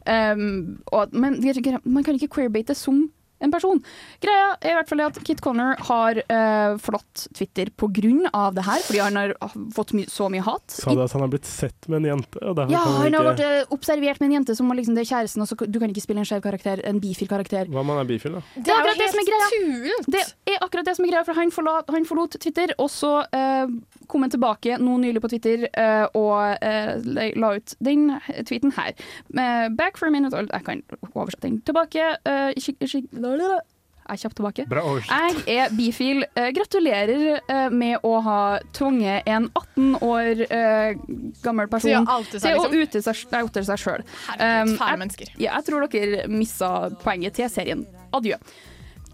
[SPEAKER 9] Um, og, at- men det er ikke- man kan ikke queerbate som en person. Greia er i hvert fall at Kit Connor har eh, forlatt Twitter pga. det her, fordi han har fått my så mye hat.
[SPEAKER 5] Sa du at han har blitt sett med en jente? og derfor
[SPEAKER 9] Ja,
[SPEAKER 5] kan
[SPEAKER 9] han har
[SPEAKER 5] ikke-
[SPEAKER 9] vært eh, observert med en jente som var liksom, det er kjæresten, og så, du kan ikke spille en skjev karakter, en bifil karakter.
[SPEAKER 5] Hva om han er bifil, da?
[SPEAKER 9] Det er akkurat det som er greia. Det er akkurat det som er greia, for han forlot, han forlot Twitter, og så eh, kom han tilbake nå nylig på Twitter eh, og eh, la- la ut den tweeten her. Eh, back for a minute old. Jeg kan oversette den. Tilbake eh, skik- skik- lalala. Jeg er kjapt tilbake.
[SPEAKER 1] Bra oversett.
[SPEAKER 9] Jeg er bifil. Eh, gratulerer eh, med å ha tvunget en 18 år eh, gammel person
[SPEAKER 4] Til å um, oute seg,
[SPEAKER 9] til å
[SPEAKER 4] liksom.
[SPEAKER 9] ute seg, nei, oute seg sjøl.
[SPEAKER 4] Herregud, fæle
[SPEAKER 9] jeg, ja, jeg tror dere missa poenget til serien. Adjø.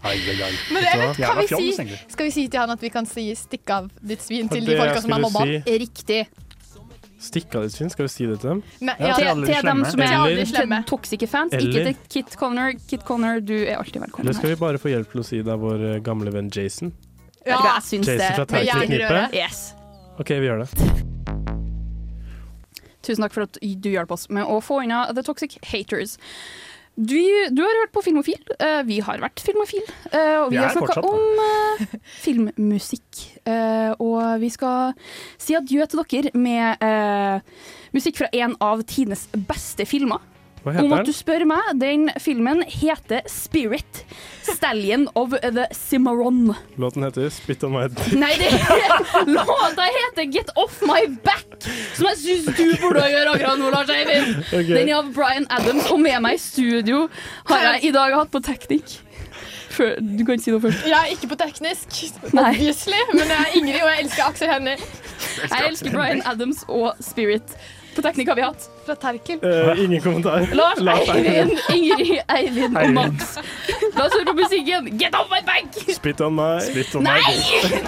[SPEAKER 4] Men jeg vet, kan
[SPEAKER 5] Jævla
[SPEAKER 4] vi
[SPEAKER 5] fjols,
[SPEAKER 4] si,
[SPEAKER 5] egentlig.
[SPEAKER 4] skal vi si til han at vi kan si 'stikk av ditt svin'
[SPEAKER 5] For
[SPEAKER 4] til de
[SPEAKER 5] det
[SPEAKER 4] folka
[SPEAKER 5] jeg
[SPEAKER 4] som er mobba?
[SPEAKER 5] skulle
[SPEAKER 4] han? Riktig.
[SPEAKER 5] Stikk av ditt svin, skal vi si det til dem?
[SPEAKER 4] Nei,
[SPEAKER 5] Ja, til alle de
[SPEAKER 9] til dem
[SPEAKER 5] slemme.
[SPEAKER 9] som er
[SPEAKER 5] Eller-
[SPEAKER 9] til toxiske fans, ikke
[SPEAKER 5] Eller-
[SPEAKER 9] til Kit Connor. Kit Connor, du er alltid
[SPEAKER 5] Eller
[SPEAKER 9] velkommen
[SPEAKER 5] skal
[SPEAKER 9] her.
[SPEAKER 5] vi bare få hjelp til å si det er vår eh, gamle venn Jason?
[SPEAKER 9] Ja, jeg syns
[SPEAKER 5] Jason
[SPEAKER 9] det.
[SPEAKER 5] fra Terkel Knipe?
[SPEAKER 9] Yes.
[SPEAKER 5] OK, vi gjør det.
[SPEAKER 9] Tusen takk for at du hjalp oss med å få unna The Toxic Haters. Du, du har hørt på Filmofil. eh, vi har vært Filmofil. eh, og vi
[SPEAKER 7] Vi
[SPEAKER 9] har
[SPEAKER 7] er fortsatt
[SPEAKER 9] snakka
[SPEAKER 7] det.
[SPEAKER 9] om eh, filmmusikk. Eh, og vi skal si adjø til dere med eh, musikk fra en av tidenes beste filmer.
[SPEAKER 5] Hva heter
[SPEAKER 9] Om at
[SPEAKER 5] den?
[SPEAKER 9] du spør meg, den filmen heter Spirit. Stallion of the Cimarron.
[SPEAKER 5] Låten heter 'Spit on my dick'.
[SPEAKER 9] Nei, det låta heter Get Off My Back, som jeg syns du burde gjøre akkurat nå, Lars Eivind.
[SPEAKER 5] Ok.
[SPEAKER 9] Den er av Bryan Adams, og med meg i studio har jeg i dag hatt på teknikk. Før, du kan si noe først.
[SPEAKER 4] Jeg er ikke på teknisk,
[SPEAKER 9] Nei.
[SPEAKER 4] obviously, men jeg er Ingrid, og jeg elsker Aksel Hennie.
[SPEAKER 9] Jeg elsker Bryan Adams og Spirit. På teknikk har vi hatt.
[SPEAKER 4] Fra Terkel.
[SPEAKER 5] Eh, ingen kommentar.
[SPEAKER 9] Lars
[SPEAKER 5] Eivind.
[SPEAKER 9] Eivind, Ingrid, Eivind og
[SPEAKER 5] Eivind.
[SPEAKER 9] Max. La oss høre på musikken. Get off my back!
[SPEAKER 5] Spit on my
[SPEAKER 9] Nei!